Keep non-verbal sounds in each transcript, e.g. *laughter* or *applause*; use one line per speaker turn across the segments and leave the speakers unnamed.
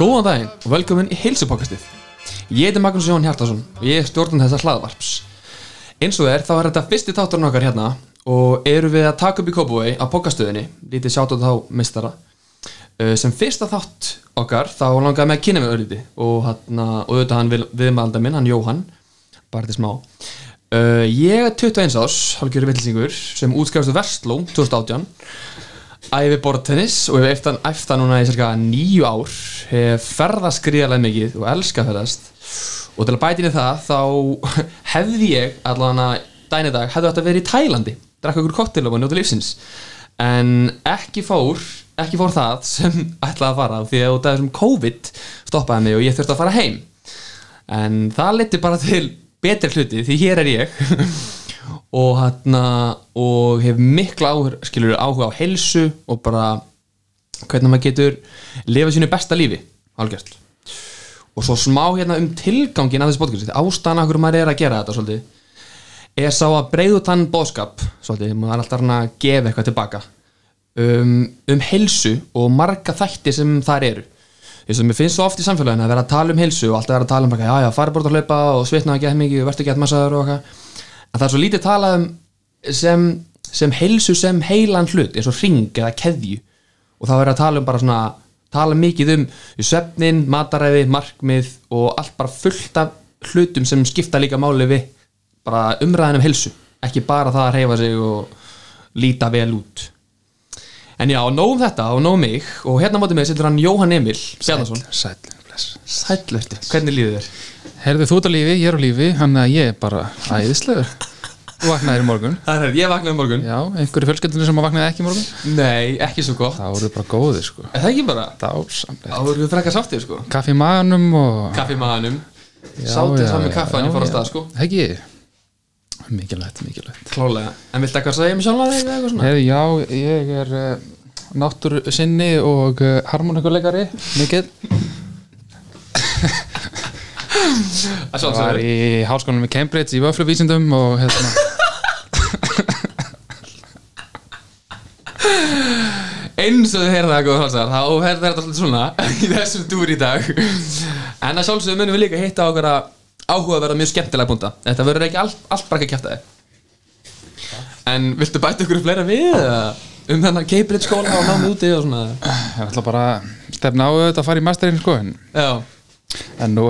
Góðan daginn og velkomin í heilsupokastið. Ég heiti Magnús Jón Hjartarsson og ég er stjórnum þessa hlaðvarps. Eins og er þá er þetta fyrsti táturinn okkar hérna og eru við að taka upp í Kópavói á pokastöðinni, lítið sjátt á þá mistara. Eh, Sem fyrsta þátt okkar þá langaði mig að kynna mig örlíti og, hana, og auðvitað hann vil- viðmælda minn, hann Jóhann, bara til smá. Uh, ég er 21 árs, halgjörðu villisingur, sem útskjáðast Vestló 2018 æfi bortennis og hef eftan, eftan núna í cirka nýju ár hef ferðast gríðarlega mikið og elska að ferðast og til að bæta inn í það þá *laughs* hefði ég allan að dæni dag hefði þetta verið í Tælandi drakka ykkur koktel og njóta lífsins en ekki fór ekki fór það sem *laughs* ætlaði að fara því að út af þessum COVID stoppaði mig og ég þurfti að fara heim en það leti bara til betri hluti því hér er ég *laughs* og hérna og hef mikla áhuga, skilur, áhuga á heilsu og bara hvernig maður getur lifa sínu besta lífi algjörst og svo smá hérna um tilgangin af þessu podcast ástæðan af hverju maður er að gera þetta svolítið er sá að breyðu tann bóðskap svolítið, maður er alltaf hann að gefa eitthvað tilbaka um, um heilsu og marga þætti sem þar eru eins og mér finnst svo oft í samfélaginu að vera að tala um heilsu og alltaf vera að tala um bara, já já, fara bort að hlaupa og svitna að geða mikið og verður ekki að massaður og eitthvað en það er svo lítið talað um sem, sem heilsu sem heilan hlut eins og ring eða keðju og það verður að tala um bara svona tala mikið um svefnin, mataræði, markmið og allt bara fullt af hlutum sem skipta líka máli við bara umræðin um heilsu ekki bara það að reyfa sig og líta vel út en já, nóg um þetta og nóg um mig og hérna mátum við sittur hann Jóhann Emil Bjarnason
Sæll, bless
Sællerti, hvernig líður þér?
Herðu þú ert á lífi, ég er á lífi Þannig að ég er bara æðislegur Þú vaknaðir í morgun
Það er, ég vaknaði um morgun
Já, einhverju fjölskyldunir sem að vaknaði ekki í morgun
Nei, ekki svo gott
Það voru bara góðir sko
Er það ekki bara?
Dásamlega
Þá erum við frekar sáttið sko
Kaffi í maganum og
Kaffi í maðanum
Já,
Sáttið
já,
saman
já,
kaffa en ég
já,
fór að
já.
stað sko
Ekki Mikilvægt, mikilvægt
Klálega En viltu eitthvað segja mig sjálf að eitthvað svona?
Herðu, já, ég er uh, náttúru sinni og uh, harmonikuleikari Mikið
Að
Ég var
sjálfsögur
í háskólanum í Cambridge í vöfluvísindum og hérna
Eins og þið heyrða það góður hálsar Þá er þetta svolítið svona *laughs* Í þessum dúr í dag En að sjálfsögur munum við líka hitta á okkur að Áhuga að vera mjög skemmtilega búnda Þetta verður ekki allt, allt bara ekki að kjæfta þig En viltu bæta okkur fleira við? eða? Um þennan Cambridge skóla og námi úti og svona
Ég ætla bara að stefna á auðvitað að fara í masterinn sko en
Já,
En nú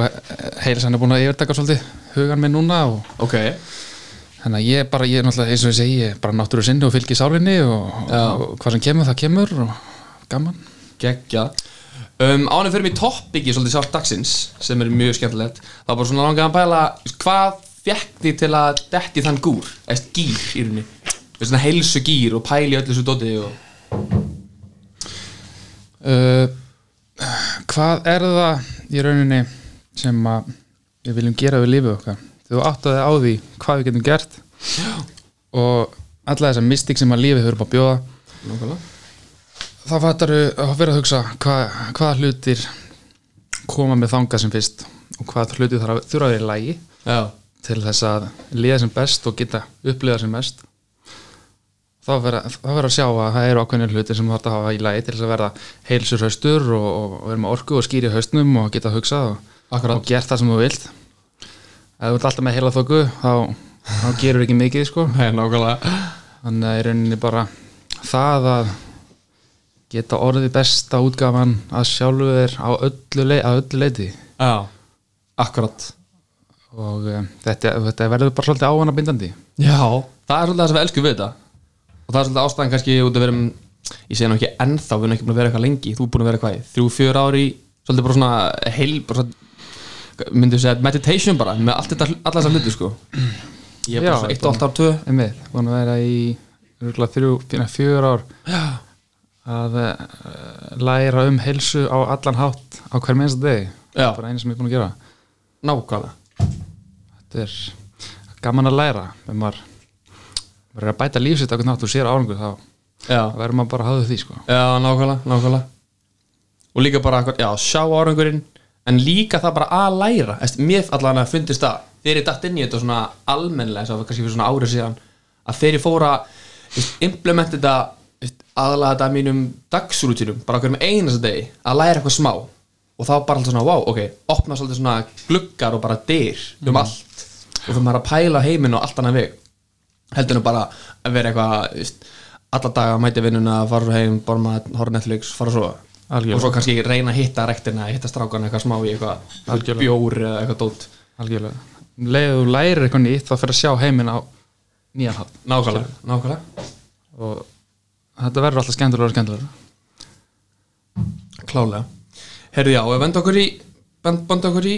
heilsan er búin að yfirtaka svolítið hugan minn núna og
ok
þannig að ég bara, ég er náttúrulega eins og ég segi, ég er bara náttúru sinni og fylgi sálinni og,
Já.
og, hvað sem kemur það kemur og gaman.
Gekja um, Ánum fyrir mig toppiki svolítið sjálf dagsins sem er mjög skemmtilegt Það var bara svona langaði að pæla hvað fekk því til að detti þann gúr eða gýr í rauninni Við svona heilsu gýr og pæli öllu svo dóti og
Uh, hvað er það í rauninni sem að við viljum gera við lífið okkar? Þú áttaði á því hvað við getum gert og alla þessa mystik sem að lífið hefur upp að bjóða
Nákvæmlega
þá fattar að vera að hugsa hva, hvaða hlutir koma með þanga sem fyrst og hvaða hlutir þarf að þurfa að vera í lægi
Já,
til þess að liða sem best og geta uppliða sem mest þá verður að sjá að það eru ákveðnir hlutir sem þarf að hafa í lagi til þess að verða heilsur haustur og, og, og verða með orku og skýri haustnum og geta hugsað og,
Akkurat.
og gert það sem þú vilt ef þú ert alltaf með heila þóku þá, þá gerur ekki mikið sko
hei, nákvæmlega
þannig að í rauninni bara það að geta orðið besta útgafan að sjálfu þér á öllu, lei, að öllu leiti
Já, akkurat
og um, þetta, þetta verður bara svolítið ávanna bindandi
Já, það er svolítið það sem við elskum við þetta og það er svolítið ástæðan kannski út að vera um, ég segi nú ekki ennþá, við erum ekki búin að vera eitthvað lengi þú er búin að vera eitthvað í þrjú, fjör ári svolítið bara svona heil bara svona, myndu segja meditation bara með allt þetta, alla þessar hluti sko ég er bara
Já,
svona eitt og allt ár tvö
Einmitt, búin að vera í rúgla þrjú, fína fjör ár að uh, læra um heilsu á allan hátt á hver minnst deg
Já.
bara einu sem ég er búin að gera
nákvæmlega,
þetta er gaman að læra ef maður verður að bæta lífsitt á hvern nátt og sér árangur þá
já,
þá verður maður bara að hafa því sko
já, nákvæmlega, nákvæmlega og líka bara, já, sjá árangurinn en líka það bara að læra Eftir, mér allan að fundist það þegar ég datt inn í þetta svona almennlega svo kannski fyrir svona árið síðan að þegar ég fóra implementa þetta þú veist, aðlaga þetta að mínum dagsrútinum bara okkur með einasta degi að læra eitthvað smá og þá bara alltaf svona, wow, ok, opna svolítið svona gluggar og bara dyr um allt og þú maður að pæla heiminn og allt annað veg heldur nú bara að vera eitthvað þú veist, alla daga mæti vinnuna, fara svo heim borma, horfa á Netflix, fara svo
Algjörlega.
og svo kannski reyna að hitta rektina, hitta strákan eitthvað smá í eitthvað
Algjörlega.
bjór eða eitthvað dót
algjörlega. Leðið þú lærir eitthvað nýtt þá fyrir að sjá heiminn á nýjan hátt
nákvæmlega, nákvæmlega,
og þetta verður alltaf skemmtilega og skemmtilega
klálega herðu já, og benda okkur í bend- benda okkur í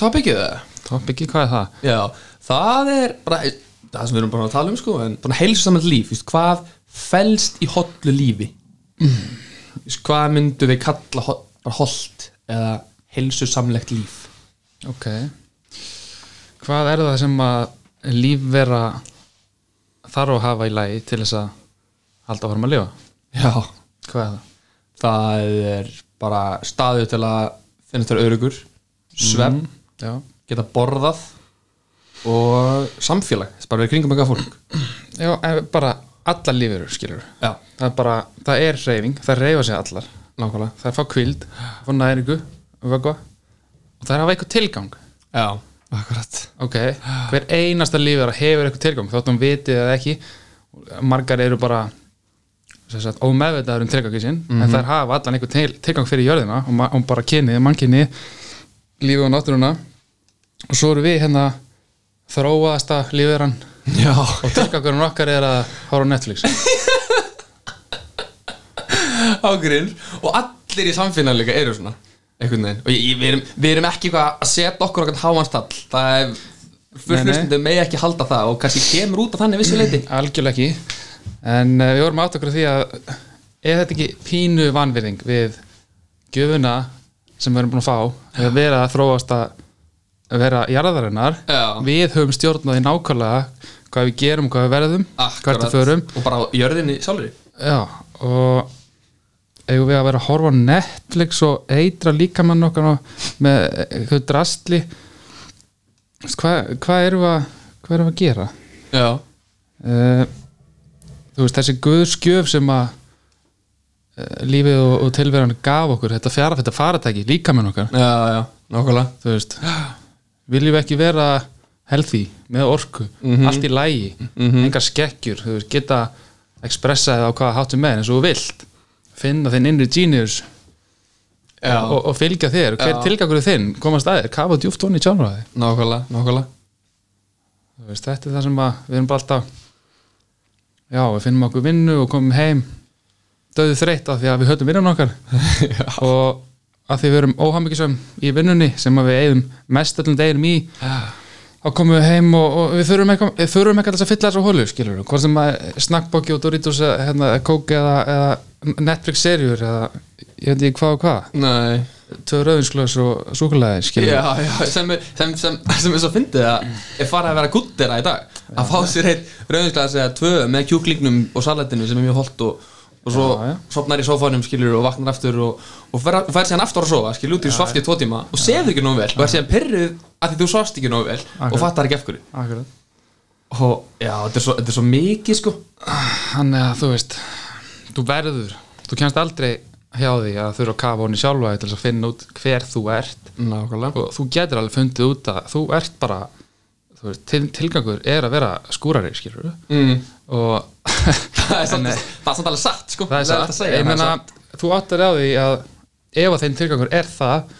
topikið það
Topiki, hvað er það?
Já, það er bara það sem við erum bara að tala um sko en bara heilsu saman líf, víst, hvað felst í hollu lífi víst, hvað myndu við kalla ho bara holt eða heilsu samlegt líf
Ok Hvað er það sem að lífvera þarf að hafa í lagi til þess að halda áfram að lifa?
Já,
Hvað er það?
það er bara staðu til að finna þér örugur svefn,
Já,
geta borðað og samfélag þess bara verið kringum eitthvað fólk
Já en bara allar lífverur skilur
Já,
það er bara, það er reyfing, það reyfa sig allar
nákvæmlega
það er að fá kvild, fá næringu vöggva og það er að hafa eitthvað tilgang
Já, akkurat
ok, hver einasta lífið hefur eitthvað tilgang, þótt hún vitið eða ekki margar eru bara sem sagt, ómeðvitaður um tilgangi sinn en þær hafa allan eitthvað til, tilgang fyrir jörðina og, ma- og bara kynið, mannkynið lífið og náttúruna og svo eru við hérna þróaðasta lífiðran
*laughs* Já,
og tilgangurinn okkar er að horfa á Netflix
ágrinn og allir í samfélagi líka eru svona einhvern veginn og ég, ég, við, erum, við erum ekki eitthvað að setja okkur okkur háanstall það er
Nei, nei.
fullustundum megi ekki halda það og kannski kemur út af þannig vissuleiti
algjörlega ekki en uh, við vorum átt okkur á því að er þetta ekki pínu vanvirðing við gjöfuna sem við erum búin að fá við að vera að þróast að vera jarðarinnar
Já.
við höfum stjórnaði nákvæmlega hvað við gerum, hvað við verðum hvert við förum
og bara á jörðinni sjálfri
Já, og eigum við að vera að horfa á Netflix og eitra líkamann okkar á- með eitthvað drastli Þú veist, hvað hva erum við að hvað erum við að gera?
já,
Eh, þú veist þessi guðskjöf sem að eh, lífið og, og tilveran gaf okkur þetta fjara, þetta faratæki, líkamenn okkar
já, já, nákvæmlega
þú veist, *gasps* viljum við ekki vera healthy, með orku
Mhm.
allt í lægi, engar skekkjur þú veist, geta expressaði á hvaða háttum með, eins og þú vilt finna þinn innri genius
já,
og, og fylgja þér, hver
Já.
tilgangur er þinn komast að þér, kafa djúft honni í tjánraði
nákvæmlega, nákvæmlega
Þú veist, þetta er það sem að við erum bara alltaf já, við finnum okkur vinnu og komum heim döðu þreytt af því að við höldum vinnun okkar og að því við erum óhammingisum í vinnunni sem að við eigum mest öllum deginum í þá komum við heim og, og við þurfum eitthvað við þurfum eitthvað til að fylla þessu hólu, skilur við hvort sem að snakkbóki og Doritos eða hérna, kók eða, eða Netflix serjur eða ég veit ekki hvað og hvað
nei,
tvö rauðinsklaus og súkulæði, skilur
já, já, sem, er- sem, sem, sem er svo fyndið að er farið að vera guttera í dag að fá sér heitt rauðinsglas eða tvö með kjúklingnum og salatinu sem er mjög holt og, og svo
Já, já.
sopnar í sófanum skilur og vaknar aftur og, og fer, fer síðan aftur að sofa skilur út í svafti tvo tíma og sefur ekki nógu vel og er síðan pyrruð að því þú svafst ekki nógu vel og fattar ekki af hverju
Akkurat.
og já, þetta er svo, þetta er svo mikið sko
Þannig að þú veist þú verður, þú kemst aldrei hjá því að þurfa að kafa honni sjálfa til þess að finna út hver þú ert
Nákvæmlega
og þú getur alveg fundið út að þú ert bara þú veist, til, tilgangur er að vera skúrari skilur
mm. *laughs*
og *laughs*
það, er samt,
Nei.
það er samt alveg satt sko
eh, það er
hægt
satt,
að segja, það
ég
er
meina
satt.
þú áttar á því að ef að þeim tilgangur er það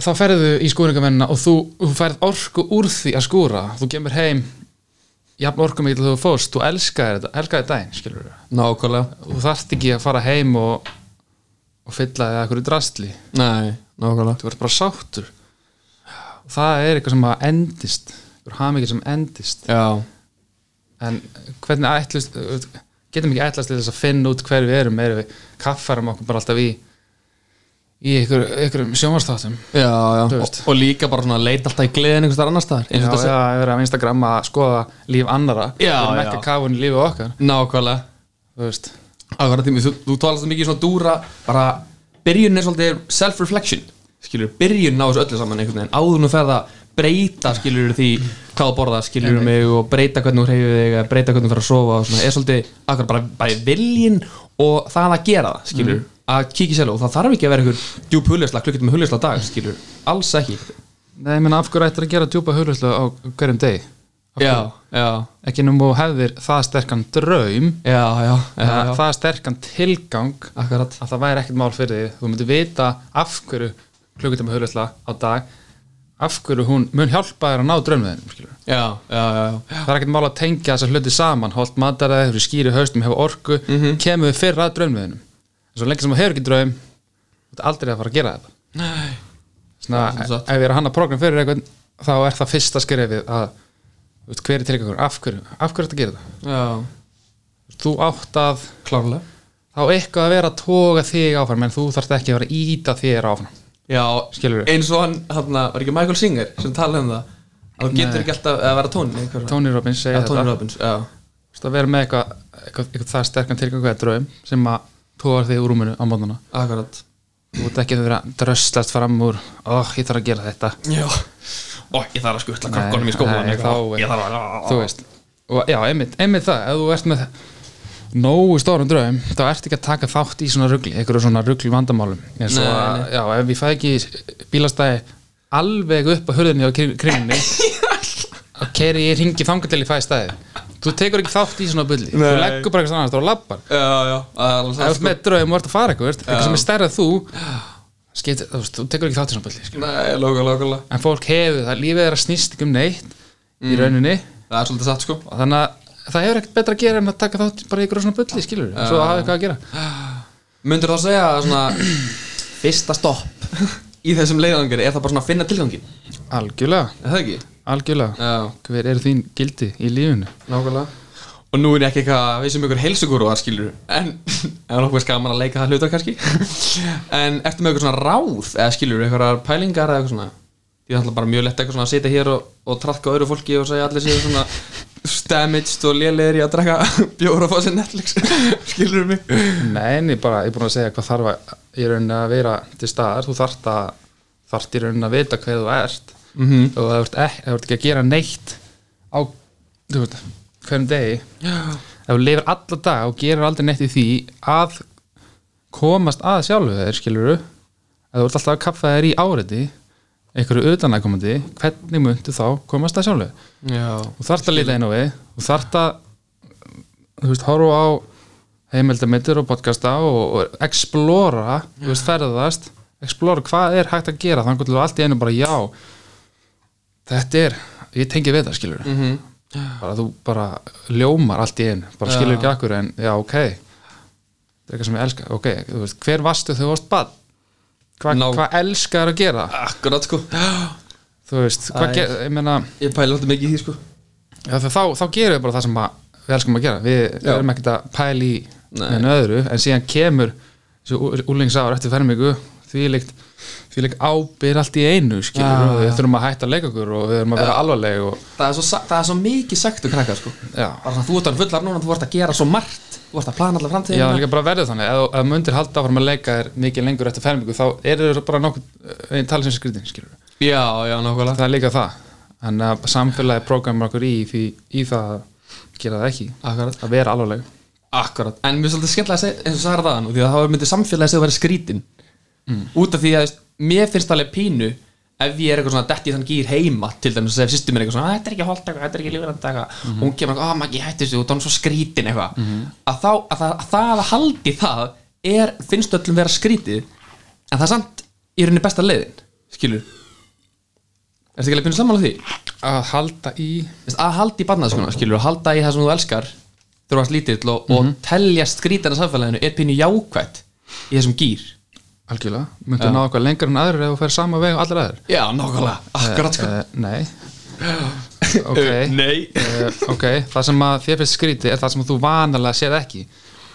þá ferðu í skúringamennina og þú, þú færð orku úr því að skúra þú kemur heim jafn orku mikið til þú fórst, þú elskar þetta elskar þetta daginn, skilur
Nákvæmlega
þú þarft ekki að fara heim og, og fylla þig að einhverju drastli
Nei, nákvæmlega
þú verður bara sáttur og það er eitthvað sem að endist þú hafði sem endist
Já,
en hvernig ætlust getum ekki ætlast til þess að finna út hver við erum erum við kaffarum okkur bara alltaf í í einhver, einhverjum sjónvarsþáttum
Já, já,
Þú
og,
veist.
og líka bara svona leita alltaf í gleðin einhvers staðar annar staðar
eins
eins
og
og þetta
þetta sé að vera á Instagram að skoða líf annara
Já,
við erum ekki
já.
að kafa henni lífið okkar
sé nákvæmlega
þú veist
Akkurat, tími, þú, þú talast mikið svona dúra bara byrjun er svolítið self-reflection skilur, byrjun á þessu öllu saman einhvern veginn áður nú ferð að breyta skilur því hvað þú borða skilur mig og breyta hvernig þú hreyfið þig eða
Mm.
breyta hvernig þú fer að sofa og svona, er svolítið akkurat bara, bara viljin og það að gera það skilur, að kíkja í seló það þarf ekki að vera einhver djúb hulisla klukkutum með hulisla dag skilur, alls ekki
Nei, ég menna af hverju ættir að gera djúpa huglauslu á hverjum degi
já, já,
ekki nú og hefðir það sterkan draum
já, já, já,
eða
já.
það sterkan tilgang
akkurat
að það væri ekkert mál fyrir því þú myndir vita af hverju klukkutíma hugleysla á dag af hverju hún mun hjálpa þér að ná draumveðinum skilur.
já, já, já, já.
það er ekkert mál að tengja þessar hluti saman holt mataræði, hefur skýri haustum, hefur orku
Mhm.
kemur við fyrr að draumveðinum en svo lengi sem þú hefur ekki draum þú ert aldrei að fara að gera þetta Svona,
Það er
ef
satt.
ég er að hanna program fyrir einhvern þá er það fyrsta skrefið að þú veist, hver er tilgangur, af hverju, af hverju ertu að gera þetta
já,
þú átt að
e, klárlega
þá eitthvað að vera að toga þig áfram en þú þarft ekki að vera að íta þér áfram
já,
Skilurðu?
eins og hann, hann var ekki Michael Singer sem talaði um það að þú getur
Nei.
ekki alltaf að vera tóni
Tony Robbins segir
ja, Tony
þetta
Robbins, já,
Þú veist, að vera með eitthvað, eitthvað, eitthvað það sterkan tilgang eða draum sem að tógar þig úr rúminu á mótnana
akkurat
þú ert ekki að vera að dröslast fram úr oh, ég þarf að gera þetta
já, ó, ég þarf að skutla
Nei,
krakkonum í skólan
nei,
eitthvað.
þá-
ég þarf að
þú veist og já, einmitt, einmitt það, ef þú ert með nógu stórum draum, þá ert ekki að taka þátt í svona ruggli, einhverju svona ruggli vandamálum eins
Nei,
og að, já, ef ég fæ ekki bílastæði alveg upp á
*laughs*
hurðinni á kringinni og keiri ég ringi þangar til ég fæ stæði þú tekur ekki þátt í svona bulli þú
Nei.
leggur bara eitthvað annars, þú lappar
já, já, að,
ef þú ert
sko,
með draum og ert að fara eitthvað, eitthvað
Já.
sem er stærra þú skeitir, þú, veist, þú tekur ekki þátt í svona bulli skilur.
nei, lóka, lóka, lóka
en fólk hefur það, lífið er að snýst ekki um neitt
Mm.
í rauninni
það er svolítið satt sko
og þannig að það hefur ekkert betra að gera en að taka þátt bara í ykkur svona bulli, skilur við, svo að hafa eitthvað að gera
Myndur þá segja að *clears throat* svona fyrsta stopp í þessum leiðangir er það bara svona að finna tilgangin
algjörlega,
Er það ekki?
algjörlega
Já,
hver eru þín gildi í lífinu
nákvæmlega Og nú er ég ekki eitthvað, um við sem ykkur heilsugur og það skilur En, *laughs* ef nokkuð skaman að leika það hluta kannski *laughs* En ertu með eitthvað svona ráð eða skilur, eitthvað pælingar eða eitthvað svona Því það er bara mjög lett eitthvað svona að sitja hér og, og traðka öðru fólki og segja allir séu svona *laughs* Stamaged og lélegir í að drekka *laughs* bjóra og fá sér Netflix *laughs* Skilur mig
Nei, en ég bara, ég er búin að segja hvað þarf að í rauninni að vera til staðar þú þarft að, þarft í rauninni að vita hver þú ert mm
Mhm.
-hmm. og ef þú ert ekki, ef þú ert ekki að gera neitt á, þú veit, hverjum degi ef þú lifir alla dag og gerir aldrei neitt í því að komast að sjálfu þeir, skilur ef þú ert alltaf að kaffa þeir í áriði einhverju utanægkomandi, hvernig muntu þá komast að sjálfu þeir
Já,
þú þarft að lita inn á við þú þarft að þú veist, horfa á heimildamittir og podcasta og, og explora, þú veist, ferðast explora, hvað er hægt að gera þannig að þú allt í einu bara, já þetta er, ég tengi við það, skilur mm
Mhm.
-hmm. bara þú bara ljómar allt í einu, bara skilur ekki akkur en já, ok þetta er eitthvað sem ég elska, ok, þú veist, hver varstu þegar þú varst bad Hva,
Nó.
hvað elskar að gera
akkurat sko
þú veist, hvað
Æ.
ger, ég meina
Ég pæla alltaf mikið í því sko
Já, þá, þá, þá gerum við bara það sem að við elskum að gera við
Já.
erum ekkert að pæla í
Nei.
neina öðru en síðan kemur þessi úlingsár eftir fermingu því líkt því líkt ábyr allt í einu skilur,
Já,
og við
já.
þurfum að hætta að leika okkur og við þurfum að vera alvarleg og
það er, svo, sa- það er svo mikið sagt um krakkar sko
já,
bara svona, þú ert að fullar núna, þú ert að gera svo margt þú ert að plana allar
já
framtíðina
líka bara verður þannig ef, ef mundir halda áfram að leika þér mikið lengur eftir fermingu þá eru þau bara nokkuð einn tala sem skritin skilur.
já, já, nákvæmlega
það er líka það en að samfélagi prógramar okkur í, því, í það að gera það ekki
akkurat,
að vera alvarleg
akkurat. en mér er svolítið skemmtilega að segja eins og sagði það nú, því að það myndi samfélagið segja að vera skrítin út af því að veist, mér finnst alveg pínu ef ég er eitthvað svona detti þann gýr heima til dæmis að segja sýstum mér eitthvað svona "Æ, þetta er ekki holdt eitthvað, þetta er ekki lífrand eitthvað og hún kemur eitthvað, að Maggi hættu þessu og það er svo skrítin eitthvað að, þá, að, það, að það að haldi það er, finnst öllum vera skrítið en það er samt í rauninni besta leiðin skilur Er þetta ekki að pínu sammála því?
að halda í
Veist, að halda í barnaðskona, skilur, að halda í það sem þú elskar þegar þú varst lítill og, og telja skrítana samfélaginu er pínu jákvætt í þessum gýr
Algjörlega, myndu ná eitthvað lengur en aðrir ef þú fer sama veg og allir aðrir
Já, nákvæmlega, akkurat sko
Eh,
*gasps*
Nei Ok
Nei
Eh, Ok, það sem að þér finnst skríti er það sem þú vanalega sér ekki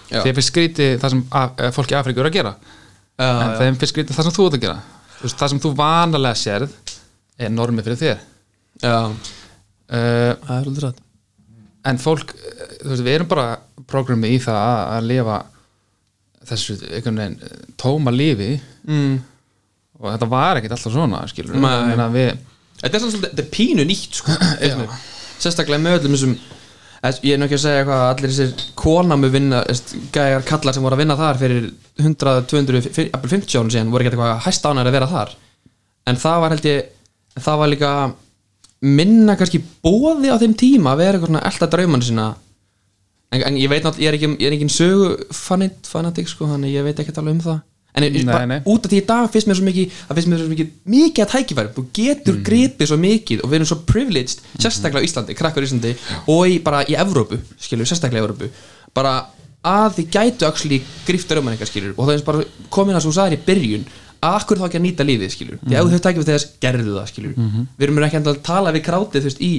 Já.
Þér finnst skríti það sem af, eh, fólki Afriku eru að gera
Já,
En þeim finnst skríti það sem þú ert að gera Þú veist, Það sem þú vanalega sérð er normið fyrir þér
já,
uh,
það er aldrei rætt
En fólk, eh, þú veist, við erum bara programmið í það að, að lifa þessu einhvern veginn eh, tóma lífi
mm.
og þetta var ekkert alltaf svona, skilur
Nei.
við *clears throat*
Þetta er svona svolítið, þetta er pínu nýtt sko finnst mér. Sérstaklega með öllum þessum Þess- Ég er nú ekki að segja hvað allir þessir konamu vinna, veist, gæjar kallar sem voru að vinna þar fyrir 100, 200, fyr- jafnvel 50 árum síðan voru ekki eitthvað hæst ánæri að vera þar en það var held ég, það var líka minna kannski bóði á þeim tíma að vera eitthvað svona elda drauman sína en, en ég veit náttúrulega, ég er ekki, ég er ekki sögu fanit, fanatik sko, þannig ég veit ekkert alveg um það en ég,
Nei,
bara,
nei.
út af því í dag finnst mér svo mikið það finnst mér svo mikið, mikið að tækifæri þú getur gripið svo mikið og við erum svo privileged sérstaklega á Íslandi, krakkar á Íslandi og í, bara í Evrópu, skilur, sérstaklega í Evrópu bara að þið gætu actually grift drauman eitthvað skilur og það er bara komin að svo sagðir í byrjun að akkur þá ekki að nýta lífið skilur því ef þau tækifæri þess, gerðu það skilur við erum ekki endilega að tala við krátið þú veist í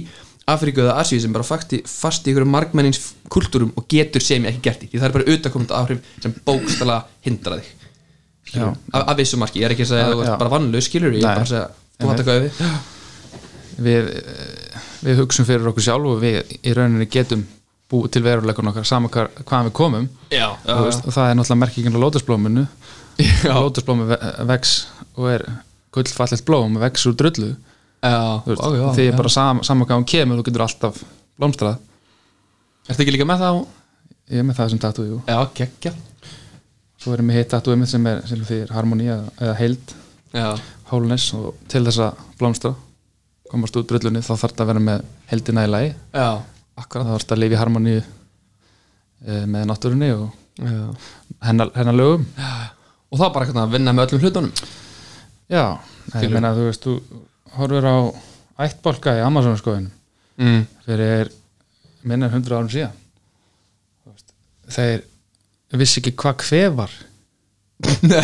Afríku eða Asíu sem bara fakti, fast í ykkur margmennins kultúrum og getur sem ég ekki gert í því það er bara auðvitaðkomandi áhrif sem bókstala hindra þig
Já.
af, af vissu marki, ég er ekki að segja að þú
Já.
ert bara vannlaus skilur, ég er
Nei.
bara að segja þú hatt eitthvað við
við, eh, við hugsum fyrir okkur sjálf og við í rauninni getum búið til veruleikun okkar saman hvar, hvaðan við komum
*laughs* já,
og, veist, og það er náttúrulega merkingin á lótusblóminu lótusblómi vex og er gullfallegt blóm og vex úr drullu
já,
Þú veist,
Ó, já,
því
já.
er bara sam, saman hvað hún kemur þú getur alltaf blómstrað
ertu ekki líka með það á
ég er með það sem tattoo, jú
já, geggja
svo erum við hitt tattoo einmitt sem er sem fyrir harmonía eða heild,
já,
wholeness og til þess að blómstra komast út drullunni þá þarf þetta að vera með heldina í lagi
já,
Akkurat. það þarf að lifa í harmoníu eh, með náttúrunni og
já.
hennar, hennar lögum
og það er bara eitthvað að vinna með öllum hlutunum
já, Nei, ég
Skilur.
meina þú veist þú horfur á ættbólka í Amazon skoðin
mm.
fyrir minna en 100 árum síðan Þú veist, þeir vissi ekki hvað kvef var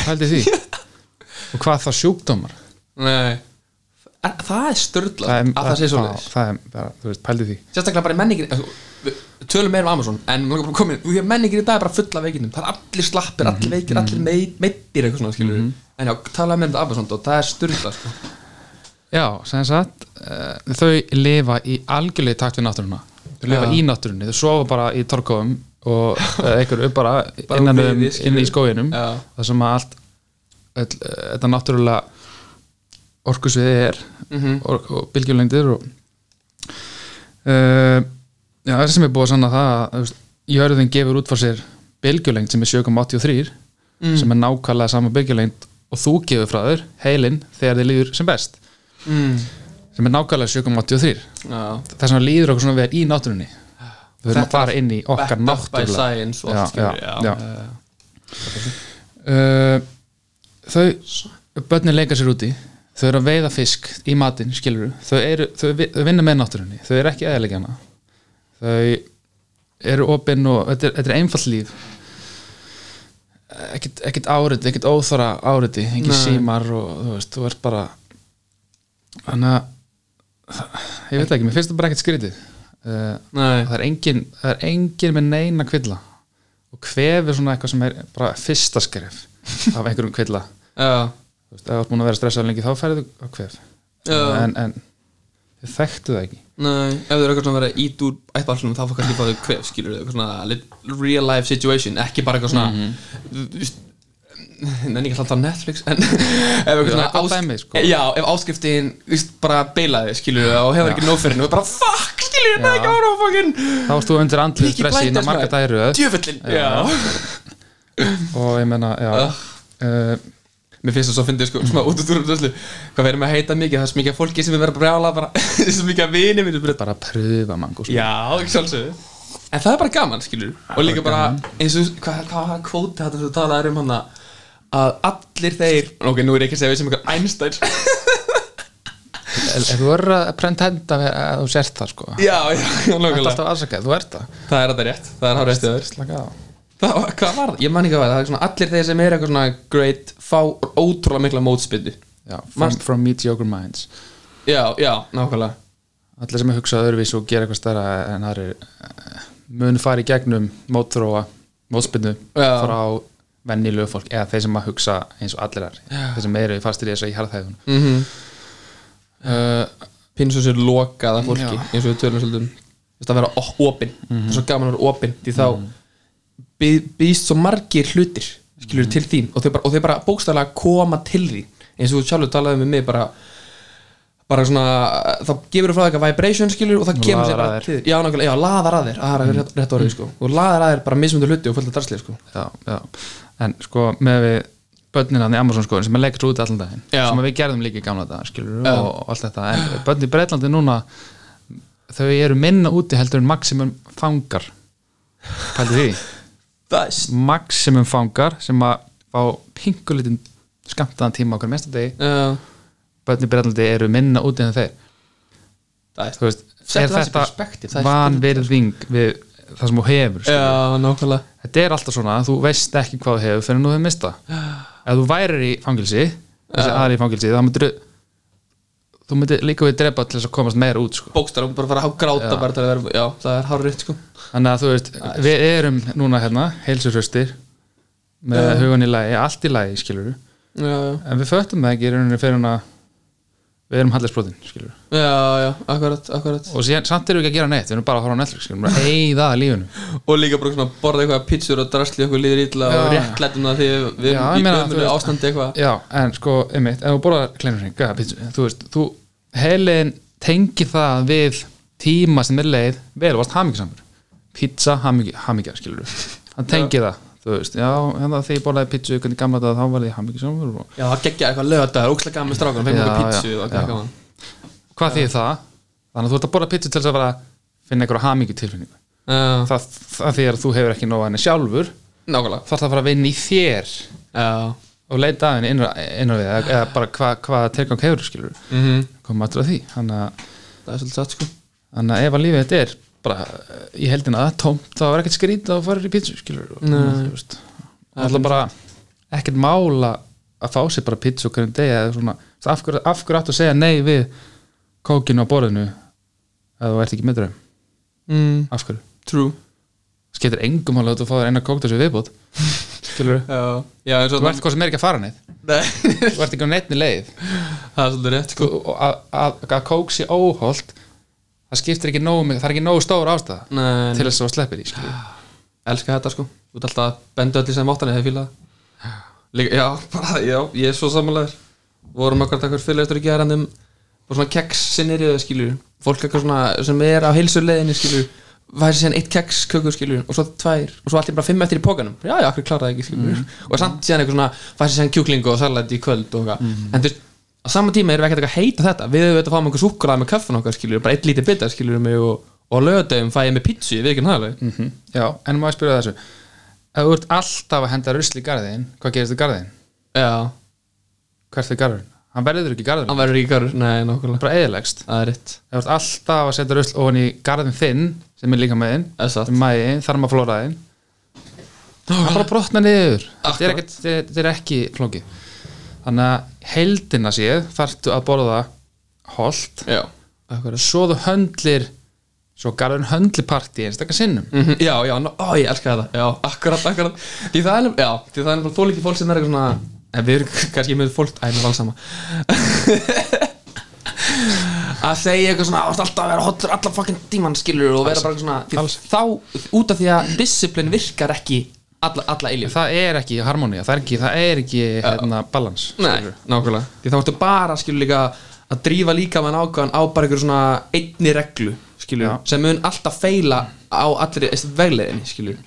hældi því og hvað það sjúkdómar
nei er, það er störla
er,
að það sé svo
það, það er bara, þú veist, pældi því
sérstaklega bara í menningin sko, við tölum meira um Amazon en mig langar bara að koma inn, því að menningin í dag er bara full af veikindum það er allir slappir, allir veikir, allir meit- meiddir eitthvað svona skilur en já, talaðu meira um þetta Amazon og það er störla sko.
Já, sem sagt, uh, þau lifa í algjörlega í takt við náttúruna þau lifa
Já.
í náttúrunni, þau sofa bara í torkofum og uh, einhverju bara,
Bara
innan
úr
um,
viði, skilur.
inn í skóginum
Já.
það sem að allt öll, eh, þetta náttúrulega orkusviði er
Mm. Mhm,
og, og bylgjulengdir og uh, já, það sem er búið að sanna það að þú veist, jörðin gefur út frá sér bylgjulengd sem er 7,83 sem er nákvæmlega sama bylgjulengd og þú gefur frá þér heilinn þegar þið líður sem best
mm.
sem er nákvæmlega 7,83
já
þess vegna líður okkur svona vel í náttúrunni við verðum að
Þetta
fara inn í
backed
okkar
up by
náttúrulega
science og
Já,
allt skilur,
já,
já,
já.
já.
uh, þau börnin leika sér úti þau eru að veiða fisk í matinn skilur þau, eru, þau, vi- þau vinna með náttúrunni þau eru ekki eðalega hana þau eru opinn og þetta er, þetta er einfalt líf ekkert, ekkert áriti, ekkert óþara áriti ekki
Nei.
símar og þú veist þú ert bara þannig að ég veit ekki, mér finnst það bara ekkert skrítið uh,
Nei,
það er engin, það er engin með neina kvilla og kvefi svona eitthvað sem er bara fyrsta skref af einhverjum kvilla
já,
þú veist, ef þú ert búin að vera stressað lengi þá færðu á kvef
já,
en, en þið þekktu það ekki
nei Ef þau eru eitthvað svona að vera ít úr ættbálsunum þá fór kannski bara þau kvef, skilur þau svona lit- real life situation, ekki bara eitthvað svona
Mhm.
þú veist, Nenni ekki alltaf Netflix en *laughs* ef eitthvað
Já,
svona
gott
ásk-
dæmi, sko.
Já, ef áskriftin þú veist, bara beilaði, skilur þau og hefur ekki nóferinu og bara fuck, skilur þau,
Já.
ekki ára fucking
þá varst þú undir andlið
Peaky
stressi
Blinders,
innan marga
maður.
dæru
Djöfullinn, já
og ég menna, já
Ugh.
uh,
Mér finnst það svo að fyndi sko, svona út út úr þessu Hvað verðum að heita mikið, það er svo mikið af fólki sem er verið að brjála bara, *laughs* svo mikið að vini minni bara,
bara pröfa mangu sko.
Já, ekki sjálfsögðu En það er bara gaman, skilur Og líka bara, eins og, hvað hva, hva, kvóti þetta sem þú talaðir um hana Að allir þeir, ok, nú er ég ekki að segja við sem einhver Einstein *laughs*
ef þú verður að pretenda að- að þú sért það sko.
Já, já, já,
þetta er
nákvæmlega
alltaf aðsakað, þú ert það
Það er þetta rétt, það er hár réttið þér
slaka á
Það, hvað var það? Ég man ekki að það, það er svona allir þeir sem er eitthvað svona great Fá ótrúlega mikla mótspyndu
já, from,
Manst-
from mediocre minds
Já, já, nákvæmlega
allir sem er hugsað öðruvísu og gera eitthvað stærra en það er mun fara í gegnum mótróa, mótspinnu
Já.
frá vennilegu fólk eða þeir sem að hugsa eins og allir er þeir sem eru fastir í þessu í harðhæðun
mm
uh,
pinn svo sér lokað af fólki
Já. Mhm.
eins og við tölum svolítið um þú veist, að vera ó- opinn, það er svo gaman að vera opinn því þá mm býst svo margir hlutir skilur
Mhm.
til um þín og þau bara, og þau bara bókstæðlega koma til þín eins og þú sjálfur talaði með mig bara bara svona, það gefur frá þér eitthvað vibration skilur og það
Og
kemur sér
laðar
bara
að þér.
til þín. já, nákvæmlega, já, laðar að þér, Ah, það er rétt, rétt orðið sko og laðar að þér bara mismundu hluti og fullt af drasli sko
já, já. en sko með við börnin hann í Amazon skoðin sem er leikast út allan daginn
Já.
sem að við gerðum líka í gamla dag skilur
Já.
og allt þetta, en börn í Breitlandi núna þau eru minna úti heldur en maximum fangar pældi því,
það er st-
maximum fangar sem að fá pinkulitin skamtaðan tíma okkur mesta degi
Já,
börn í Breitlandi eru minna úti en þeir
það er
þú veist,
Settu
er
það í perspektíf, það
þetta
er
vanvirðing við það sem þú hefur skilur?
já, nákvæmlega
þetta er alltaf svona að þú veist ekki hvað þú hefur fyrir nú hefur mista ef þú værir í fangilsi þessi aðri í fangilsi þá myndir þú myndir líka við drepa til þess að komast meira út sko.
bókstar og bara fara að gráta bara til að vera já, það er hárrið sko
þannig að þú veist, við erum núna hérna heilsurhraustir með hugan í lagi, allt í lagi skilur
já, já,
en við föttum það ekki í rauninni fyrir hann að við erum hallisbrotin skilur
já, já, akkurat, akkurat
og síðan, samt erum við ekki að gera neitt, við erum bara að horfa á Netflix skilur, bara eigða lífinu
og líka bara svona borða eitthvað pítsur og drasli okkur líður ítla og
Já.
réttlætum það því við við
Já,
erum
ég
í
meina, þú
ömurlegu
veist-
ástandi eitthvað
já, en sko, einmitt, ef þú borðar kleinurinn, gæða pítsu, þú veist, þú heilin tengi það við tíma sem er leið, vel varst hamingjusamur pizza, hamingja, skilur hann tengi það, þú veist, já en það þegar ég borðaði pítsu ykkur í gamla dag þá var ég hamingjusamur og
já, það geggja eitthvað lögadagur, ókslega gaman með strákan fengið
Já,
okkur pítsu og
já, já.
eitthvað gaman
hvað þýðir það? Þannig að þú ert að borða pítsu til þess að vera að finna einhverja hamingju tilfinningu
já,
það, það því að þú hefur ekki nóg að henni sjálfur
nákvæmlega
þarf það að fara að vinna í þér
já,
og leita að henni innra, innra við eða eða bara hvað hva tilgang hefur skilur
mhm,
koma aftur að því, þannig að
það er svolítið satt sko
þannig að ef að lífið þetta er bara eh, í heldina að tómt, þá er ekkert skrítið að þú farir í pítsu, skilur
Nei.
alltaf bara ekkert mála að fá sér bara pítsu okkur en degi eða svona, þú veist, af hverju, af hverju áttu að segja nei við kókinu á borðinu eða þú ert ekki með draum,
mm,
af hverju
true
skiptir engum mála að þú fá þér eina kókdósi viðbót skilur,
já, já, eins og
þú ert hvað sem er ekki að fara neitt
Nei, *laughs*
þú ert ekki á neittni leið
það er svolítið rétt sko
Þú- og að- að að kók sé óholt það skiptir ekki nógu, mikið- það er ekki nógu stór ástæða
Nei,
til þess að þú sleppir því, skilur
Ah. elska þetta sko Þú ert alltaf að benda öll í sem áttan eða fíla það. Líka, já, *laughs* bara, já, ég er svo samanlegar Vorum akkur takkur fyrirleistur í gerandum Og svona keks sinnir eða skilur Fólk eitthvað svona sem er á heilsuleginni skilur Væri síðan eitt keks kökur skilur Og svo tvær, og svo allir bara fimm eftir í pókanum Já, já, akkur kláraði ekki skilur Og samt síðan eitthvað svona, væri síðan kjúkling og salat í kvöld og eitthvað En þú veist, á sama tíma erum við ekkert eitthvað að heita þetta Við höfum þetta að fáum einhver súkkulað með kaffan okkar skilur Bara eitt lítið bitar skilur um mig og, og lögadegum fæ ég með pítsu, ég veit ekki um það alveg
Mm. Mhm. Já, en maður spyrja þessu Ef þú ert alltaf að henda rusli í garðin Hvað gerist í garðin?
Já,
Hvert er garðin? Hann verður ekki garðin,
hann verður ekki garður Nei, nákvæmlega
hann bara eðilegst
Það er rétt
Ef þú ert alltaf að setja rusl ofan í garðin þinn sem er líka með þinn,
Það er satt
sem er maður þinn, þarf maður flóraði þinn Hann bara brotna niður Þetta er,
Akkurat.
ekkert- þetta er ekki flóki Þannig að heldina séð þarftu að borða holt
Já Akkurat
svo þú höndlir svo garðin höndlir partí einstakar sinnum
mm Já, já, ná, ó, ég elska þetta Já, akkurat, akkurat Því það er nefnilega, já, því það er nefnilega Þú líki fólk sem er eitthvað svona En við erum kannski með fólk Æ, mér valsama *laughs* Að segja eitthvað svona "Þú ert Alltaf að vera hotur allar fucking tíman skilur Og vera bara svona því,
Alls.
Þá, út af því að disciplin virkar ekki Alla, alla eilíf
Það er ekki harmonía, það er ekki, það er ekki hérna, balans
Nei, nákvæmlega Því þá ertu bara, skilur líka að drífa líka mann ákvæðan á bara einhver svona einni reglu, skilur
Já.
sem mun alltaf feila á allri vegleðinni, skilur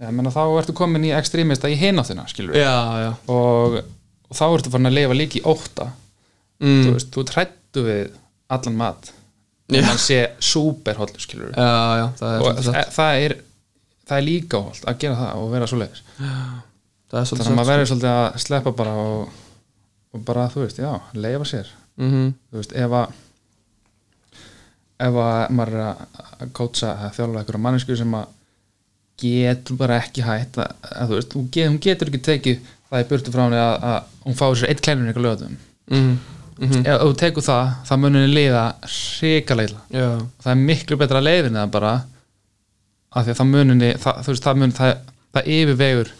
Já, menna, þá ertu komin í ekstrímista í hináttina skilur
Já, já
og, og þá ertu farin að lifa líki ótta
mm.
þú veist, þú trættu við allan mat
Já.
og hann sé superhollur skilur
Já, já, það er
og
svolítið satt
það, það er það er líka hollt að gera það og vera svo leiðis
Það er
þannig að
svolítið satt sko.
maður verður svolítið að sleppa bara og, og bara, þú veist, já, leifa sér
Mhm.
þú veist, ef að ef að maður er að- að kótsa að þjálfa einhverja mannesku sem að getur bara ekki hætt að, að þú veist, hún, get, hún getur ekki tekið það í burtu frá henni að, að hún fá sér eitt kleinur eitthvað lögatum
Mhm. Mhm.
ef þú tekur það, það munir henni liða hrikalega
Já,
það er miklu betra að leiðin það bara af því að það munir henni, það, þú veist, það munir það, það yfirvegur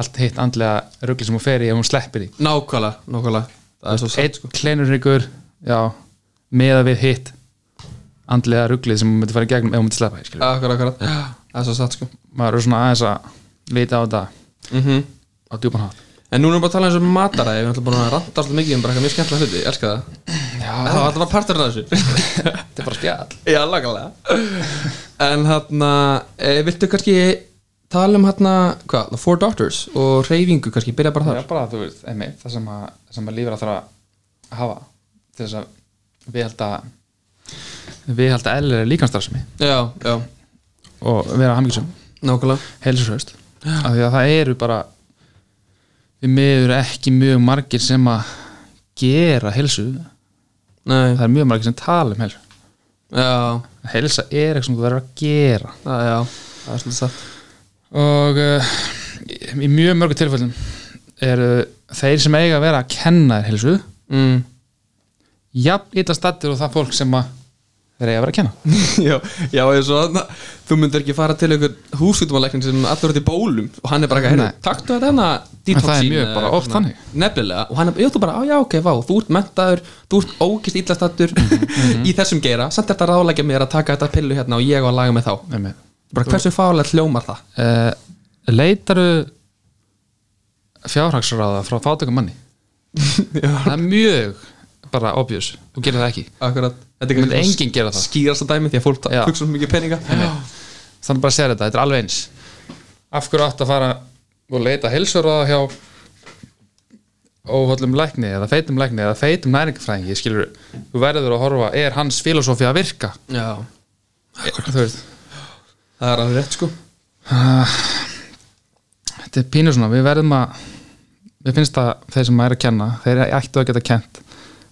allt hitt andlega ruggli sem hún fer í ef hún sleppir því
nákvæmlega, nákvæmlega Það er svo satt
eitt sko. kleinurryggur já, meða við hitt andlega rugglið sem maður myndi fara í gegnum ef maður myndi sleppa því, skilur.
Akkurat, akkurat Já, Það er svo satt, sko
maður er svona aðeins að vita á þetta
Mhm.
á djúpan hátt
En núna erum við bara að tala eins um mataræði, við erum alltaf búin að ranta alltaf mikið um bara eitthvað mjög skemmtilega hluti, ég elska það. Já, það var alltaf bara parturinn af þessu.
Þetta er bara spjall
Já, lagalega. En hérna, e, viltu kannski tala um hérna, hvað, The Four Doctors og reyfingu kannski, byrja bara
Það
þar.
er bara, þú veist, emi, það sem að, sem að lífur að þarf að hafa til þess að við held að við held að eðlilega líkanstarfsemi
Já, já,
og vera hamingisum
nákvæmlega.
heilsurhaust af því að það eru bara við meður ekki mjög margir sem að gera heilsu
Nei,
það er mjög margir sem tala um heilsu
já,
heilsa er eitthvað sem þú verður að gera
það, já, það er svolítið satt.
og uh, í mjög mörgum tilfellum eru þeir sem eiga að vera að kenna þér heilsu
Mm.
jafn illa stattir og það fólk sem að þeir eiga að vera að kenna
*laughs* já, já, ég svo þarna þú myndir ekki fara til einhver húsvítumalækning sem allur út í bólum og hann er bara eitthvað,
Nei.
"Heyrðu, taktu þetta hana detoxin
það er mjög
eða
bara
eitthvað
oft
svona."
þannig.
nefnilega, og hann er, ég þú bara, "Á, já, ok, vá þú ert mentaður, þú ert ógist íllastattur
Mhm,
í þessum geira, samt er þetta ráðlega mér að taka þetta pillu hérna og ég á að laga með þá
um,
bara hversu fálega hljómar það
uh, leitaru fjárhagsráða frá fátökum manni það er mjög bara obvious þú gerir það ekki
akkurat, þetta
Myndi enginn gera það.
skýrast að dæmi því að fólk
Já.
hugsa um mikið peninga
þannig bara sér þetta, þetta er alveg eins af hverju átt að fara og leita heilsuráða hjá óhóllum lækni eða feitum lækni eða feitum næringafræðingi skilur, þú verður að horfa er hans filosofi að virka
já,
þú veist,
það er alveg rétt sko
þetta er pínu svona við verðum að, við finnst að þeir sem er að kenna, þeir ættu að geta kent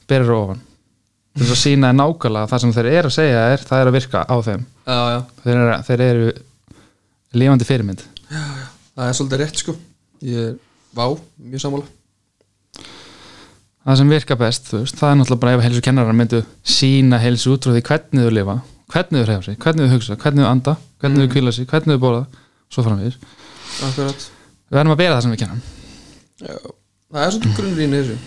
berir ofan til þess að sína nákvæmlega það sem þeir eru að segja er, það er að virka á þeim
já, já,
þeir eru, þeir eru lífandi fyrirmynd
það er svolítið rétt sko ég er, vá, mjög sammála
það sem virka best, þú veist, það er náttúrulega bara ef helsu kennarar myndu sína helsu út frá því hvernig þau lifa, hvernig þau hreyfa sig hvernig þau hugsa, hvernig þau anda, hvernig þau kvíla sig hvernig þau bóla, svo framvegis
akkurat
við verðum að bera það sem við kennum
Já, það er svolítið grunnrýn í þessu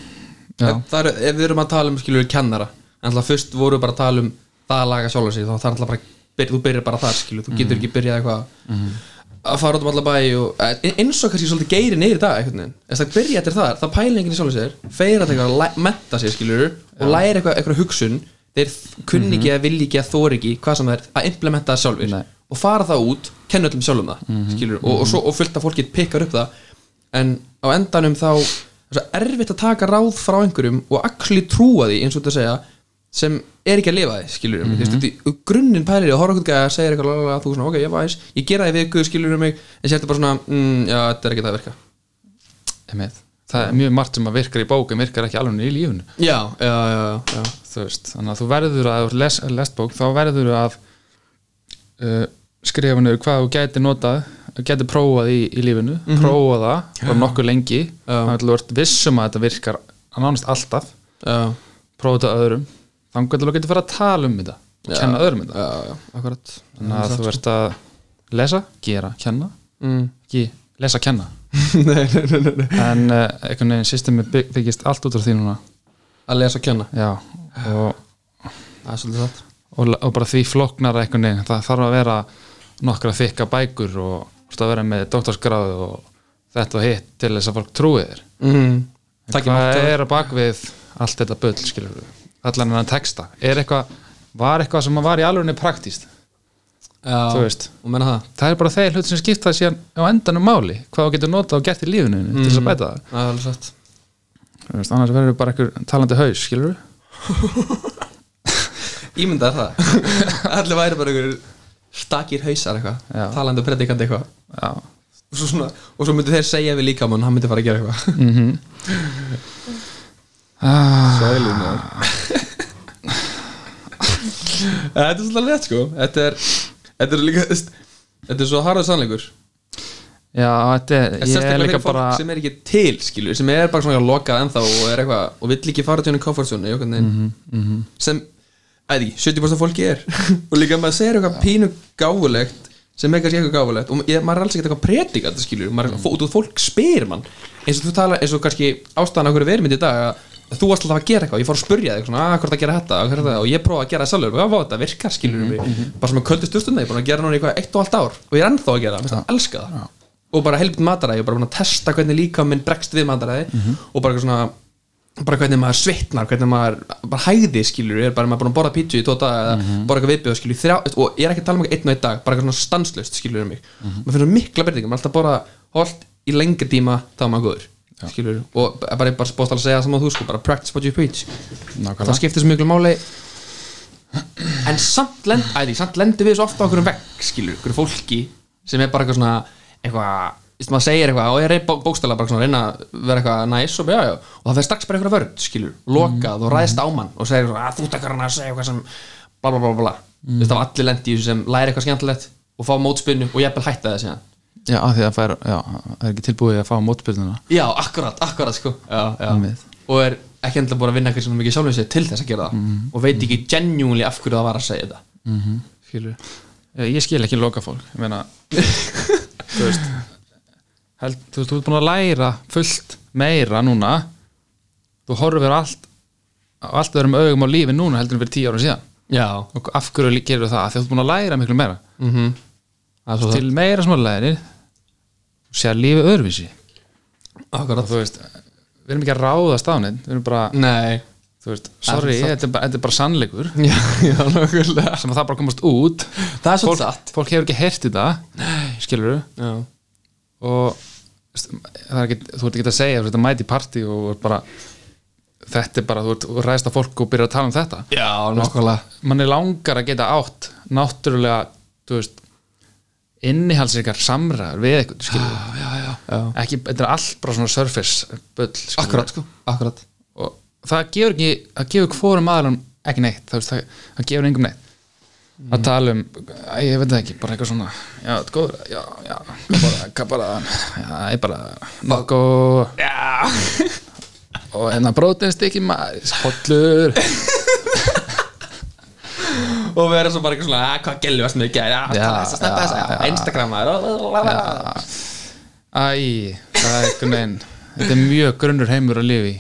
Já.
En það er, ef við erum að tala um skilur kennara en alltaf fyrst vorum við bara að tala um það að laga sjálf sig, þá það er alltaf bara byrja, þú byrjar bara þar skilur,
Mhm.
þú getur ekki byrjað eitthvað að fara út um alla bæ og e- eins og kannski svolítið geiri neyri í dag einhvern veginn, þess að byrja eftir þar, það pæla enginn í sjálf sér feira þetta eitthvað að læ- mennta sér skilur og læra eitthvað, eitthvað hugsun þeir kunni ekki að vilji ekki að þóri ekki hvað sem það er, að implementa það sjálfur
Mhm. Nei. Mhm.
og fara það út, kenna öllum sjálfum það mm og, og, svo, og fullt af fólkið pikkar upp það en á endanum þá er svo erfitt að taka ráð frá einhverjum og axli trúa því eins og þetta segja sem er ekki að lifa því, skilur mm -hmm. þú grunninn pælir því að horfa okkur gæði að segja eitthvað lalala, þú svona, ok, ég væs, ég gera það í viku, skilur mig en sér þetta bara svona, mm, já, þetta er ekki það að virka
Einmitt. það er mjög margt sem að virkar í bókum virkar ekki alveg í lífunu
já, já, já, já,
þú veist, þannig að þú verður að ef þú les, lest bók, þá verður að uh, skrifa niður hvað þú gæti notað, gæti prófað í, í lífinu, prófa það bara nokkuð lengi, þannig að þú ert vissum að þetta virkar að nánast alltaf
já,
prófa þetta öðrum þannig að þú getur fara að tala um þetta og kenna öðrum þetta,
já, já, akkurat
þannig að þú ert að lesa, gera, kenna
mm.
ekki lesa, kenna
*laughs* nei, nei, nei, nei, nei.
en uh, einhvern veginn systemi bygg, byggist allt út af því núna
að lesa og kenna,
já, og
það er svolítið það
og, og bara því floknara einhvern veginn það þarf að vera nokkra þykka bækur og þú veist, að vera með doktorsgráðu og þetta og hitt til þess að fólk trúi þér
mm.
En
Takk í
hvað
mark,
er að bakvið allt þetta bull skilur við, allan hennan texta er eitthvað, var eitthvað sem var í alvegni praktíst, þú
já,
veist
og menna það
það er bara þeir hlut sem skipta síðan á endanum máli, hvað þú getur notað og gert í lífinu þínu til þess að bæta það,
Það er alveg satt
Mm. Þú veist, annars verður bara einhver talandi haus, skilur við
Ímyndaði það *laughs* Allir væri bara einhver stakir hausar
Já.
eitthvað Talandi og predikandi eitthvað
já,
og svo, svona, og svo myndu þeir segja við líkamann Hann myndi fara að gera eitthvað
mhm
*laughs*
ah,
Sælum Þetta er svolítið rétt sko Þetta er, þetta er líka Þetta er svo harður sannleikur
já, þetta er,
En
ég er
Sérstaklega
líka
fyrir fólk
bara
sem er ekki til skilur Sem er bara svona lokað ennþá Og, er eitthvað, og vill ekki fara til henni komfortzónu mm
Mhm.
-hmm, mm -hmm. Sem, að ekki, 70% af fólki er Og líka maður segir eitthvað pínu gáfulegt Sem er kannski eitthvað gáfulegt Og ég, maður er alls ekkert eitthvað predikandi skilur maður, mm. Og fólk spyr mann Eins og þú tala, eins og kannski ástæðan af hverju við erum hérna í dag að Þú varst alltaf að gera eitthvað, ég fór að spurja þig svona, "Ah, að hvað er að gera þetta, hvað er þetta og ég prófaði að gera það sjálfur, já, vá, þetta virkar skilur mig bara sem að köldist ustunda, ég er búin að gera núna í eitthvað eitt og allt ár og ég er ennþá að gera, það, mér finnst það elska það og bara helbint mataræði og bara búin að testa hvernig líka minn bregst við mataræði og bara eitthvað svona bara hvernig maður svitnar, hvernig maður bara hæði skilur, er bara maður búin að borða pítsu í tóta eða borða eitthvað viðbjóð skilur þrjá, og ég er ekki að tala um eitthvað einn og einn dag, bara eitthvað svona stanslust skilur um mig, maður finnur mikla breytingar maður er alltaf bara holdt í lengri tíma þá er maður góður, skilur og bara ég bara bóðst að segja saman þú sko, bara practice what you preach það
nákvæmlega
skiptir svo miklu máli en samt, lend, ætli, samt lendir við svo ofta okkur um vekk, skilur, okkur fólki sem er bara eitthvað svona eitthvað, veist maður segir eitthvað og er bó, bókstæla bara svona að reyna að vera eitthvað næs og, já, já, og það fer strax bara eitthvað vörð, skilur lokað og ræðist á mann og segir svona að þú takkar hann að segja eitthvað sem bla bla bla bla mm. það var allir lendi í þessu sem læri eitthvað skemmtilegt og fá mótspinnu og jafnvel hætta það síðan
já, af því að það fær, já, það er ekki tilbúið að fá mótbyrnuna
já, akkurat, akkurat sko já, já.
Einmitt.
og er ekki enda búin að vinna eitthvað svona mikið sjálfum sér til þess að gera það og veit ekki genjúli af hverju það var að segja þetta
skilur ég, ég skil ekki loka fólk ég *laughs* meina þú veist held, þú veist, þú ert búin að læra fullt meira núna þú horfir allt á allt öðrum augum á lífi núna heldur en fyrir tíu árum síðan
já,
og af hverju lí- gerirðu það, Af því að þú ert búin að læra miklu meira
mhm það er svo
til meira smá læri þú sér lífi öðruvísi
það akkurat
þú veist, við erum ekki að ráða stafnin við erum bara,
nei,
þú veist, sorry
Það er
þetta er bara, þetta er bara sannleikur
*laughs* já, já, nákvæmlega
sem að það bara komast út
það er svo
fólk,
satt
fólk hefur ekki heyrt í það skilur
já,
og veist, það er ekki, þú ert ekki að segja þú ert að mæti partí og þú ert bara þetta er bara, þú ert þú ræðist að fólk og byrjar að tala um þetta
já nákvæmlega
mann er langar að geta átt náttúrulega, þú veist innihalsingar samræður við eitthvað, skilur
já, já, já, já.
ekki, þetta er allt bara svona surface bull, skilurðu.
akkurat sko, akkurat
og það gefur ekki, það gefur hvorum aðlum ekki neitt, það, veist, það, það gefur engum neitt
Mhm.
að tala um, æ, ég veit það ekki bara eitthvað svona, já, þetta er góður já, já, bara, hvað bara já, ég bara, nokko
já, *laughs*
og hérna brótinst ekki maður hollur,
og vera svo bara eitthvað svona að Ah, hvað gælu varst mikið, já,
Já,
tala þess að snappa
já,
þess
já.
að Instagramaður og-
æ það er einhvern veginn, þetta er mjög grunnur heimur að lifa í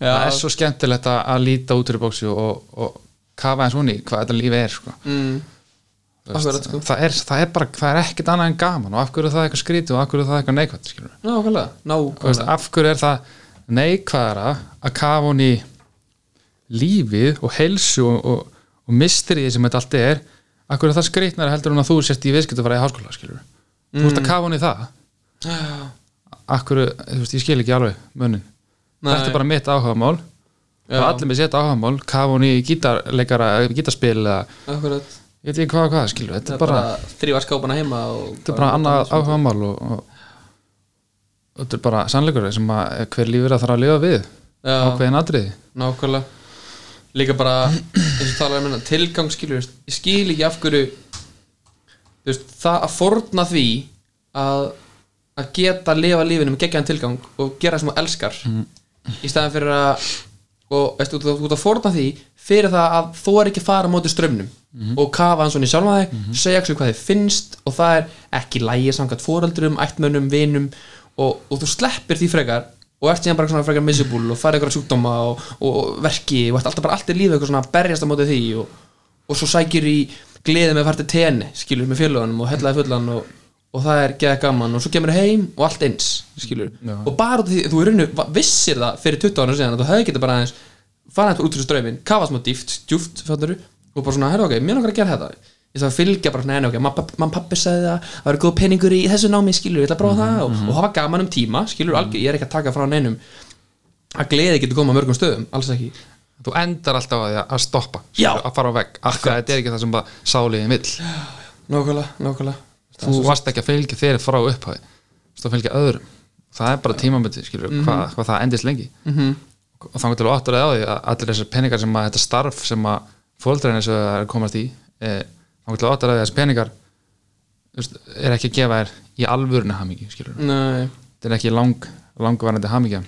Já.
það er svo skemmtilegt að, að líta út fyrir bóksi og, og kafa eins honni hvað þetta lífi er, sko
Mm,
Þú veist,
Akkurat, sko.
það, er, það er bara, það er ekkert annað en gaman og af hverju er það eitthvað skrítið og af hverju er það eitthvað neikvætt skilur.
nákvæmlega,
Veist,
nákvæmlega
af hverju er það neikvæðara að kafa hún í lífið og helsu og, og, og mistrið sem þetta allt er af hverju er það skrítnara heldur hún að þú sért í viðskipt að fara í háskóla skilur. þú veist að
Mm.
kafa hún í það af hverju, þú veist, ég skil ekki alveg munin,
Nei.
þetta er bara mitt áhugamál og
Já.
allir með sitt áhugamál kafa hún í gítarleikara, gítarspil eða,
akkurat
ég veit ekki hvað og hvað skilur, þetta
Það
er bara
þrýfa skápana heima og
þetta er bara annað áhugamál og, og, og þetta er bara sannleikur sem að hver lífur að þarf að lifa við
Já,
ákveðin atriði
nákvæmlega Líka bara, eins og talaði minna, tilgang skilur veist, Ég skil ekki af hverju þú veist, Það að forna því að, að geta að lifa lífinu með geggjaðan tilgang og gera það sem þú elskar í staðan fyrir að og veist, þú þú ert að forna því fyrir það að þú er ekki að fara á móti strömmnum og kafa hann svona í sjálfa þig segja ekki hvað þið finnst og það er ekki lægi samkvæmt foreldrum, ættmönnum, vinum og, og þú sleppir því frekar og ert síðan bara svona frekar miserable og farið eitthvað sjúkdóma og, og, og verki og ert alltaf bara allt í lífið eitthvað svona að berjast á móti því og, og svo sækir í gleði með að fara til tenni skilur með félagunum og hellaði fullan og, og það er geða gaman og svo kemur heim og allt eins skilur
Já.
og bara út af því, þú í rauninu vissir það fyrir 20 ára síðan að þú hefði getið bara aðeins farað eitthvað út fyrir ströminn, kafað smá dýft, djúft fjönduru og bara svona, herra ok, mér langar að gera þetta ég þarf að fylgja bara svona enn ok, mann pappi, man pappi sagði það það var góð peningur í þessu námi, skilur, ég ætla að prófa það og, og hafa gaman um tíma, skilur, algjör, ég er ekki að taka frá neinum að gleði getur komað mörgum stöðum, alls ekki
þú endar alltaf að, því að stoppa
Já.
að fara á vegg, af því að þetta er ekki það sem bara sáliðin vill,
Nákvæmlega, nákvæmlega
þú varst ekki að fylgja þeir frá upphafi, þú varst að fylgja öðrum það er bara tímamöndi, skilur hvað, hvað það endist lengi
Mhm.
-hmm. og þannig til að áttur að á því að allir þessar peningar sem að þetta starf sem að fóldreinu sem það er að komast í eh, þannig til að áttur að því að þessar peningar þú veist, er ekki að gefa þér í alvörinu hamingi, skilur
Nei,
þetta er ekki lang, langvarandi hamingja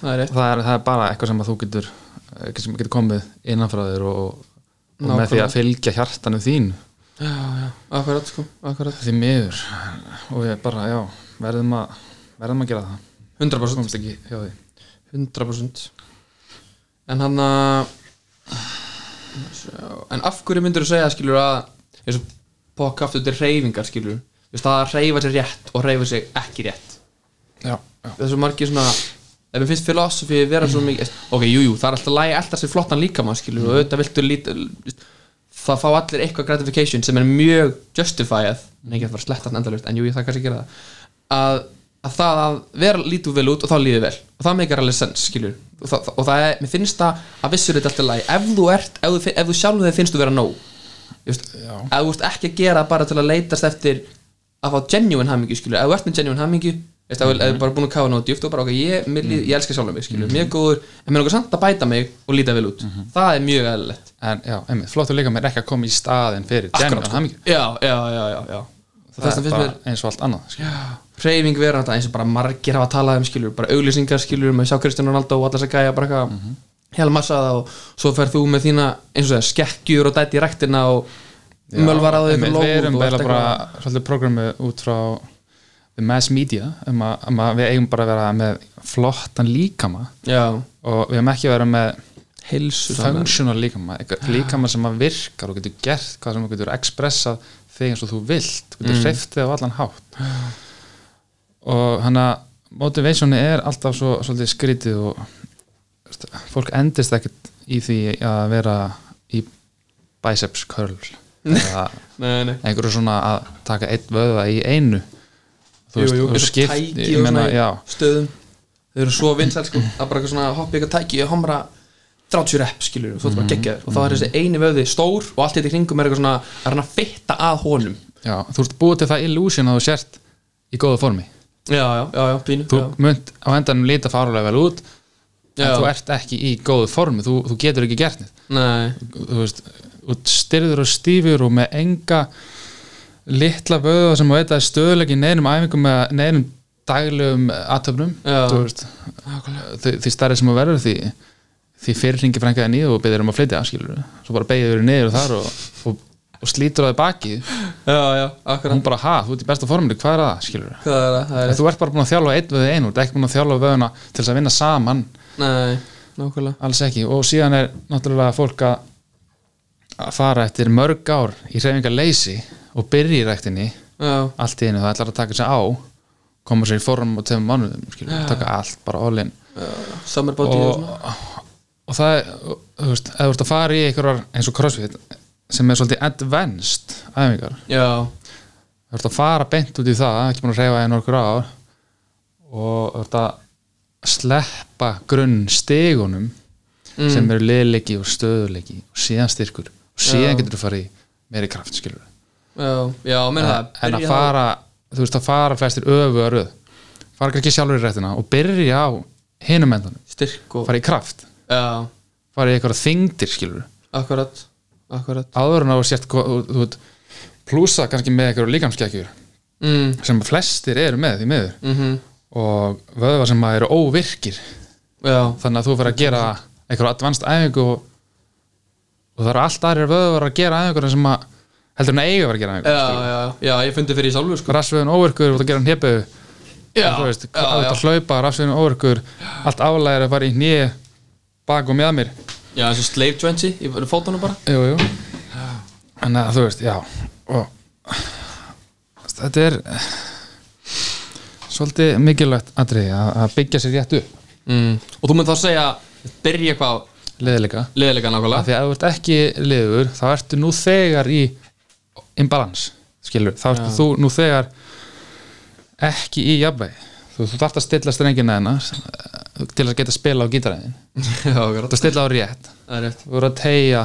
það er rétt
það er, það er bara eitthvað sem að þú getur eh, sem getur komið innanfrá þér og, og með því
Nákvæmlega.
að fylgja hjartanu þín
Já, já, akkurat sko, akkurat
því miður og við bara, já, verðum að verðum að gera það,
100%
komst ekki hjá því
100% En hann að En af hverju myndir þú segja skilur að eins og pokaftu til reyfingar skilur Þú veist, það að reyfa sér rétt og reyfa sér ekki rétt
já, já,
þessu margir svona ef mér finnst filosofi vera svo mikið ok, jújú, jú, það er alltaf lægi alltaf sér flottan líka maður skilur og auðvitað viltu líta það fá allir eitthvað gratification sem er mjög justified en ekki að fara að sletta hann endalust, en jújú, jú, það kannski gera það að, að það að vera lítu vel út og þá líður vel og það meikar alveg sens, skilur og það, og það er, mér finnst það að vissur þetta alltaf lægi ef þú ert, ef þú, fin- ef þú sjálf þeir finnst þú vera nóg Þú veist,
Já.
að þú ert ekki að gera bara til að leitast eftir að fá genuine hamingju skilur, að þú ert með genuine hamingju veist,
Mhm.
mm -hmm. að þú bara búin að kafa nóg djúft og bara ok, ég, mér, líð, ég elska sjálf mig skilur, mér er góður, en mér er okkur samt að bæta mig og líta vel út,
Mhm.
það er mjög eðlilegt
en já, einmitt, flottur líka mér ekki að koma í staðin fyrir
Akkurát,
genuine
sko.
hamingju.
já, já, já, já, já. þess
það er
að finnst
bara
mér
eins og allt annað sko. skilur.
hreyfing vera þetta eins og bara margir hafa talað um skilur, bara auglýsingar skilur með sjá Kristján Ronaldo og allas að gæja bara eitthvað
Mhm.
hel massa það og svo ferð þú með þína eins og það skekkjur og dæti í rektina og
Já,
mölvar að þau
einmitt,
lóð
við erum
og allt
bara,
eitthvað.
bara svolítið programmi út frá the mass media um að, um að við eigum bara að vera með flottan líkama
já,
og við eigum ekki að vera með
heilsu
functional líkama eitthvað líkama sem að virkar og getur gert hvað sem þú getur expressað þig eins og þú vilt þú getur mm. þig á allan hátt og hann að motivationi er alltaf svo svolítið skrítið og veist, fólk endist ekkert í því að vera í biceps
*laughs*
curl eða
nei, nei
einhverju svona að taka einn vöða í einu þú veist, þú
eins og
skipt
tæki
ég
og
meina,
svona í
já,
stöðum þau eru svo vinsæl sko að bara eitthvað svona hoppa í eitthvað tæki og homra 30 rep skilur og þú ert bara geggjaður og þá er þessi eini vöði stór og allt þetta í kringum er eitthvað svona að reyna að fitta að honum
já, þú ert búið til það illusion að þú sért í góða formi
já, já, já, já, pínu
þú
já,
munt á endanum líta farulega vel út en
Já.
þú ert ekki í góðu formi þú, þú getur ekki gert neitt
nei,
þú veist, þú styrður og stífur og með enga litla vöða sem að veita stöðulegi neinum æfingum með neinum daglegum aðtöfnum
Já.
því, því starri sem að verður því því fyrir ringi frænkaði nýðu og byrðir um að flytja skilur. svo bara beigður niður og þar og, og, og slítur á því baki
já, já, akkurat
hún bara ha, þú ert í besta forminu, hvað er það skilur
hvað er það, það er
En þú ert bara búin að þjálfa einn við einu, þú ert ekki búin að þjálfa vöðuna til þess að vinna saman
nei, nákvæmlega
alls ekki og síðan er náttúrulega fólk að að fara eftir mörg ár í reyfingar leysi og byrja í ræktinni
já,
allt í einu það ætlar að taka sér á koma sér í form og tegum mánuðum skilur, taka allt bara allin
summer body og
og,
svona
og það er, og, þú veist, ef þú ert að fara í einhverjar eins og crossfit sem er svolítið advanced æfingar,
já,
þú ert að fara beint út í það ekki búin að reyfa einu okkur ár og þú ert að sleppa grunn stegunum
mm,
sem eru liðleiki og stöðuleiki og síðan styrkur og síðan
Já.
getur þú farið í meiri kraft skilur
já, já, menn það
en að
byrja á-
fara, þú veist að fara flestir öfu að röð, fara ekki sjálfur í réttina og byrja á hinum endanum
styrk og,
fara í kraft,
já,
fara í eitthvað þingdir skilur,
akkurat akkurat,
áður en á sért hva- þú þú veit, plúsa kannski með eitthvað líkamskekkjur
mm,
sem flestir eru með því miður
mhm
og vöðvar sem að eru óvirkir
já,
þannig að þú fyrir að gera einhverja advanced æfingu og, og það eru allt aðrir vöðvar að gera æfingur sem að heldur en að eiga að vera að gera æfingur
já, já, já, ég fundi fyrir í sjálfur sko
rafsveginn óvirkur, þú ert að gera hann heppu
Já,
þú veist,
já,
hvað þú ert að hlaupa, rafsveginn óvirkur allt aflæðir að fara í hnið bak og með mér
já, eins og slave 20, ég var fótunum bara
jú, jú. en að, þú veist, já og þetta er eh, svolítið mikilvægt atriði að, að byggja sér rétt upp
mm. og þú mynd þá segja, byrja eitthvað á
leðilega,
leðilega nákvæmlega
af því að ef þú ert ekki liður, þá ertu nú þegar í imbalans, skilur þá ertu þú nú þegar ekki í jafnvegi þú, þú þarft að stilla strengina hennar til að geta spila á gítaræðin
já, akkurat,
þú stilla á rétt,
það er rétt
þú eru að tegja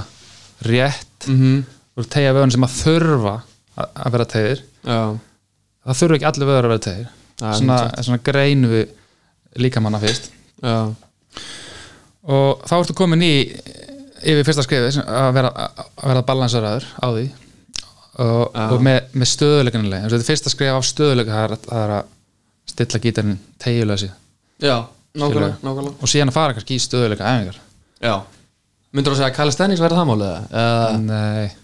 rétt,
mm
þú eru að tegja vöðun sem að þurfa að, að vera tegir
já,
það þurfa ekki allir vöður að vera tegir
Það er
svona, svona greinu við líkamanna fyrst
já,
og þá ertu komin í yfir fyrsta skrifi að vera, að vera balansaraður á því og, og með, með stöðuleikanileg þetta er fyrsta skrif af stöðuleika það er að, það er að stilla gítarinn tegilega sér
já, nákvæmlega,
Skilurðu.
nákvæmlega
og síðan að fara kannski í stöðuleika æfingar
já, myndur þú segja að Kali Stennings verði það mál eða uh,
nei,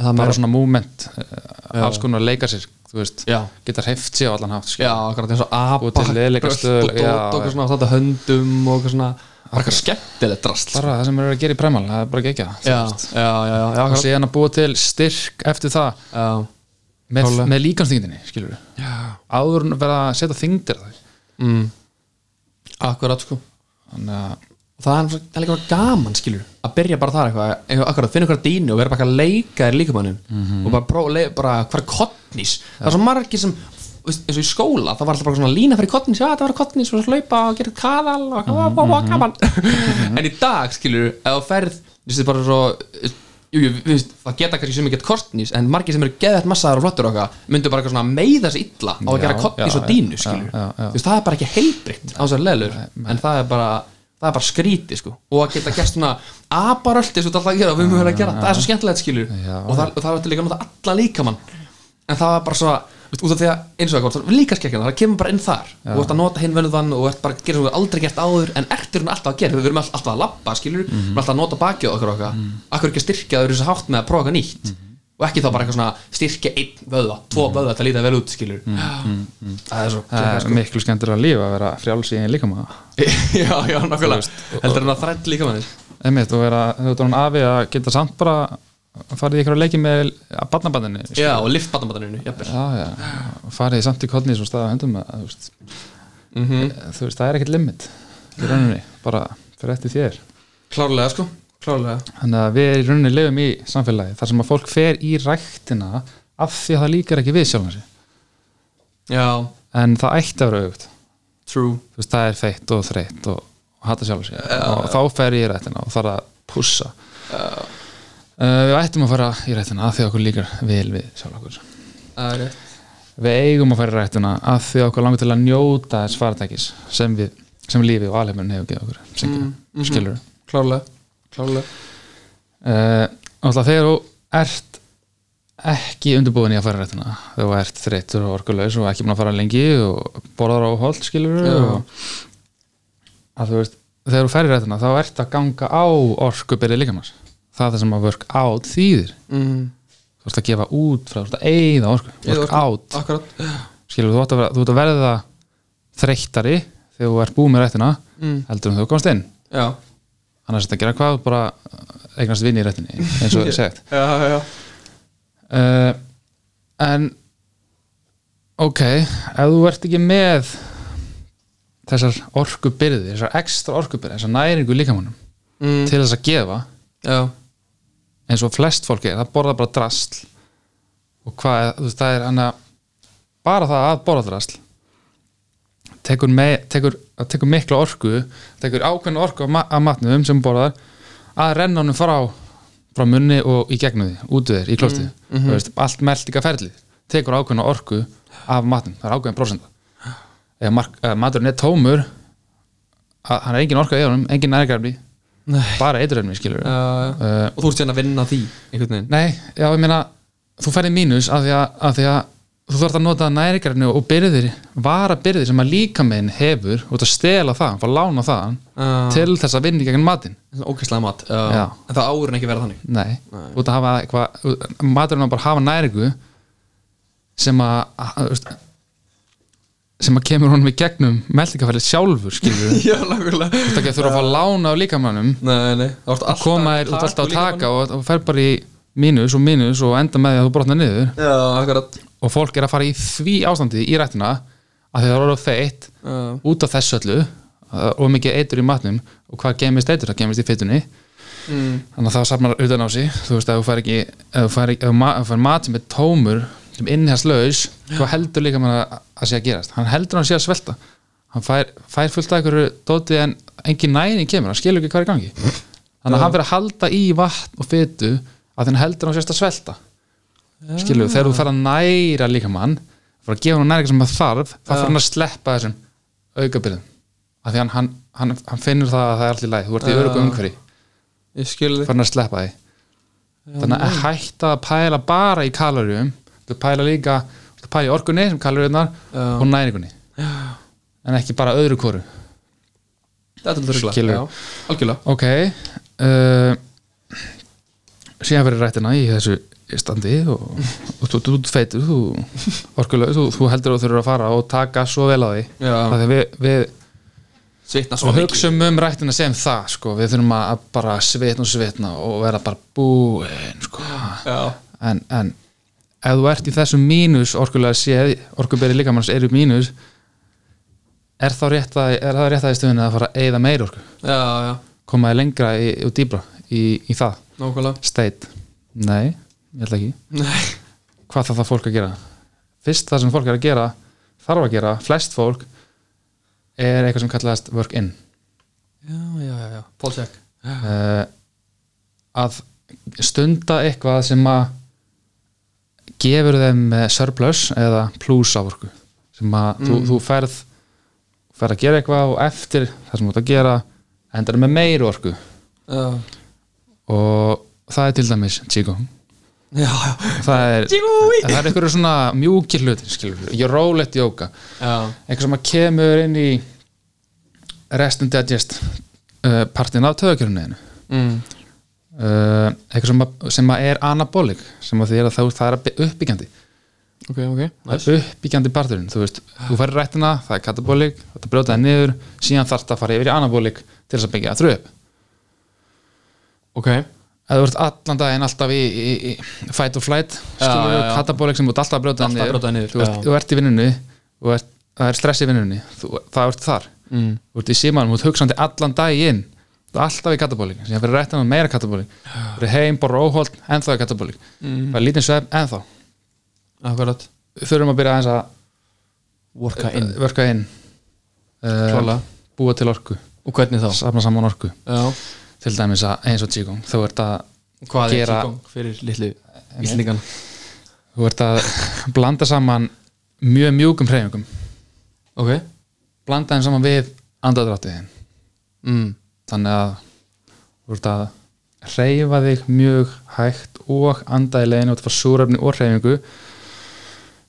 það
bara
meira
svona moment eh, alls konar leika sér þú veist,
já,
geta hreift sér á allan hátt sko. skilur.
já, akkurat eins og apa
Búið til leiðilega
brölt og
stöðuleika,
dót
já,
og
já.
eitthvað svona, þetta höndum og eitthvað svona, bara eitthvað skemmtilegt drast já,
bara það sem eru að gera í præmal, það er bara ekki ekki
já, já, já, já,
og
akkurat
síðan að búa til styrk eftir það
já,
með,
Klálega.
með líkansþyngdinni, skilur við
Já.
áður en að vera að setja þyngdir á þau.
Mm. Akkurat sko
þannig að
það er, það er líka bara gaman skilur að byrja bara þar eitthvað, eitthvað akkurat, finna eitthvað dínu og vera bara eitthvað að leika þér líkamannum
Mhm.
og bara, prófa, le, bara hvað er kottnís það er svo margir sem, veist, eins og í skóla það var alltaf bara svona lína fyrir kottnís, já það var kottnís og svo hlaupa og gera kaðal og mm -hmm.
Mhm.
gaman, *laughs* en í dag skilur ef þú ferð, þú veist, bara svo jú, jú, við veist, það geta kannski sem ekki kottnís, en margir sem eru geðvægt massaðar og flottur og eitthvað, myndu bara eitthvað svona meiða sig illa á að
Já,
gera kottnís
já,
og dínu
já,
skilur
já, já.
Þú veist, það er bara ekki heilbritt á þessar leðlur en það er bara það er bara skríti sko og að geta gert svona abaröldi svo þetta alltaf að gera og við höfum verið að gera það er svo skemmtilegt skilur
Já.
og það, og það er líka að nota alla líkamann en það er bara svo veist, út af því að eins og eitthvað það er líka skekkjana það kemur bara inn þar og þú ert að nota hinn völuðan og ert bara að gera sem þú hefur aldrei gert áður en ertur hún alltaf að gera við erum all- alltaf að labba skilur við erum alltaf að nota bakið á okkur og okkar akkur ekki að styrkja þau eru þessu hátt með að prófa eitthvað nýtt og ekki þá bara eitthvað svona styrkja einn vöðva tvo vöðva til að líta vel út skilur Mhm. það er svo
það er Eh, sko- miklu skemmtur að lifa að vera frjáls í einn líkama
*laughs* já, já, nokkulega heldur hann að þrætt líka með þér
einmitt og vera, þú ert hann afi að geta samt bara farið í einhverja leiki með að barnabandinni já,
já, og lift badnabataninu, jafnvel
já, og farið samt í kollni sem staða höndum að, þú, veist, Eh,
mm -hmm.
þú veist, það er ekkert limit í rauninni, bara fyrir eftir þér
klárlega, sko, klárlega
þannig að við í rauninni lifum í samfélagi þar sem að fólk fer í ræktina af því að það líkar ekki við sjálfansi
já,
en það ætti að vera auðvitað
true
þú veist, það er feitt og þreytt og, og hata sjálf sér og þá fer ég í rættina og þarf að pússa uh, við ættum að fara í rættina af því að okkur líkar vel við sjálf okkur
það er rétt.
við eigum að fara í rættina af því að okkur langar til að njóta þess faratækis sem við sem lífið og alheimun hefur gefið okkur sem mm,
mhm.
skilur
klárlega, klárlega
uh, alltaf þegar þú ert ekki undirbúin í að fara í rættina þú ert þreyttur og orkulegs og ekki búin að fara lengi og borðar á hold skilur
Já.
og að þú veist þegar þú ferir rættina þá ert að ganga á orkubyrði líkamans það er það sem að work out þýðir
mm.
þú ert að gefa út frá, þú ert að eigða orku
Eyða
work out,
akkurat
skilur þú átt að vera, þú átt að verða þreyttari þegar þú ert búin með rættina
mm.
heldur en þú komst inn
já,
annars er þetta að gera hvað, bara eignast vinn í rættinni eins
*laughs*
og er sagt
já, já, já.
uh, en ok, ef þú ert ekki með þessar orkubyrði, þessar ekstra orkubyrði þessar næringu líkamannum
Mm.
til þess að gefa
já.
eins og flest fólk er, það borða bara drasl og hvað, er- þú veist, það er hana, bara það að borða drasl tekur, með, tekur, það tekur mikla orku tekur ákveðna orku af ma- af matnum sem þú borðar að renna honum frá frá munni og í gegnum því, út úr þér, í klostið mm veist, allt meldinga ferlið tekur ákveðna orku af matnum, það er ákveðin prósenda ef mark, eh, maturinn er tómur að, hann er engin orka í honum, engin nærgarfni
Nei.
bara eituröfni, skilur
já, já
uh,
og þú ert sérna að vinna að því einhvern veginn
Nei, já, ég meina þú færði mínus af því að, af því að þú þarf að nota næringarinu og byrðir vara byrðir sem að líka meginn hefur og að stela það, fá að lána það
uh,
til þess að vinna í gegn matinn
ókvæslega mat
Já.
uh, en það áurinn ekki verða þannig *laughs*
Nei,
Nei.
út að hafa eitthvað maturinn að bara hafa næringu sem að, að þú veist, sem að kemur honum í gegnum meldingafælið sjálfur
*laughs*
skilur
já, nákvæmlega
þetta ekki að þurfa að fá að lána á líkamannum
nei, nei þú ert alltaf
koma þér þú ert alltaf að taka og, og fer bara í mínus og mínus og enda með því að þú brotna niður
já, akkurat
og fólk er að fara í því ástandi í rættina að þau eru orðið feitt
uh,
út af þessu öllu uh, og mikið eitur í matnum og hvað gemist eitur, það gemist í feitunni
mm.
þannig að það safnar utan á sig þú veist að þú fær ekki ef þú fær, ekki- ef ma, ef þú fær mat sem er tómur sem innherslaus, þá heldur líka mann að, að sé að gerast, hann heldur að hann sé að svelta hann fær, fær fullt af einhverju dótið en engin næning kemur, hann skilur ekki hvað er í gangi þannig að hann fyrir að halda í vatn og fytu að hann heldur að hann sé að svelta skilur, þegar þú fara að næra líka mann fara að gefa hann næringar sem það þarf þá fara hann að sleppa þessum aukabyrðum af því hann, hann, hann, hann finnur það að það er allir læg, þú ert í
Já.
örugu umhverfi
ég skil þig
farin að sleppa því þannig að hætta að pæla bara í kaloríum þú pæla líka þú pæla í orkunni sem kaloríunar
Já.
og næringunni en ekki bara öðru kóru
Þetta er alveg ruggla
Skilur.
Algjörlega
ok uh, síðan verið rættina í þessu standi og, og þú, þú, þú feitur þú, orkulega, þú, þú heldur að þú þurfur að fara og taka svo vel á því
Já.
Af því að við, við
Svitna svo
og
mikið
hugsum um rættina sem það sko. við þurfum að að bara svitna og svitna og vera bara búin sko.
Já
en, en ef þú ert í þessum mínus orkulega séð, orkuberi líkamanns eru mínus er þá rétt að, er það rétt að í stöðunni að fara að eyða meir orku,
já, já,
komaði lengra í, og dýbra í, í það,
nákvæmlega
state nei, ég held ekki
Nei,
hvað þarf það fólk að gera fyrst það sem fólk er að gera þarf að gera, flest fólk er eitthvað sem kallaðast work in
já, já, já, já, Polsek
uh, að stunda eitthvað sem að gefur þeim eh, surplus eða plus á orku sem að þú, þú ferð ferð að gera eitthvað og eftir það sem þú ert að gera endar með meir orku
Já,
og það er til dæmis Chico
já, já,
það er,
Tjúi.
það er einhverju svona mjúkir hlutir skilur, ég rólegt jóka
já,
eitthvað sem að kemur inn í rest and digest uh, partin af töðakjörunniðinu
mm.
uh, eitthvað sem að, sem að er anabolik sem að því er að það, það er að by- uppbyggjandi
ok, ok,
nice. uppbyggjandi parturinn, þú veist þú færir rættina, það er katabolik, það er brjótaði niður síðan þarf það að fara yfir í anabolik til þess að byggja það þröð upp
ok,
ef þú ert allan daginn alltaf í, í, í fight or flight,
Já,
skilur
já, já.
katabolik sem þú ert alltaf að brjótaði
Alltaf að brjóta þær niður,
þú, ert-
já.
þú ert í vinnunni þú ert, það er stress í vinnunni þú, það ert þar
mm.
þú ert í símanum, þú ert hugsandi allan daginn þú ert alltaf í katabólik, sem fyrir réttan og meira katabólik þú ert heim, borra óholt, ennþá í katabólik mm. bara lítinn svefn, ennþá
akkurat
þurfum að byrja aðeins að
Worka inn,
verka inn uh,
klála
búa til orku,
Og hvernig þá?
safna saman orku
Já,
til dæmis að eins og tíkum þú ert að,
hvað er
Gera-
tíkong fyrir litlu íslendingana?
þú ert að *laughs* blanda saman mjög mjúkum hreyfingum
Ok,
blanda þeim saman við andadráttiðin
mm.
þannig að þú ert að reyfa þig mjög hægt og anda í leiðinu út frá súröfni og reyfingu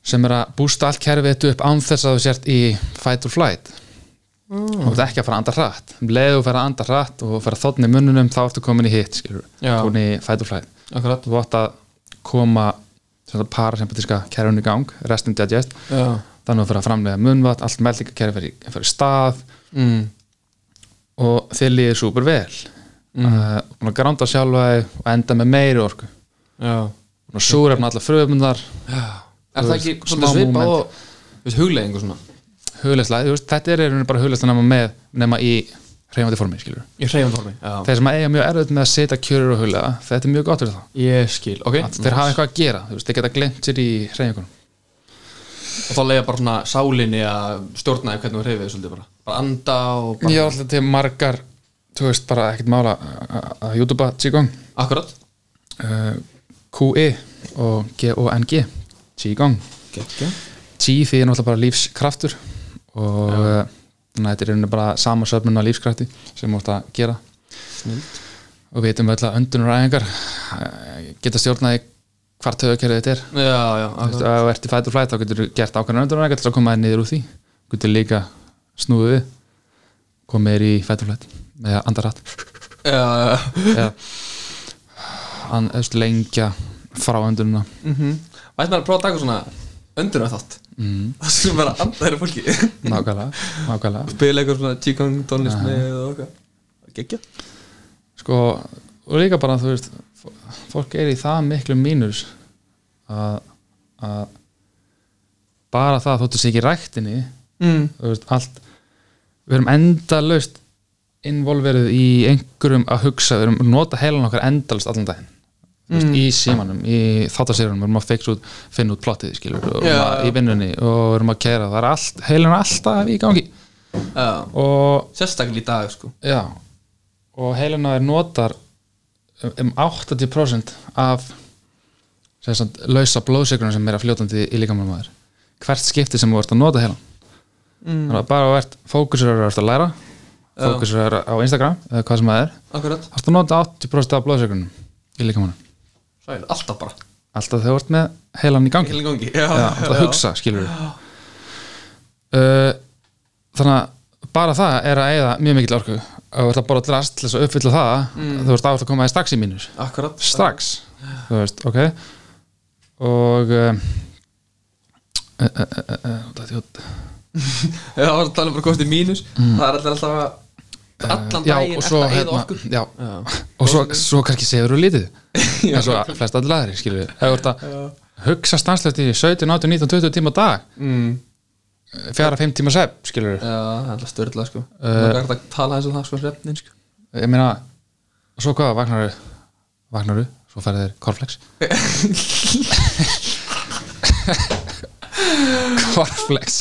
sem er að bústa allt kerfið þetta upp án þess að þú sért í fight or flight og þú ert ekki að fara að anda hratt um leiðu þú fer að anda hratt og fer að þotna í munnunum þá ertu komin í hitt skilur
Já.
komin í fight or flight
akkurat
þú átt að koma sem þetta parasympatiska kerfinu í gang restin digest
Já,
þannig að þú fer að framlega munnvatt allt meldingakerfi fer, í- fer í stað
mm.
og þið líður súper vel mm. uh, búin að gránda sjálfa þig og enda með meiri orku
já
búin að súrefna allar fröfumundar
Er það ekki
Smá
svolítið svipað
moment.
og þú veist, hugleiðing og svona?
hugleyslega, þú veist, þetta er í rauninni bara hugleyslega nema með, nema í reyfandi formi, skilur
Í hreyfum formi Já
þeir sem að eiga mjög erfitt með að setja kjörur og huglega þetta er mjög gott fyrir þá,
Ég skil, ok
að þeir hafa eitthvað að gera þú veist, þeir geta glemt sér í reyfingunum
Og þá leiða bara svona sálinni að stjórna því hvernig þú hreyfið svolítið bara Bara anda og bara
ég er alltaf til margar, þú veist, bara ekkert mála að- að YouTube-a Qigong
Akkurat
uh, QI og G-O-N-G Qigong
Gekki
Qi því er náttúrulega bara lífskraftur og eh, þannig að þetta er í rauninni bara sama söfnun af lífskrafti sem þú átt að gera
Snild
og við veitum öll að öndunuræðingar geta stjórnaði hvar töðukerfið þetta er
Já, já,
Þú veist,
akkurat
ef þú ert í fætur flæt þá getur þú gert ákveðan öndunuræðingar til að koma þér niður úr því Þú getur líka snúið við komið þér í fætur flæt eða andarhatt
Já, já
eða an, þú veist, lengja frá öndununa
Vært Mhm. maður að prófa að taka svona önduna þátt
mm,
*laughs* Það sem bara anda þeirra fólki
nákvæmlega, nákvæmlega
Spila eitthvað svona tíkang tónlist með og okkar Gekki
sko, og líka bara þú veist, fó- fólk er í það miklu mínus að, að bara það þóttu sér ekki í ræktinni
mm.
þú veist, allt við erum endalaust involverið í einhverjum að hugsa, við erum að nota heilan okkar endalaust allan daginn Þú veist, í símanum, í þáttasýrunum við erum að fixa út, finna út plottið skilur, og
Já,
yeah. að,
já.
í vinnunni og við erum að kæra, það er allt, heilin er alltaf í gangi
Já
og
Sérstaklega í dag, sko
Já og heilina er notar um- um 80% af sem sagt, lausa blóðsökunum sem er að fljótandi í líkamann maður hvert skipti sem þú ert að nota heilan
Mm.
þannig að bara þú ert fókusur er að læra
Já.
fókusur er á Instagram eða hvað sem það er
Akkurat
þú ert að nota 80% af blóðsökunum í líkamann
Sæl, alltaf bara
alltaf þegar þú ert með heilan í gangi
Heilin gangi Já,
Já, það hugsa, skilur uh, Þannig að bara það er að eigða mjög mikill orku og þú ert að borða drast til þess að uppfylla það
Mm.
þú ert að koma þér strax í mínus
Akkurat
strax, þú veist, ok og um, uh, uh, uh, uh, uh, það er þjótt
Já, það var að tala um bara kosti mínus Það er alltaf alltaf Allan
já,
daginn
og svo,
eftir að eyða
hérna,
orku
já,
Já, *laughs*
og svo, svo kannski sefur þú lítið eins og flest allir aðri, skilur við ef þú ert að
já,
hugsa stanslegt í 17, 18, 19, 20 tíma á dag
mm.
fjara, 5 tíma sepp, skilur
Já, það er alltaf störla sko
Eh.
Það er hægt að tala eins og það sko svefnin sko
ég meina, svo hvað, vaknaru vaknaru, svo færðu þér korflex korflex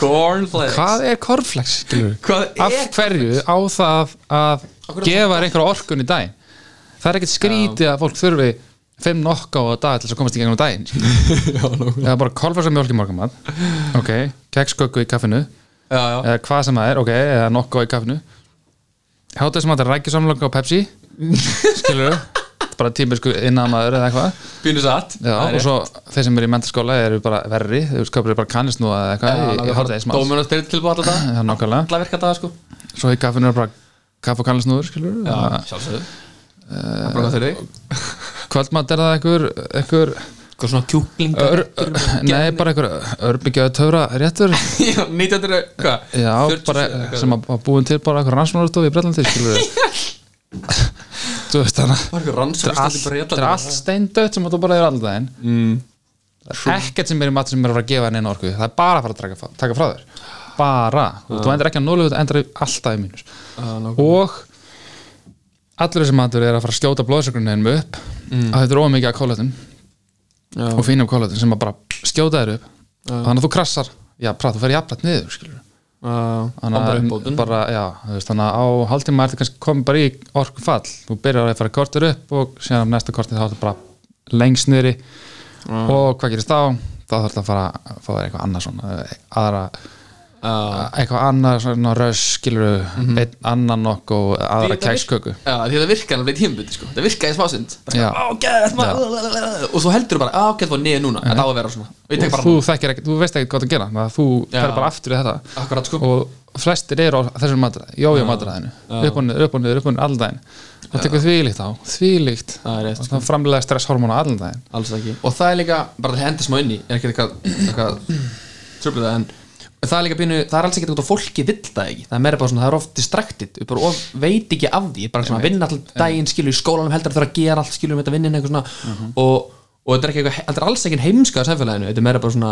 Cornflakes
hvað er korflex, skilur
Hvað
af
er
hverju á það að
hverju
gefa þér einhverja orkun í daginn það er ekkert skrítið að fólk þurfi fimm nokka á að dag til þess að komast í gegnum daginn
*laughs*
skilur.
Já, nóg.
eða bara korflex og mjölk í morgumann ok, keksköku í kaffinu
já, já
eða hvað sem það er, ok, eða nokko í kaffinu hátuð sem að þetta er rækjusamlanga
*laughs*
og Pepsi skilur bara típisku innamaður eða eitthvað
Pínu satt
Já, og svo þeir sem eru í mentaskóla eru bara verri, þeir sköpur bara kannisnúða eða eitthvað í, í hátæðismans
Dóminu styrir tilbúið alltaf það
Já, nákvæmlega.
Alla virka það sko
svo í kaffinu er bara kaff og kannisnúður skilur
Já, Eh, sjálfsögðu Það er bara hvað fyrir þig
kvöldmatt er það einhver, einhver
Hvað svona kjúklinga *laughs*
ör, nei, bara einhver örbyggjaðu töfra réttur
1900, eh, hvað?
Já,
47
bara eh,
eða hvað?
sem að að búin til bara einhver rannsóknarstof í
*laughs*
Bretlandi skilur þú veist þannig að-
Var eitthvað rannsókn
Þetta er allt- þetta er allt steindött sem þú bara er alltaf einn
Mm.
Það er ekkert sem er í mat sem er að fara að gefa henni einu orku Það er bara að fara að taka, taka frá þér Bara, þú endur ekki að nólu Þú endur alltaf í mínus
Ah,
Og allur þessi matur er að fara að skjóta blóðsökrunin upp mm. að þetta er ómikið af kólatum
Já.
og fínum kólatum sem að bara skjóta þér upp þannig að þú krassar, já, prá, þú fer jafnrætt niður skilur.
ah,
þannig
Bara
að,
uppbótun
bara, já, þú veist, þannig að á hálftíma ertu kannski komið bara í orkufall þú byrjar að fara kortir upp og síðan á næsta kortir þá ertu bara lengst niðri og hvað gerist þá þá þarf að fara að fá þér eitthvað annað svona aðra,
Já, Mhm.
eitthvað annað svona röss skilur einn annan nokku og
Því
aðra
þetta
keksköku
Já, því það virkaði alveg tímbundi sko Það virkaði í smásund
Já.
Ágæð Og svo heldur þú bara Ágæð var niður núna Þetta á að vera svona Og ég tek
og
bara
þú, þekkir ekkert, þú veist ekkert hvað það gera þannig að þú
Já.
fer bara aftur í þetta
Akkurat sko
og flestir eru á þessum matræði, jójó matræðinu upp og niður, upp og niður, upp og niður allan daginn það tekur þvílíkt á, þvílíkt
Það er rétt,
og það framlega stresshormónu allan daginn
Alls ekki Og það er líka Bara það henda smá inn í Er ekki eitthvað Eitthvað Tröflið það en Það er líka bínu Það er alls ekki út á fólki vill það ekki Það er meira bara svona Það er oft distracted Þú bara of, veit ekki af því Bara svona að vinna alltaf daginn Skilur í skólanum heldur að þurfa að gera allt Skilur með þetta vinnin eitthvað svona og, og þetta er, ekki, eitthvað- þetta er alls ekki heimska á samfélaginu Þetta er meira bara svona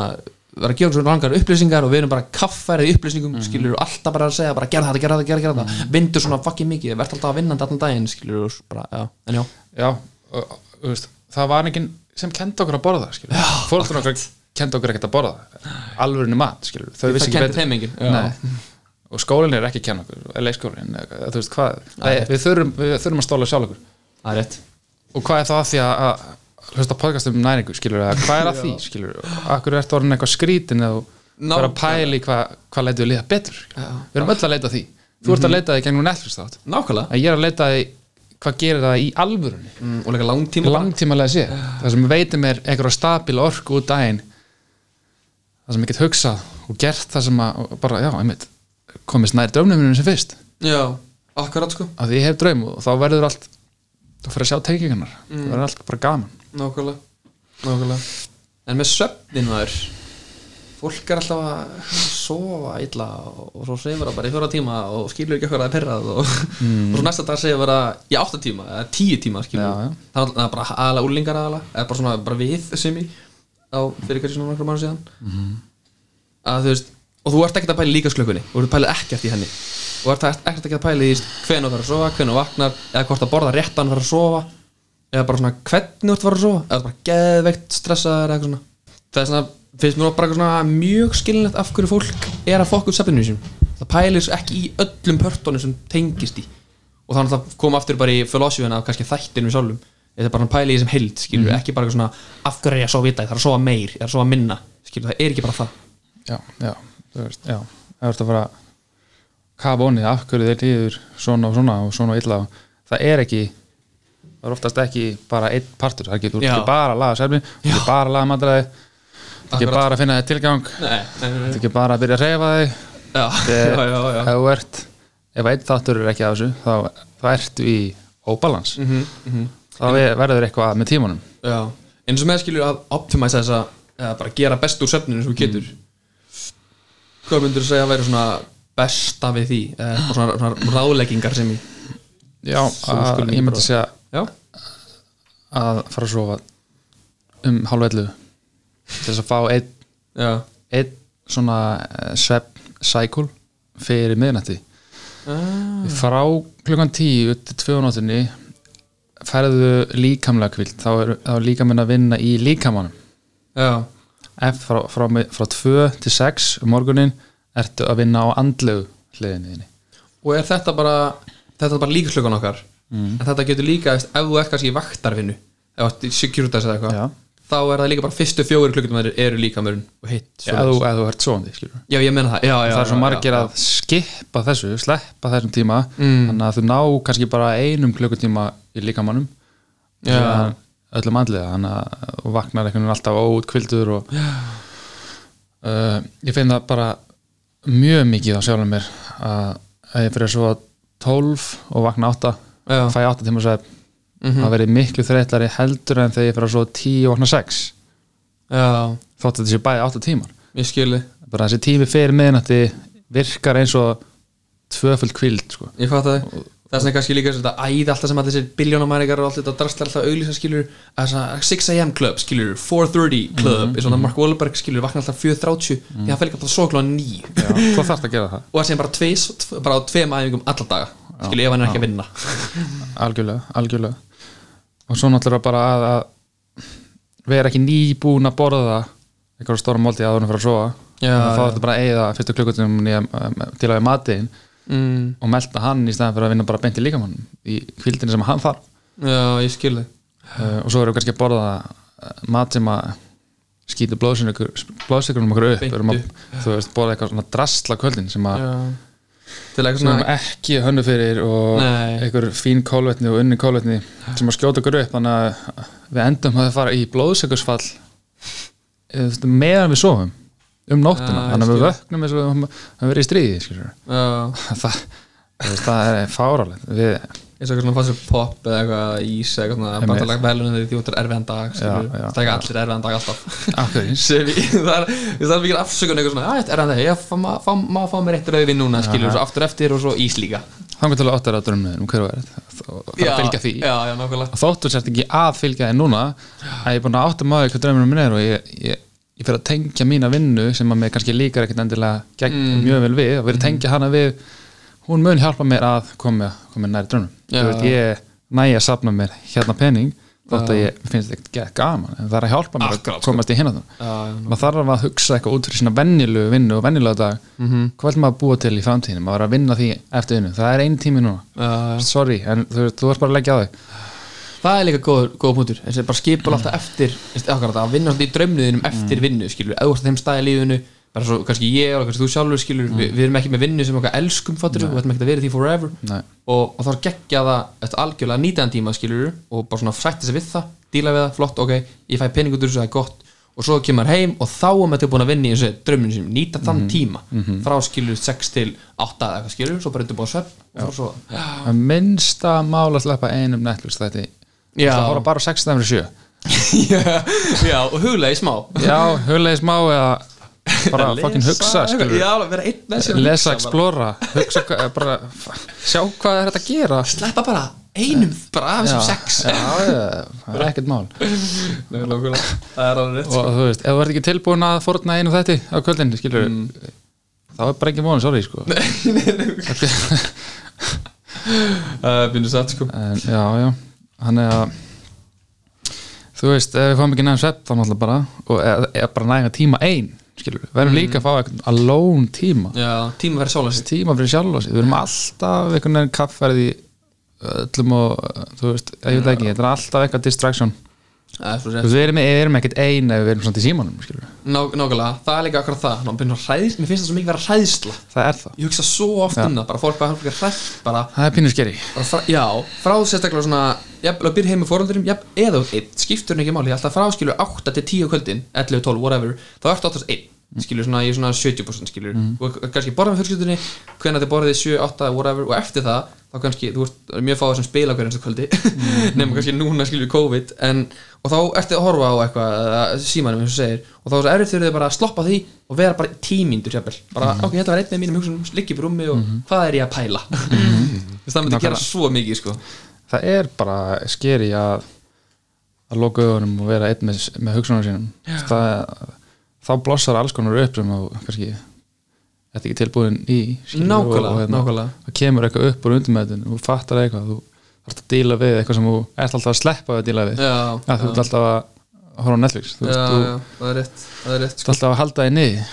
vera að gefa svona langar upplýsingar og við erum bara kaffærið upplýsingum, skilur, alltaf bara að segja bara gerð þetta, gerð þetta, gerð þetta, vindur svona fucking mikið, verð alltaf að vinna þetta allan daginn, skilur og s- bara, já, en já,
já, og, og, þú veist, það var enginn sem kendi okkur að borða skilur. fórhaldun okkur kendi okkur ekkert að borða alvörinu mat, skilur. þau
það
vissi ekki
kenndi
betur
þeim enginn Já.
Nei. og skólinn er ekki að kenna okkur eða leikskólinn, eða þú veist hvað Nei, við, þurfum, við þurfum að stóla sjálf okkur
það er rétt
og hvað er það að því að, að hlusta á podcast um næringu, skilur að
*laughs*
hvað er að því, skilur, akkur ertu orðin eitthvað skrítin eða
Ná-
no. vera að pæla í hvað hvað leitum við að leita betur skilur.
Já. Mhm.
við erum öll að leita að því, þú ert að leita því gengum Netflix þátt,
Nákvæmlega
að ég er að leita því hvað gerir það í alvörunni,
mm, Og líka langtíma
langtímalega sé það sem veitir mér einhverja stabil orku út daginn það sem ég get hugsað og gert það sem að og bara, já, einmitt, komist nær drömnuminum sem fyrst,
Já, akkurat sko
að því ég hef draum og þá verður allt, þá fyrir að sjá tengingarnar það verður allt bara gaman
Nákvæmlega Nákvæmlega En með svefnin maður Fólk er alltaf að sofa illa og svo segir það bara í fjóra tíma og skilur ekki okkur að það er perrað og, og svo næsta dag segir það í átta tíma eða tíu tíma skilur
Já, já.
Það er- það er bara aðalega úlingar aðalega eða bara svona bara við sem í á fyrir hverju svona nokkrum mánu síðan að þú veist og þú ert ekkert að pæla í líkaslökunni og þú ert pælið ekkert í henni og þú ert ekkert ekki að pæla í hven þú fyrir að sofa, hven þú vaknar eða hvort að borða réttan fyrir að sofa eða bara svona hvernig þú ert að fara að sofa eða þú ert bara geðveikt stressaður eða eitthvað svona það er svona, finnst mér bara eitthvað svona mjög skilinlegt af hverju fólk er að fokka upp sefninu sínum það pælir ekki í öllum pörtunum sem tengist í og þannig að koma aftur bara í filosofina af kannski þættinum í sjálfum þetta er bara að pæla í þessum heild skilur ekki bara eitthvað svona af hverju er ég að sofa í dag, það er að sofa meir, það er að sofa minna skilur, það er ekki bara það
já, já, þú veist, já það verður að fara að kafa onnið af hverju þeir líður svona og svona og svona og illa og það er ekki það er oftast ekki bara einn partur það er ekki, þú ert
Já.
ekki bara að laga serfni þú ert ekki bara að laga matræði þú ert ekki bara að finna þér tilgang þú
Nei, nei, nei, nei.
ert ekki bara að byrja að reyfa þig
*laughs* Já,
Eh,
já, já, já.
ef þú ert ef einn þáttur er ekki að þessu þá, þá ertu í óbalans mm
Mhm,
-hmm, þá er- verður eitthvað með tímanum
já. eins og með skilur að optimæsa þessa eða bara gera best úr söfninu sem þú getur hvað myndur þú segja að vera svona besta við því eða eitthvað svona, svona ráðleggingar sem í
já, að,
skulum
ég myndi
bara-
segja
já,
að fara að sofa um hálf ellu til þess að fá einn
já,
ein svona eh, svepp cycle fyrir miðnætti frá klukkan 10 upp til 2 á nóttunni færðu líkamlega kvild þá er, þá er líkaminn að vinna í líkamanum
já,
Ef frá, frá, mi- frá 2 til 6 um morgunin ertu að vinna á andlegu hliðinni þinni
og er þetta bara þetta er bara líkslökan okkar
Mm.
en þetta getur líka, veist, ef þú ert kannski í vaktarvinnu ef þú sekjúrtas eða eitthvað
Já.
þá er það líka bara fyrstu fjóri klukkutum eru líkamurinn og hitt
eða þú, ef þú ert svoandi skilur
já, ég menna það, já, já,
það er svo
já,
margir
já, Mm.
að skipa þessu sleppa þessum tíma þannig að þú ná kannski bara einum klukkutíma í líkamannum
Já.
síðan öllum andliða þannig að og vaknar einhvern veginn alltaf óutkvildur og uh, ég finn það bara mjög mikið á sjálfum mér að að ég fyrir svo 12 og vakna 8
Já. Mhm.
fæ 8 tíma svef það verið miklu þreytlari heldur en þegar ég fyrir svo 10 og vakna 6
já,
þótt að þetta sé bæði 8 tímar
ég skilji
bara þessi tími fyrir miðnætti virkar eins og tvöföld kvild sko.
ég fatt það það sem er kannski líka þetta æði alltaf sem allir sér biljónamæningar og allt þetta drastlega alltaf auglýsa skilur að svona 6am club skilur 4.30 club
Mhm,
mm svona Mark Wahlberg skilur vakna alltaf 4.30 því hann fer líka alltaf svo klá 9
þú þarft að gera það
og það sem bara, tveis, tve- bara á tveim æfingum alla daga skilur ef hann er ekki að vinna
algjörlega, algjörlega og svo náttúrulega bara að, að vera ekki nýbúin að borða einhverja stóra máltíð áður en fyrir að sofa
Já,
Þannig að þá
já.
ertu bara að eigða fyrstu klukkutum til að við matiðin
mm,
og melta hann í staðan fyrir að vinna bara beint í líkamannum í kvildinu sem hann þarf
já ég skilur
uh, og svo erum við kannski að borða eh, mat sem að skýta blóðsökunum okkur upp,
Beint
erum að,
upp.
þú veist, borða eitthvað svona drastla kvöldin sem að
já. til eitthvað
sem við
svona
erum ekki hönnu fyrir og
Nei.
einhver fín kólvetni og unni kólvetni sem að skjóta okkur upp þannig að við endum að fara í blóðsökursfall eh, þú veist, meðan við sofum um nóttina,
Já, ég
þannig að við
skil.
vöknum eins og við höfum höfum verið í stríði skilurðu. *laughs*
já,
það, þú veist, það er fáralegt við,
eins og eitthvað svona fannst sér pop eða eitthvað ís eða eitthvað svona
Einmitt.
bara lag velunum því því þú ert erfiðan dag skilur
Já, já,
það er ekki allir erfiðan dag alltaf
akkur,
sem í, *laughs* það er, það er mikil afsökun eitthvað svona, "Æ, þetta er hann þegar, ég fá, ma, fá, má fá mér eitt rauðvin núna, skilur, svo aftur eftir og svo ís líka
þangar til að áttar að drömmuðin um hverju verið og það er að fylgja því
Já, já, nákvæmlega
og þóttu sért ekki að fylgja þér núna að ég er búin að átta maður hvað draumurinn minn er og ég, ég, ég fyrir að tengja mína vinnu sem að mér kannski líkar ekkert endilega gegn
Mm.
mjög vel við og fyrir að tengja hana við hún mun hjálpa mér að koma, koma næri draumum
Já.
Þú veist, ég næja að safna mér hérna pening þótt að ég mér finnst þetta ekki gaman en það er að hjálpa mér
Akkurát,
að komast í hérna þannig
Já, já,
maður þarf að hugsa eitthvað út fyrir sína venjulegu vinnu og venjulega dag -hmm.
Mhm.
hvað vil maður búa til í framtíðinu, maður er að vinna því eftir vinnu, það er ein tími núna
já, já.
sorry, en þú, þú ert bara að leggja á þig
Það er líka góð, góð punktur Þessi bara skipul alltaf eftir þessi, akkurat, að vinna alltaf í draumniðinum eftir vinnu skilur, eða þú ert á þeim stað í lífinu bara svo kannski ég og kannski þú sjálfur skilur við, við erum ekki með vinnu sem okkar elskum fattur og þetta ekki að vera í því forever
Nei.
og, og þá er geggja það eftir algjörlega nýtæðan tíma skilur og bara svona frætti sig við það díla við það, flott, ok, ég fæ pening út úr þessu það er gott og svo kemur maður heim og þá er maður tilbúin að vinna í þessu drauminu sem nýta þann tíma frá skilur 6 til 8 eða eitthvað skilur, svo bara undirbúa svepp og fara svo,
að minnsta mál að sleppa einum Netflix þætti Þú
Já. *laughs*
ætla að horfa bara á 16 fyrir 7
já, já, og huglega í smá
já, huglega í smá eða bara *laughs*
Lesa
fokkin hugsa
eitthvað.
skilur,
Já, alveg, vera einn með sér að
lesa,
hugsa
explora hugsa, hvað- eh, bara, f- sjá hvað er þetta að gera
bara. Sleppa bara einum bara af þessum sex
já, já, það er ekkert mál
Nei, *laughs* lókulega, það er alveg rétt
og þú veist, ef þú ert ekki tilbúin að forna einu þætti á kvöldin, skilur Mm. þá er bara ekki mónu, sorry sko en,
Það finnur satt sko
já, já, hann er að þú veist, ef við fáum ekki nefn svepp þá náttúrulega bara, og eða eða bara næga tíma ein, skilur, við verðum líka að fá eitthvað alone tíma
Já, tíma verið sóla sitt
tíma fyrir sjálf og sér, við erum alltaf einhvern veginn kaffærið í öllum og uh, þú veist, ég veit ekki, þetta er alltaf eitthvað distraction,
Það er svo
þú
rétt
veist, við erum, við erum ekkert ein ef við erum svona í símanum, skilur
Nó- Nákvæmlega, það er líka akkur það Ná, byrjum að hræðist, Mér finnst það svo mikið vera hræðsla
það er það,
Ég hugsa svo oft um það, bara fólk bara hálflega hrætt bara,
það er pínu skeri
bara frá, Já, frá sérstaklega svona Jafnvel að byrja heim með fóröldurum Jafn, eða þú ert einn, skiptur ekki máli Alltaf frá skilur 8 til 10 á kvöldin 11, 12, whatever Þá ertu áttast einn skilur svona í svona 70% skilur og kannski borða með fjölskyldunni hvenær þið borðið 7, 8, whatever og eftir það þá kannski, þú ert það eru mjög fáið sem spila hverjum þessu kvöldi *laughs* nema kannski núna skilur COVID en, og þá ertu að horfa á eitthvað eða símanum eins og segir og þá er svo erfitt fyrir þau bara að sloppa því og vera bara tímindur sjáfnvel bara ok, þetta var einn með mínum hugsunum, liggi upp í rúmi og hvað er ég að pæla mm -hmm. það myndi gera svo mikið sko
það er bara skeri að að loka augunum og vera einn með, með hugsunum sínum það, þá blossar alls konar upp sem að kannski þetta ekki tilbúin í skilur, hérna-
Nákvæmlega, nákvæmlega.
það kemur eitthvað upp úr undirmeðin og fattar eitthvað, þú ert að díla við eitthvað sem þú ert alltaf að sleppa við að díla við
Já,
ja, þú ert alltaf að horfa á Netflix þú,
já,
veist, þú
já, það er rétt, það er rétt sko.
ert alltaf að halda þig niður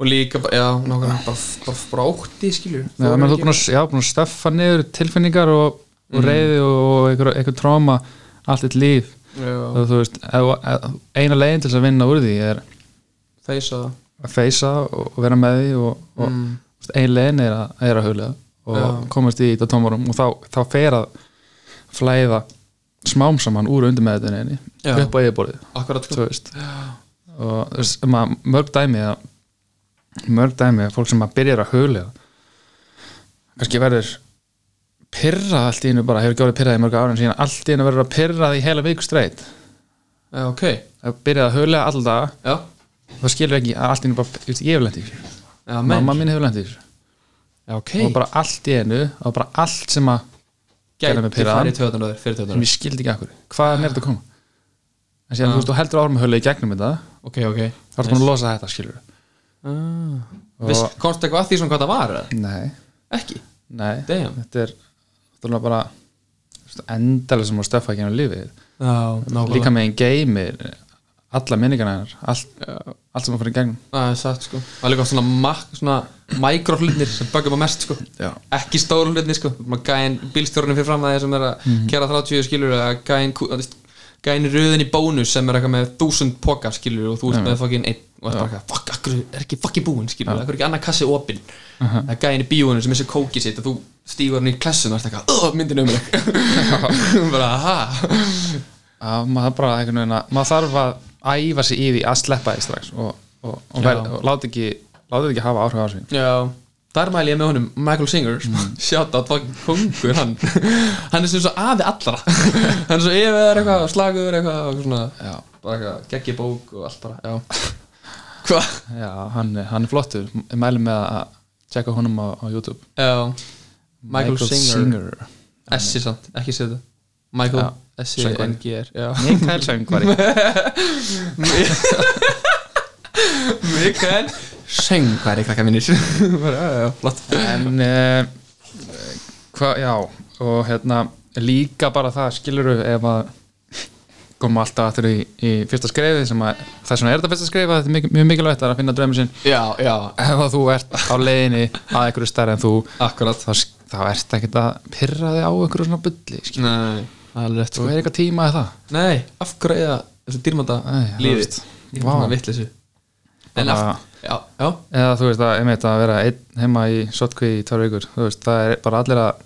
Og líka, bara- já, nákvæmlega, bara, bara frátti, skilur
Já, menn þú er búin að, já, búin að steffa niður tilfinningar og,
Mm.
og reyði og eitthvað, eitthvað tróma allt eitt líf
Já,
og þú veist, ef- ef- eina leiðin til þess að vinna úr því er
þeisa það
að feysa og og vera með því og, og mm.
Mm.
ein leiðin er að, er að huglega og
Já.
komast í þetta tómarum og þá, þá fer að flæða smám saman úr undir með þetta neini
Já.
upp á yfirborðið,
Akkurat, sko
þú veist og þú veist, ma- mörg dæmi að, mörg dæmi að fólk sem að byrjar að huglega kannski verður pyrrað allt í einu bara, hefur ekki orðið pyrrað í mörg árin síðan allt í einu verður að pyrrað í heila viku streitt
Já, ok,
að byrja að huglega alltaf
já,
það skilur ekki að allt í einu bara, þú veist, ég hef lent í þessu
já, menn
mamma mín hefur lendið þessu
Já, ok,
og bara allt í einu og bara allt sem að gerði mig
gæti
pirraðan.
farið töðunar fyrir
sem
töðunar
ég skildi ekki akkur, hvaðan er þetta að koma en
Ah.
síðan þú veist, þú heldur árum að hölu í gegnum þetta
Ok, ok
þá ertu búin að losa þetta, skilur
Ah.
Og-
Viss- Komstu eitthvað að því svona hvað það var? eða?
nei,
Ekki,
nei,
damn
þetta er þetta er bara endalega sem að stöffa ekki hann lífið
Já, nákvæmlega
líka með einn geimi alla minningarna hennar, allt, allt sem að fara í gegnum
Það er satt sko Það er líka svona, mak, svona mikrohlutinir sem bögum að mest sko
Já.
Ekki stóru hlutinir sko Maður Gæin bílstjórnum fyrir fram að þeir sem er að kæra 30 skilur eða gæin, kú- að veist, gæin röðin í bónus sem er eitthvað með 1000 poka skilur og þú ert með fucking einn og það er bara eitthvað, fuck, akkur er ekki fucking búinn skilur akkur er ekki annar kassi opinn það er gæin í bíóinu sem missir kókið sitt og þú stígur hann í klessun og ert eitthvað, "Ugh, myndin um mig *laughs* bara, ha
að maður bara einhvern veginn að maður þarf að æfa sig í því að sleppa því strax og, og, og, vel, og láta ekki láta þetta ekki hafa áhrif á sig
Já, þar mæli ég með honum Michael Singer, mm. sjátt að fucking kongur hann, *laughs* hann er sem svo afi allra *laughs* hann er svo yfir eitthvað slagur eitthvað og svona
já,
bara eitthvað geggi bók og allt bara, já *laughs* Hva?
Já, hann, er- hann er flottur Ég mæli með að tjekka honum á, á YouTube
Já, Michael, Singer, S-i samt, ekki setja Michael,
Já, söngvari.
S-i-N-g-r Já
Mikael Söngvari
*laughs* Mikael Sengari, krakka mínir *laughs* bara, já, já, flott
*laughs* En eh, hvað, já og hérna líka bara það skiluru ef að koma alltaf aftur í, í fyrsta skrefi sem að það sem er þetta fyrsta skrefi að þetta er mjög, mjög mikilvægt að finna draumi sinn
Já, já,
ef að þú ert á leiðinni að einhverju stærri en þú
akkurat
þá, þá ert ekkert að pyrra þig á einhverju svona bulli skilur.
Nei, það er rétt sko.
þú er eitthvað tíma eða það
Nei, af hverju eða þessu dýrmata
Nei, það
lífi
veist.
Ég er
Vá.
svona vitleysu En af,
Bara-
já, já,
eða þú veist að, einmitt, að vera einn heima í sotkví í tvær vikur þú veist, það er bara allir að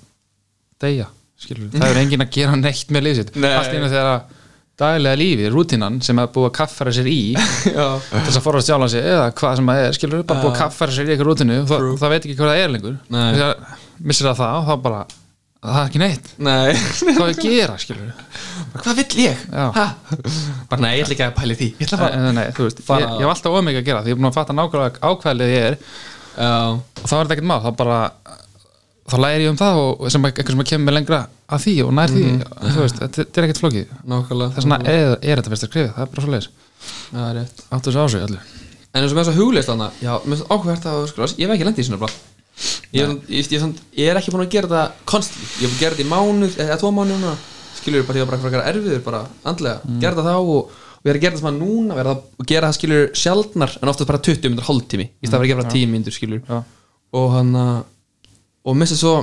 deyja skilur, það er enginn að gera neitt með liðsitt
Nei.
allt einu þegar að daglega lífi, rútinan sem er búið að kaffara sér í
*laughs*
til
já
þess að forðast sjálf sér eða hvað sem að er, skilur, bara búið að kaffara sér í eitthvað rútinu og það, það veit ekki hvað það er lengur
Nei.
Þegar missir það það og þá bara það er ekki neitt,
Nei,
hvað við gera skilur
hvað vill ég?
Já.
Ha? Bara nei, ég ætla ekki að pæli því Ég ætla bara
en, Eh, nei, þú veist, ég,
Fara-
ég hef alltaf ómikið að gera því ég er búin að fatta nákvæmlega ákvæðlega ég er
Já,
og þá er þetta ekkert mál þá bara þá læri ég um það og sem eitthvað sem að kemur mér lengra að því og nær því
Mhm.
þú veist, þetta þetta er ekkert flókið
nákvæmlega
þess vegna er, er þetta fyrst að skrifa, það er bara svo leiðis
Já, það er rétt
áttu þessu ásög allir
En eins og með þess að hugleist hana Já, mér finnst ákveðert að skilja Ég hef ekki lendið í svona bara Ég, er- ég, ég, ég, ég er ekki búin að gera það konstið Ég hef búin að gera það í mánuð Eða tvo mánuð núna Skilur bara, ég var bara að gera erfiður bara Andlega, gera það þá og, og ég er að gera það svona núna Verða að gera það skilur sjaldnar En oftast bara 20 minnur hálftími Í stað fyrir að gera bara 10 minnur skilur
Já.
Og hann að- Og missa svo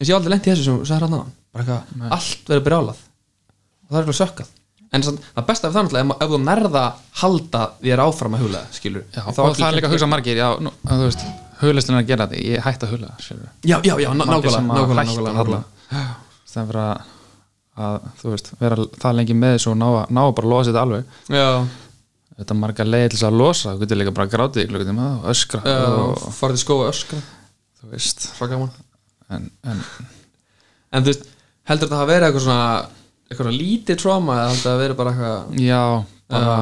Ég sé aldrei lendið þessu sem sagði hann aðan Bara eitthvað, allt verður brjálað og það er eitthvað sökkað en samt, það besta við það náttúrulega er ma- ef þú nærða halda þér áfram að hugla það, skilur
já, og það er líka að hugsa margir já, nú, að, þú veist, huglistin að gera þetta ég hætti að hugla það
já, já, já, ná- nákvæmlega, nákvæmlega, nákvæmlega, nákvæmlega.
nákvæmlega það fyrir að, að þú veist, vera það lengi með þessu og ná, að- ná að bara að losa þetta alveg
já,
þetta er marga leiði til þess að losa þú getur líka bara grátið í klukkutíma og öskra og
já farið í skóa öskra
þú veist
svo gaman
en, en
en þú veist, heldur þetta að vera eitthvað svona eitthvað svona lítið trauma eða heldur það að vera bara eitthvað
Já, bara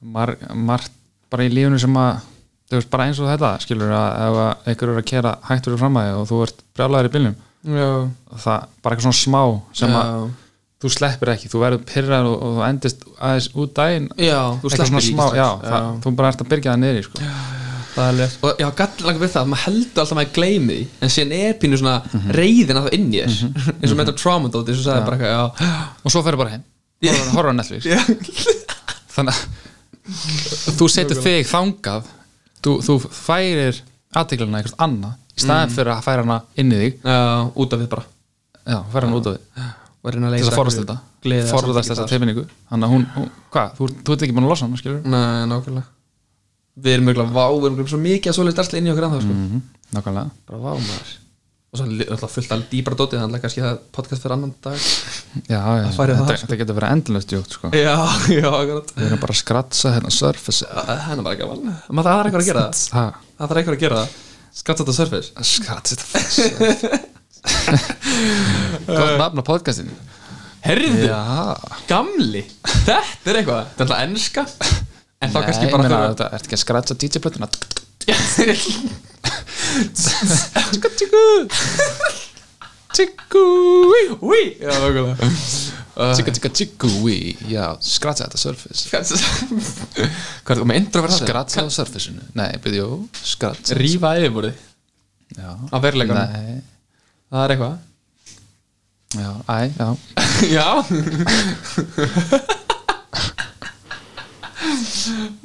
mar, margt bara í lífunu sem að þú veist bara eins og þetta skilur að ef að einhver er að kera hægt fyrir fram að þig og þú ert brjálæður í bílnum
já,
það bara eitthvað svona smá sem að
já,
þú sleppir ekki, þú verður pyrrar og, og þú endist aðeins út daginn
já, þú
eitthvað
sleppir
svona
ekki
smá,
strax.
já, Það, þú bara ert að byrja það niður sko.
það er alveg og já, gallangar við það, að maður heldur alltaf að maður gleymi því en síðan er pínu svona
Mhm.
reyðin alltaf inn í þess *laughs* eins og með þetta trauma dóti, eins og sagði bara eitthvað, já,
og svo ferðu bara heim, horfa- horfa á Netflix
Já.
þannig að þú setur þig þangað þú, þú færir aðtegluna eitthvað annað
Mm.
í staðin fyrir að færa hana inn í þig
já, út af við bara
já, færa hana út á þig
og reyna að
til
leysa
þess að forðast þetta
gleði
forðast þessa tilfinningu þannig að hún, hún hvað, þú, þú ert ekki búin að losa hana skilur
Nei, nákvæmlega Við erum mjögulega vá, við erum mjögulega svo mikið að svoleiðið darsli inn í okkur annað sko.
mm nákvæmlega
Bara vá maður Og svo er alltaf fullt alveg dýbra dótið Þannig að kannski það er podcast fyrir annan dag
já, já,
færi það,
þetta, þetta getur verið endalust jótt sko.
Já, *laughs* já, akkurat
við erum bara að skratsa hérna surface
Það er bara ekki að valna Maður það er eitthvað að gera það
ha,
Það þarf eitthvað að gera það Skatsa þetta surface
skratsa þetta surface *laughs* gott nafn á podcastinu
Herðu,
já
gamli Þetta er eitthvað Þetta er alltaf enska En þá
Nei,
kannski
ég
bara
meina,
fyrir
þetta ert ekki að skratsa DJ-plötuna
Tjúkú Úi Já, okkurlega
Tjikka tjikka tjikkúi Já, skratsa þetta surface
Hvað er þú með intro verið það?
Skratsa á surfaceinu Nei, byrju, jú, skratsa
Rífa yfirbúrið
Já,
á veruleikanum
nei
Það er eitthvað
Já, æ, já
*laughs* Já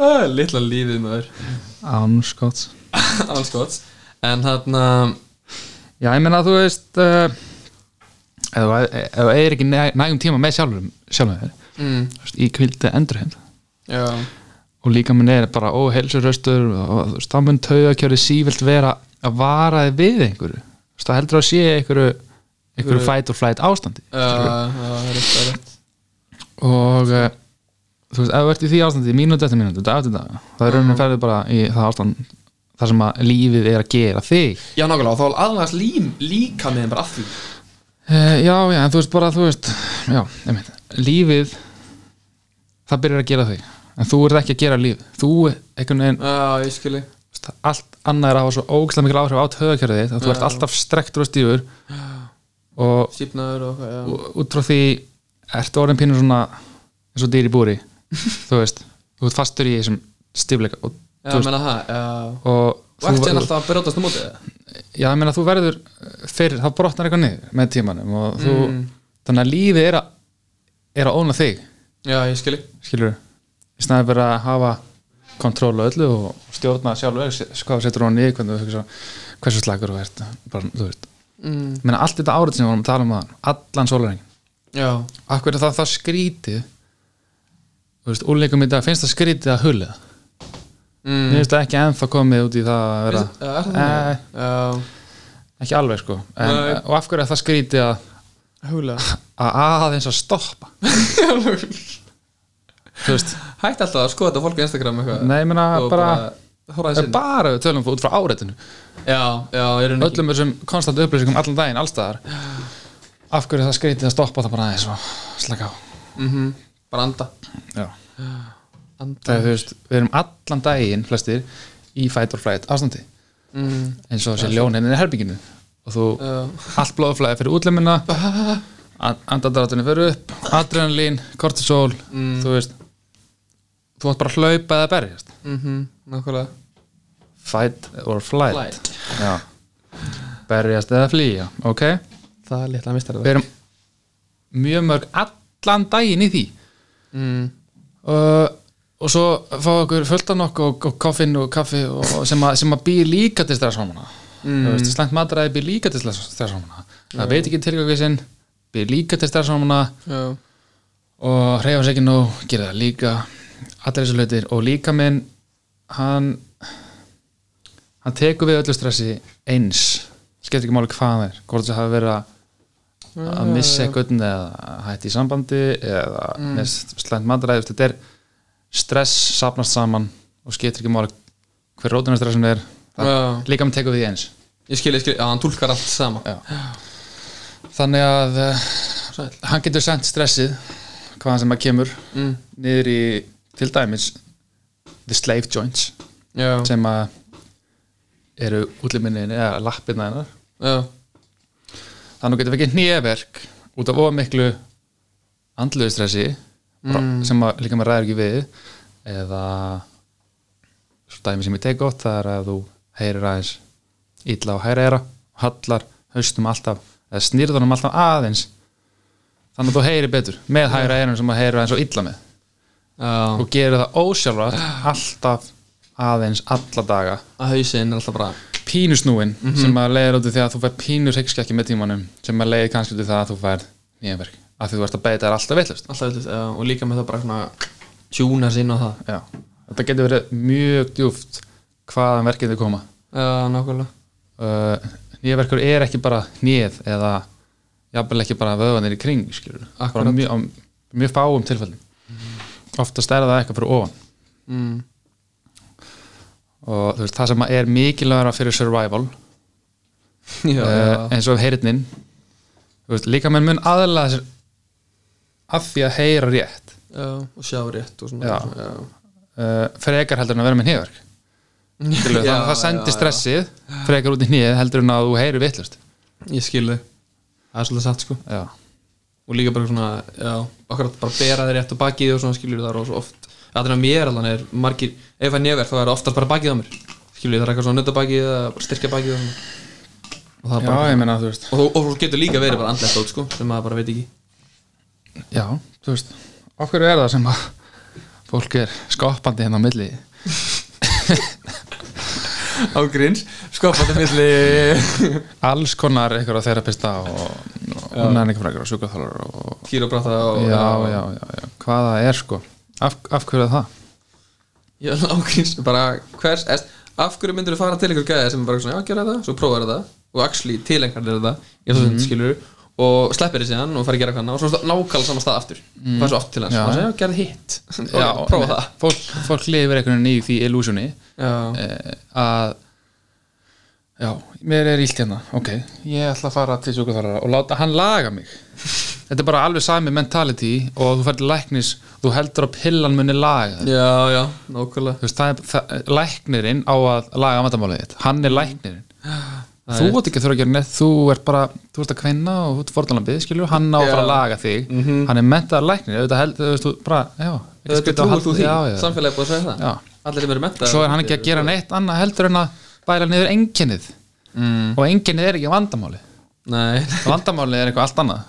Ah, Litla lífið maður
Ánskott
Alls gott En þarna
Já, ég meina, þú veist uh, Ef þú ef þú eigir ekki næ- nægum tíma með sjálfum Sjálfum þér
mm,
þú veist, Í kvildi endurheimt
Já
og líka minn er bara óheilsuröstur og þú veist, þá mun tauðakjörði sívilt vera að vara þig við einhverju Þú veist, það heldur að sé einhverju einhverju
Einhverju-
fight or flight ástandi
Já, það er rétt, það er rétt
og eh, þú veist, ef þú ert í því ástandi mínúti eftir mínúti, dag eftir dag það er raunin ferði bara í það ástand þar sem að lífið er að gera þig
Já, nákvæmlega, og þá er aðlæðast lím, líka með þeim bara að því
e, já, já, en þú veist bara, þú veist já, ég meint, lífið það byrjar að gera þig en þú ert ekki að gera líf þú, einhvern veginn,
Já, ég skilji
þú veist, allt annað er að hafa svo ógæslega mikil áhrif á töðakjörðið þitt að þú ert alltaf strektur og stífur og
Sýpnaður og hvað, já
og út frá því ertu orðin pínur svona eins og dýr í *laughs* búri þú veist, þú ert fastur í þessum stífleika og,
Já, menna það, já
og
Og eftir
þú,
hann alltaf að brjótast á mótið það
já, ég meina, þú verður fyrir, þá brotnar eitthvað niður með tímanum og þú,
Mm.
þannig að lífið er að er að óna þig,
Já, ég skilji
skilur í snæði bara að hafa kontról á öllu og stjórna sjálfur se- hvað þú setur hún í, hvernig þú hugsa hversu slagur þú ert, bara, þú veist
mm,
ég meina, allt þetta árið sem við vorum að tala um það allan sólarengin
Já,
Akkur er það, það skrítið Þú veist, úlíkum í dag finnst það skrítið að hulla
mm.
Mér finnst það ekki ennþá komið út í það að vera Eh,
Finnst- Já, er það þannig? Já,
Ekki alveg sko en,
Nei.
Og af hverju er það skrítið að
*laughs* húlega
að aðeins að stoppa Þú veist,
Hætti alltaf að skoða þetta fólk á Instagram eitthvað
nei, ég meina
Og
bara,
Hóra
bara
þessi
bara við tölum út frá áreitinu
Já, já, ég er
Öllum þessum konstant upplýsingum allan daginn, allstaðar Af hverju er það skrítið að stoppa það bara aðeins og slaka á
-hmm. Bara anda
Já.
Anda
Það er, þú veist, við erum allan daginn flestir í fight or flight ástandi
mm.
eins og þessi ljón henni í herbygginu og þú,
Já.
allt blóðflæði fyrir útlemina *laughs* andadrátunni fyrir upp adrenalín, kortisol þú veist þú átt bara að hlaupa eða berjast
Mm Nákvæmlega
fight or flight,
Flight.
Já. berjast eða flýja ok,
Það er litla mistar
við erum mjög mörg allan daginn í því
mm.
uh, og svo fá okkur fullt af nokku og, og koffin og kaffi og, og sem, að, sem að býr líka til stresshormona mm. veist, slæmt matræði býr líka til stress- stresshormona það veit ekki tilgangu sinn býr líka til stresshormona
Já,
og hreyfa sér ekki nóg, gera það líka allir þessu hlutir og líka minn hann hann tekur við öllu stressi eins skiptir ekki máli hvað það er hvort það hafi verið að-
Ah.
að missa einhvern eða hætti í sambandi eða mm. mist slæmt matræði þetta er stress sapnast saman og skiptir ekki máli hver rótunar stressin er
Já.
það, líka minn tekur við því eins
ég skilji, ég skilji Já, hann tólkar allt sama
Já. þannig að uh,
Sæll
hann getur sendt stressið hvaðan sem að kemur
mm.
niður í til dæmis the slave joints
Já,
sem að eru útliminni eða lappirna hennar
já
þannig getum við ekki hnéverk út af ómiklu andluðu stressi mm. sem að, líka maður ræður ekki við eða svo dæmi sem ég tek gott það er að þú heyrir aðeins illa á hæra eira, hallar haustum alltaf, eða snýrðunum alltaf aðeins þannig að þú heyrir betur með hæra eirum sem að heyrir aðeins og illa með
Já,
og gerir það ósjálfrætt alltaf aðeins alla daga
að hausinn er alltaf bara
pínusnúin sem að leiðir út í því að þú fær pínus ekki með tímanum sem að leiðir kannski út í það að þú fær nýjanverk að því þú ert að beita þér alltaf veitlust
alltaf eitthvað já, og líka með það bara svona tjúna sín og það
Já, þetta getur verið mjög djúft hvaðan verkið þau koma
Já, nákvæmlega
uh, Nýjaverkur er ekki bara nýð eða jafnvel ekki bara vöðvanir í kring skilur, bara
Akkúrat.
mjög, á mjög fáum tilfellin oftast er það eitthvað fyrir ofan
mm. *laughs*
og þú veist, það sem er mikilvægara fyrir survival
Já,
uh,
já,
eins og heyrnin þú veist, líka menn mun aðlega sér af því að heyra rétt
já, og sjá rétt og svona
Já.
svona, já.
uh, frekar heldur en að vera með nýjaverk þannig
*laughs* Já,
að það
já,
sendir
já.
stressið frekar út í nýð heldur en að þú heyri vitlust
Ég skil þau Það er svolítið satt sko
Já
Og líka bara svona, já, akkurat bara bera þér rétt og bakið og svona skilur það rosa oft Þannig að mér allan er margir, ef það er nefverð þá er það oftast bara bakið á mér Skilur það er eitthvað svona nautabakið eða bara styrkja bakið og svona Og það er bara,
Já, ég meina, þú veist
og þú og þú getur líka verið bara andlegt út sko sem maður bara veit ekki
Já, þú veist Okkur er það sem að fólk er skoppandi hérna á milli
*laughs* Ágríns, skoppaði milli
Alls konar einhverja þerapista og, og unnaðan einhverja einhverja sjúkaþálar og
Kýróbrata og
já, já, já, já, hvaða er sko Af, af hverju er það?
Já, ágríns, bara hvers est, Af hverju myndir þú fara til einhver gæði sem er bara svona, já, gera þetta, svo prófaðu þetta og actually tilengar þér þetta, ég
Mhm.
svo mm -hmm. skilur og sleppir þér síðan og fari að gera hvað annað og svo nákvæmlega sama stað aftur mm. fara svo oft til hans,
Mhm. Já.
og svo, já, gera hitt *laughs*
Já,
já, prófa það
Fólk, fólk lifir einhvern veginn í því illusioni
já,
eh, að já, mér er ílt hérna ok, ég ætla að fara til sjúkaþálara og láta hann laga
*laughs*
mig þetta er bara alveg sami mentality og þú færir læknis, þú heldur að pillan muni laga þig.
já, já, nákvæmlega
þú veist, það er það, læknirinn á að laga vandamálið þitt, hann er læknirinn
Mm. Það
þú ert ekki að þurfa að gera neitt þú ert bara, þú ert að kvinna og þú ert forðanlambið skilju, hann á að fara
Já.
að
Mhm.
laga þig hann er mentaðar læknir, auðvitað heldur þú veist, þú bara, já, ekki
Þetta
skylda að
trúir þú
halda-
því,
já, já, já.
samfélagi er búið að segja það
Já.
Allir sem eru menta
svo er hann ekki að gera neitt annað heldur en að bæla niður enginnið mm. og enginnið er ekki vandamáli
Nei, *laughs*
vandamálið er eitthvað allt annað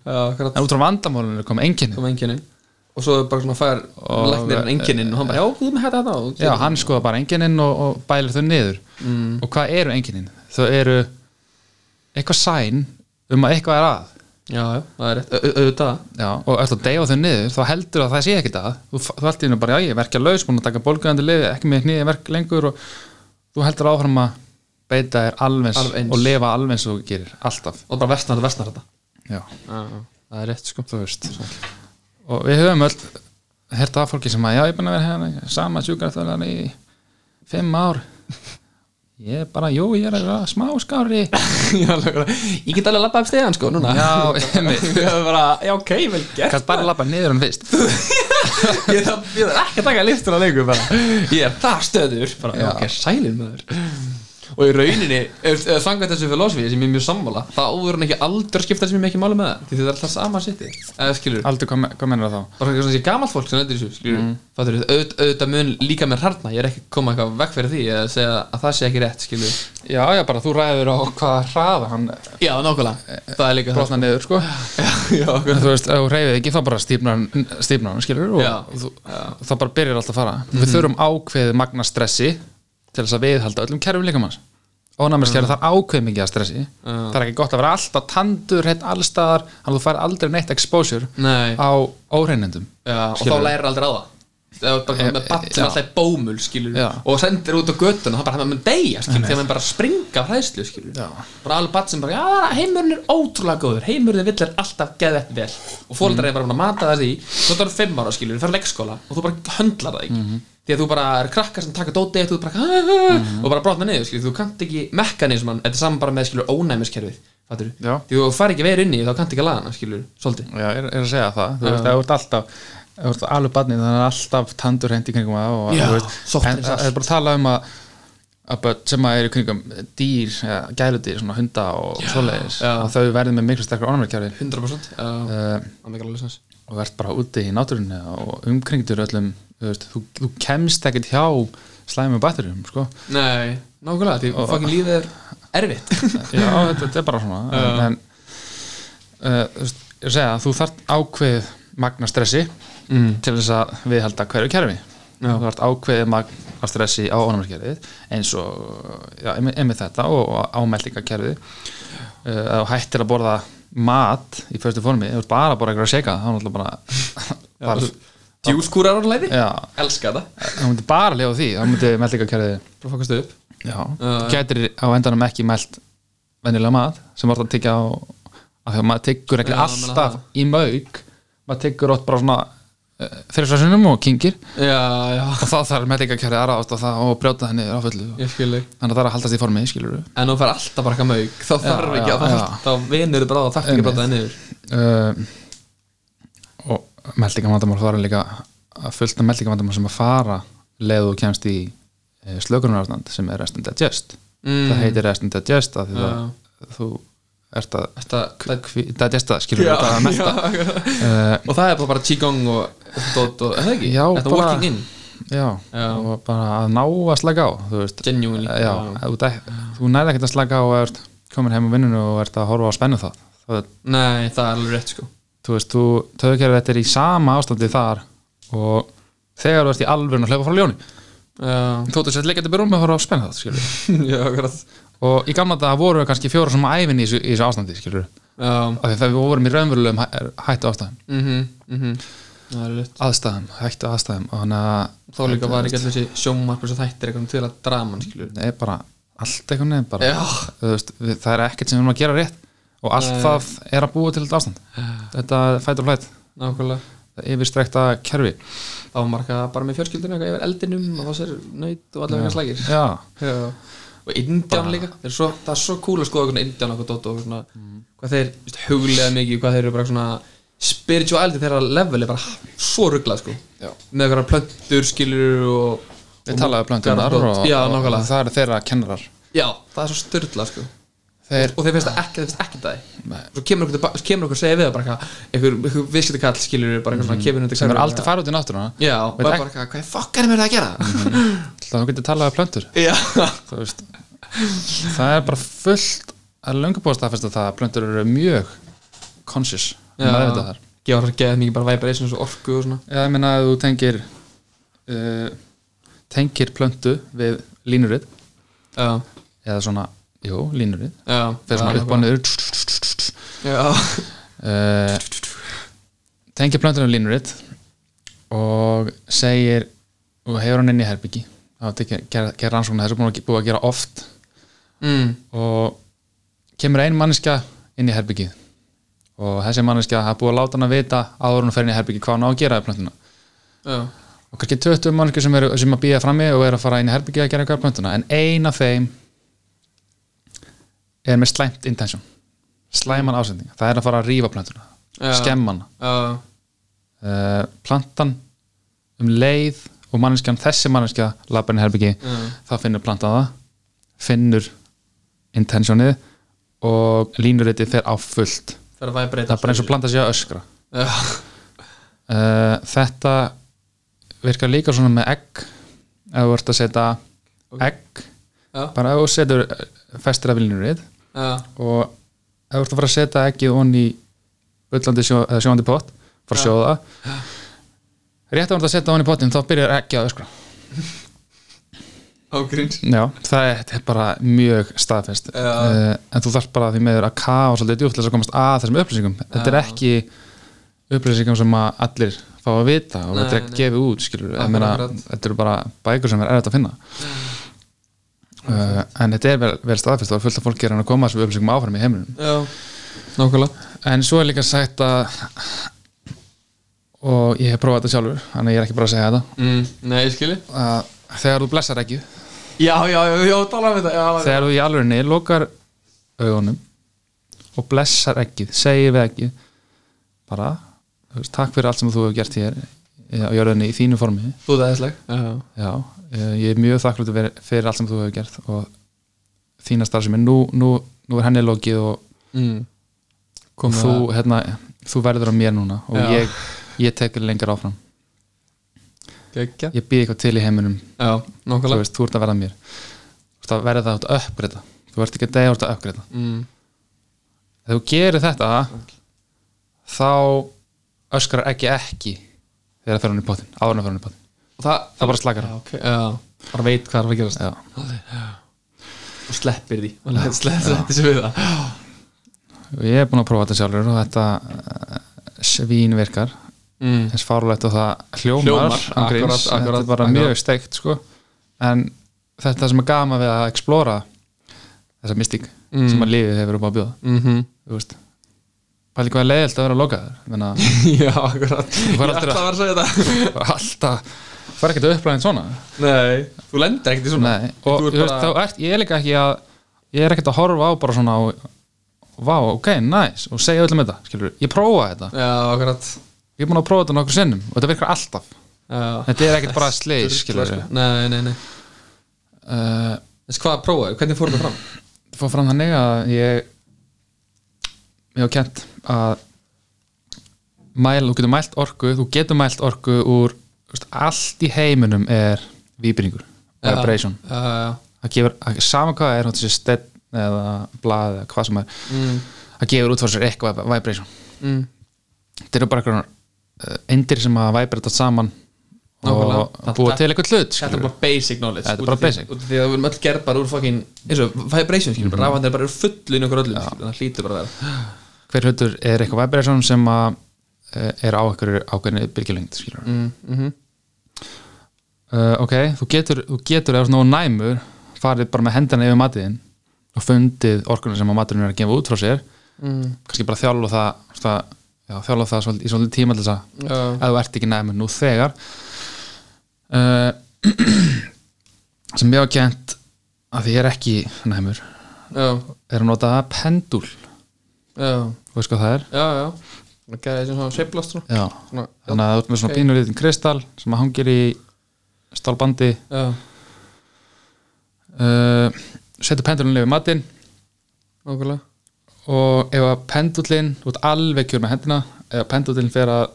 já, hvað
en út frá vandamálinu kom enginnið
kom enginin og svo er bara svona fær
Og-
læknirinn enginin og hann bara, já, þú með þetta þetta og-
já, hann skoða bara enginnin og, og bæla þau niður mm. og hvað eru enginnin? þau eru eitthvað sæn um að eitthvað er að
já, já, það er rétt, Au- au- auðvitað
já, og ert að deyfa þau niður þá heldur að það sé ekkert að þú, þú allt í hennu bara, já, ég verkja laus, búin að taka bólguðandi lifi ekki með nýja verk lengur og þú heldur áfram að beita þér alveg
Alveg eins.
eins og lifa alveg eins og þú gerir, alltaf
og bara versnar þetta, versnar þetta
já
það er rétt *laughs* sko
þú veist og við höfum öll hert af fólki sem að já, ég er búin að vera hérna sama sjúkraþjóðan í fimm ár ég er bara, jú, ég er að vera smá skári
ég get alveg að labba upp stegan sko núna *laughs*
já, emmi
Ég er bara, já ok, vel gert
kannst bara lappa niður hann fyrst
ég þarf ég þarf ekki að taka liftur að leiku bara. ég er það stöður bara, já.
Já.
ok, sælin maður og í rauninni, ef það sangaði þessu filosofið sem ég er mjög sammála, þá áður hann ekki aldur skipta sem ég mikið máli með það, því þetta er alltaf sama sitti eða skilur,
aldrei, hvað, me- hvað mennur það þá?
bara svona þessi gamalt fólk sem lendir í þessu, skilur, mm. fattur auð, auðvitað mun líka með hræðna, ég er ekki að koma eitthvað vekk fyrir því að segja að það sé ekki rétt, skilur
já, já, bara þú ræður á hvað hraða hann
já, nákvæmlega, það er líka það
brotna niður, sko
*laughs* já, okkur
en þú veist, ef þú reyfið ekki, þá bara stífnar hann stífnar hann, skilur, og
Já.
þú, þá bara byrjar allt að fara við þurfum ákveðið magna stressi til þess að viðhalda öllum kerfum líkamanns ónæmiskerfið mm. þar ákveðið mikið að stressi það er ekki gott að vera alltaf tandur hreitt allstaðar, þannig að þú fær aldrei neitt exposure
Nei.
á óreinindum
Já, og þá
Skilurðu? Eh,
lærir aldrei á það Það er bara með bann sem
já.
alltaf er bómul skilur
Já.
og sendir út á göttuna það bara hann mun deyja skilur þegar hann bara springa af hræðslu skilur
Já.
bara alveg bann sem bara já það er- heimurinn er ótrúlega góður heimurinn vill er alltaf geðvett vel og
Mm.
fóreldrar er bara búin að mata það því þú ert orðinn fimm ára skilur þú fer leikskóla og þú bara höndlar það ekki
Mhm.
því að þú bara er krakkar sem taka dóti þú ert bara
Mhm.
og bara brotna niður skilur þú kannt ekki mekanisman þetta er saman bara með skilur ónæmiskerfið fattur
Já.
því þú far ekki verið inni þá kannt ekki að laga hana skilur svolítið
já, er, er að segja það, þú veist, ef þú ert alltaf ef þú ert alveg barnið, þannig að alltaf tandur hreint í kringum það og
Já,
þú veist,
sótt
en
eins
það er bara að tala um að að börn sem að eru í kringum dýr, ja, gæludýr, svona hunda og svoleiðis,
já.
að þau verði með miklu sterkur ónæmiskerfi
100% uh,
uh,
Það er mikilvæg sens
og verðt bara úti í náttúrunni og umkringdur öllum þú, veist, þú, þú kemst ekkert hjá slæmi batterjum sko.
Nei, nákvæmlega, því
Og- Eh.
fucking lífið er
*laughs*
erfitt *laughs*
já, þetta, þetta er bara svona
Já.
en uh, þú veist, ég segja að þú þart ákveð magna stressi
mm.
til þess að viðhalda hverju kerfi
Já.
þú ert ákveðið magn af stressi á ónæmiskerfið eins og já, einmi- einmitt þetta og ámeldingakerfið uh, að þú hættir að borða mat í fyrstu formi, ef þú ert bara að borða eitthvað að shaka þá er náttúrulega
*laughs*
bara, bara
Djúskúrar orðleiti,
já,
elska það
þá myndi bara lifa á því þá myndi meldingakerfið
Bara fokast upp
já, þú
já.
gætir á endanum ekki meld venjulega mat sem vart að tyggja á af því að maður tyggur ekki
Já, maður
alltaf í mauk maður tyggur ótt bara svona uh, fyrir svo sinnum og kingir
Já, já,
og þá þarf meldingarkjærið að ráðast á það og brjóta henni á fullu
ég skil þig
þannig að það er að haldast í formi, skilur við
En þú fær alltaf bara eitthvað mauk, þá þarf ekki
já,
að það Þá vinur þú bara að þarf ekki að
Einmitt.
brota það niður
uh, og meldingarvandamál fara líka að fullt af meldingarvandamál sem að fara leið og kemst í slökunararstand sem er rest and digest
Mm.
það heitir rest and digest af því
Já.
að þú ert að
Þetta, það
kví- digesta, það, skilur við það að melta
já.
uh,
Og það er bara, bara qigong og dot og, er það ekki?
Já,
Þetta
bara-
walking in,
já,
Já.
og bara að ná að slaka á þú veist,
genuinely
já, Eh, já. Þú, dæ- þú nærði ekkert að slaka á og ert komin heim á vinnunni og ert að horfa á spennu það það
Nei, það er alveg rétt sko
þú veist, þú töðukerfið þetta er í sama ástandi þar og þegar þú ert í alvörun að hlaupa frá ljóni *laughs*
Já,
þú ert sett leikandi byrjum að horfa á spenna það skilur.
já, akkurat
og í gamla dag voru við kannski fjóra sem æfin í þessu, í þessu ástandi skilur.
Já,
af því að við vorum í raunverulegum hæ- hættu ástæðum
mhm, mhm Það er rétt
aðstæðum, hættu aðstæðum og þannig að
Þá líka var ekki allir þessi sjómarpur sem þættir eitthvað um til að draman, skilur
það er bara allt eitthvað nefn bara,
Já,
Þú veist, við, það er ekkert sem við erum að gera rétt og allt
Nei.
það er að búa til þetta ástand þetta er fætt og flætt,
nákvæmlega
það er yfirstrekta kerfi
Þá var marga bara með fjölskyldinu eitthvað yfir eldinum og þá sér nöyt og allavega slægir
já,
Já Og indján líka, þeir eru svo, það er svo cool að skoða eitthvað indján og dótt og svona
Mm.
Hvað þeir veist, huglega mikið, hvað þeir eru bara svona spirituality þeirra level er bara svo rugglað sko
Já.
Með eitthvað plöntur skilur og
Þeir talaðu plöntunar
Garðar-
og,
Já,
og
nákvæmlega.
það eru þeirra kennarar
Já, það er svo styrlað sko
Þeir,
og þeir finnst það ekki, þeir finnst ekki það
Nei.
svo kemur okkur, tilba- kemur okkur að segja við það bara eitthvað, einhver, einhver viðskipti kall skilur bara eitthvað svona kemur undir
Mhm. sem er
hverfið,
aldrei farið út í náttúruna
já, og
Veit
bara
ekki- Mhm.
eitthvað, hvað fokk erum við að gera
Það þú getur talaðu plöntur
*laughs* já,
þú *laughs* veist. Það er bara fullt að löngu búið að staðfesta það að plöntur eru mjög conscious um
Já.
meðvitaðar.
gefur það geða mikið bara vibrations og orku og svona
Já, ég meina að þú tengir uh, tengir plöntu við línurit
já,
eða svona, jú, línurit
já,
fyrir svona
já,
upp og niður *laughs*
já,
uh, tengir plöntunum línurit og segir og hefur hann inn í herbyggi það gerði rannsóknar þessu er búin að- búið að gera oft
mm,
og kemur ein manneskja inn í herbyggið og þessi manneskja hafa búið að láta hann að vita áður en hún fer inn í herbyggið hvað hann á að gera í plöntuna
já,
og kannski 20 manneskja sem, eru, sem að býja frammi og eru að fara inn í herbyggið að gera eitthvað í plöntuna en ein af þeim er með slæmt intention slæman ásending, það er að fara að rífa plöntuna
Já.
skemma hana
já,
uh, plantan um leið og manneskjan, þessi manneskja lappar inn í herbyggi,
Mm.
þá finnur plantan það finnur intentionið og línuritið fer á fullt
það er að vibrate
það er bara eins og planta sér að öskra
já,
uh, þetta virkar líka svona með egg ef þú ert að setja egg
Já.
bara ef þú setur eh, festir af línuritið
já,
og ef þú ert að fara að setja ekkið onni í bullandi sjó, eða sjóandi pott fara að sjóða rétt að þú ert að setja onni í pottin þá byrjar ekki að öskra
ágríns
Já, það er, þetta er bara mjög staðfest
Já.
uh, en þú þarf bara því meður að kafa svolítið djúpt til þess að komast að þessum upplýsingum þetta er ekki upplýsingum sem að allir fá að vita og
Nei,
þetta er ekki
nei.
gefið út skilur,
Akkurat,
meina,
akkurat.
þetta eru bara bækur sem er erfitt að finna uh, en þetta er vel, vel staðfest og fullt af fólki er að koma þessum upplýsingum áfram í heiminum
já, nákvæmlega
En svo er líka sagt að og ég hef prófað þetta sjálfur þannig að ég er ekki bara að segja þetta
mm, nei, ég skilji
að þegar þú blessar ekki
já, já, já, já, tala um þetta já,
þegar þú í alvörinni lokar augunum og blessar ekki segir við ekki bara, þú veist, takk fyrir allt sem þú hefur gert hér eh, á jörðinni í þínu formi
þú það er slag já,
já, eh, ég er mjög þakklúti fyrir allt sem þú hefur gert og þína starfsemi, nú, nú, nú er henni lokið og
mm,
Kom þú, hérna, þú verður á mér núna og
Já.
ég ég tek lengur áfram
Gekja.
ég býð eitthvað til í heiminum
Já,
þú
nokkulega
veist, þú ert að verða mér þú ert að verða það að uppgreita þú ert ekki að degja, þú ert að uppgreita
mm.
ef þú gerir þetta þá öskrar ekki ekki þegar það fer hún í potin, áður en það fer hún í potin
Og það,
það bara slakar
Já, ok, já, bara veit hvað er að gerast
Já.
og sleppir
*laughs*
því og let- slepp- sleppir sér við það
og ég er búin að prófa þetta sjálfur og þetta eh, svín virkar
mm.
eins fárlegt og það hljómar,
Hljómar,
án gríns.
akkurat, akkurat,
þetta er bara
akkurat.
mjög steikt sko. en þetta sem er gama við að explora þessa mystík
Mm.
sem að lífið hefur upp á að bjóða
Mm
þú veist pæli hvað er leiðilt að vera að loka
*laughs*
þér
*laughs* Já, akkurat Ég
fær
ætla að vera
aldrei að-
að segja
*laughs*
þetta
alltaf fara ekkert að upplæðin svona
Nei, þú lendir ekkert í svona
Nei, og
Þú
þú
ert
veist,
bara-
þá ert, ég er líka ekki að ég er ekkert að horfa á bara svona á, vá, ok, nice, og segja öllum þetta skilur, ég prófa þetta,
Já, akkurat
ég er búin að prófa þetta nokkur sinnum og þetta virkar alltaf,
Já.
þetta er ekkert bara sleis, skilur
Sko. Nei, nei, nei sko.
uh,
Þess hvað prófaðu, hvernig fór þetta fram?
það fór fram þannig að ég ég hef kent að mæl, þú getur mælt orku þú getur mælt orku úr þú veist, allt í heiminum er víbringur,
Já.
vibration
Já, já,
það gefur, það- sama hvað það er þessi stedd eða blað eða hvað sem er
já mm.
það gefur út frá sér eitthvað vibration
Mm.
þetta eru bara einhverjar endir sem að vibrata saman og
Nákvæmlega.
búa til eitthvað
Þetta
hlut
er
skilurðu.
bara basic knowledge
Þetta er
út
bara
af því-
basic. Mhm.
út af Því að við erum öll gerð bara úr fucking eins og vibration skilur, mm. rafandi er bara fullin okkur öllum skilur, það hlýtur bara að vera
hver hlutur er eitthvað vibration sem að eh, er á einhverju ákveðinu bylgjulengd skilur
mm, mm
mhm.
-hmm.
uh, ok, þú getur, þú getur ef þú ert nógu næmur farið bara með hendana yfir matiðin og fundið orkunum sem að maturinn er að gefa út frá sér
Mm.
kannski bara þjálfa það, það já, þjálfa það svol, í svolítið tíma til þess að
Já,
ef þú ert ekki næmur nú þegar uh, *clears throat* sem ég hafa kent að því ég er ekki næmur
já,
er að nota pendúl
já,
þú veist hvað það er
já, já Það gerði þessum svona sveiflast svona.
já.
svona Já,
þannig að þú ert með svona
Ok.
okay. pínulítinn kristal sem að hangir í stálbandi
já,
uh, setur pendulinn yfir matinn
nákvæmlega
og ef að pendullin þú ert alveg kjör með hendina ef að pendullin fer að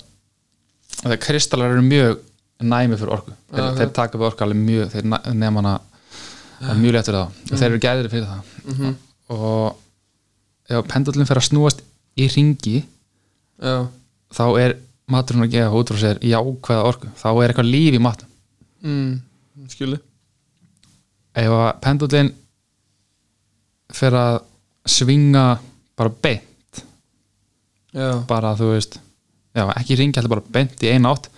þegar kristallar eru mjög næmi fyrir orku þeir,
Já, ok.
þeir taka við orku alveg mjög þeir næ- nema hana það er mjög létt fyrir það og þeir eru gæðir fyrir það
Mhm.
og ef að pendullin fer að snúast í ringi
Já,
þá er maturinn að gefa út frá sér jákvæða orku þá er eitthvað líf í matnum
mm, skilur
ef að pendullin fer að svinga bara beint
Já,
bara þú veist já, ekki ringi, heldur bara beint í eina átt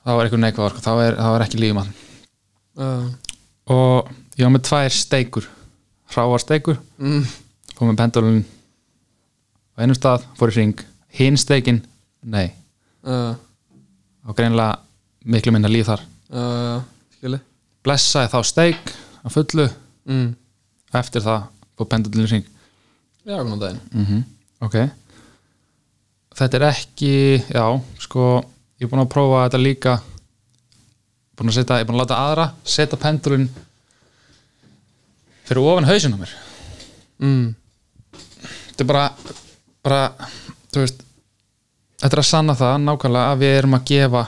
þá er eitthvað neikvæð orka, þá er, þá er ekki lífum hann
já,
og ég var með tvær steikur hráar steikur,
mm,
fór með pendulun á einum stað, fór í ring hinn steikin, nei
já,
og greinlega miklu minna líf þar
já, já, skilur
blessaði þá steik að fullu
mm.
eftir það fór pendulun í ring
Já, góðan daginn
mm ok þetta er ekki, já, sko ég er búin að prófa þetta líka búin að setja, ég er búin að láta aðra setja pendulinn fyrir ofan hausinn á mér
mm.
þetta er bara, bara þú veist þetta er að sanna það nákvæmlega að við erum að gefa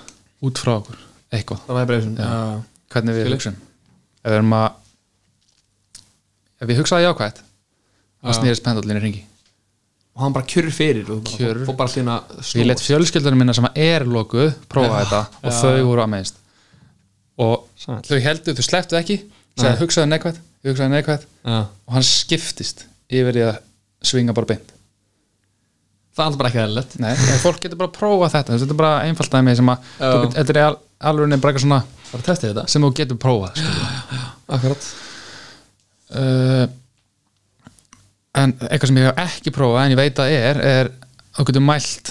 út frá okkur eitthvað,
Það var vibration Já,
hvernig við
Skilji.
hugsum ef við erum að ef við hugsaði jákvætt
Já.
þá snýrist pendulinn í ringi
Og hann bara kjörur fyrir og bara-
Kjörur.
Fór bara hlýna
Sko, ég let fjölskyldunum minna sem er lokuð prófa þetta og
já.
þau voru að meðist og
Sæll.
þau heldur, þau slepptu ekki sagði,
Nei.
hugsaðu neikvætt, hugsaðu neikvætt
Já
og hann skiptist yfir í að svinga bara beint
Það er alltaf bara ekki eðlilegt
Nei, en fólk getur bara að prófa þetta þetta er bara einfalt aðeins sem að
Já.
þú get, þetta er al, alveg bara eitthvað svona
Bara testið þetta
sem þú getur prófað skilur.
Akkurat
uh, en eitthvað sem ég hef ekki prófað en ég veit að er, er þú getur mælt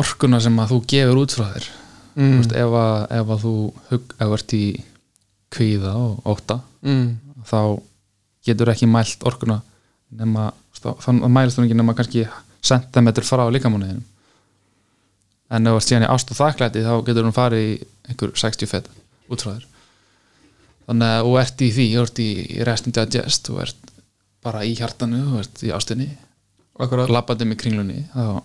orkuna sem að þú gefur út frá þér mm. veist, ef, að, ef að þú hug, ef þú ert í kvíða og óta
mm.
þá getur ekki mælt orkuna nema, þú veist, þá þá mælist þú ekki nema kannski sentimetr frá líkamónuðinum en ef þú ert síðan í ást og þakklæti þá getur hún farið í einhver 60 fett út frá þér þannig að þú ert í því, þú ert í rest and digest, þú ert bara í hjartanu þú ert í ástinni,
Akkurat
labbandi með kringlunni þá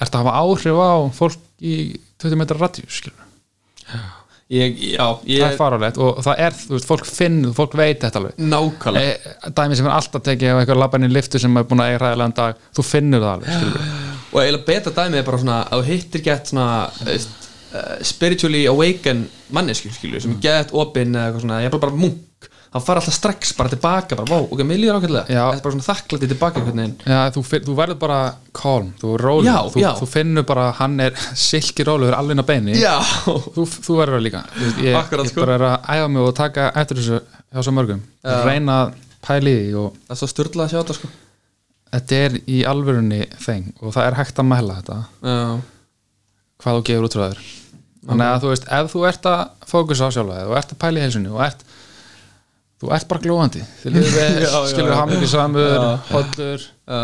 ertu að hafa áhrif á fólk í 20 metra radíu, skilur
ég, já,
það er
ég,
farulegt og það er, þú veist, fólk finn fólk veit þetta alveg
nákvæmlega
e, dæmi sem er alltaf tekið ef eitthvað labbarinn í liftu sem er búin að eiga ræðilegan dag þú finnur það alveg, skilur
og eiginlega betra dæmi er bara svona að þú hittir gett svona eh, eh, spiritually awaken mannesku skilju
Mm.
sem er gett opinn eða eitthvað svona ég er bara, bara munk þá fara alltaf strax bara tilbaka bara, vá, ok, mér líður ákveðlega
Já.
þetta er bara svona þakklæti tilbaka einhvern veginn
Já, þú, finn- þú verður bara calm, þú er rólegur,
Já,
þú,
já.
þú finnur bara að hann er *laughs* silki rólegur alveg inn á beini
já,
þú, þú verður það líka Þú veist, ég,
Akkurat,
ég
sko.
bara er að æfa mig og taka eftir þessu hjá svo mörgum
Já.
reyna að pæli því og
*laughs* það er svo styrlað að sjá þetta sko
þetta er í alvörunni þeng og það er hægt að mæla þetta
já,
hvað þú gefur út frá þér þannig að þú veist, ef þú ert að fókusa á sjálfa þér og ert að pæli heilsunni og ert þú ert bara glóðandi
*laughs*
þið líður
Já,
vel,
já,
skilur
já.
hamingisamur
Já.
hollur,
já,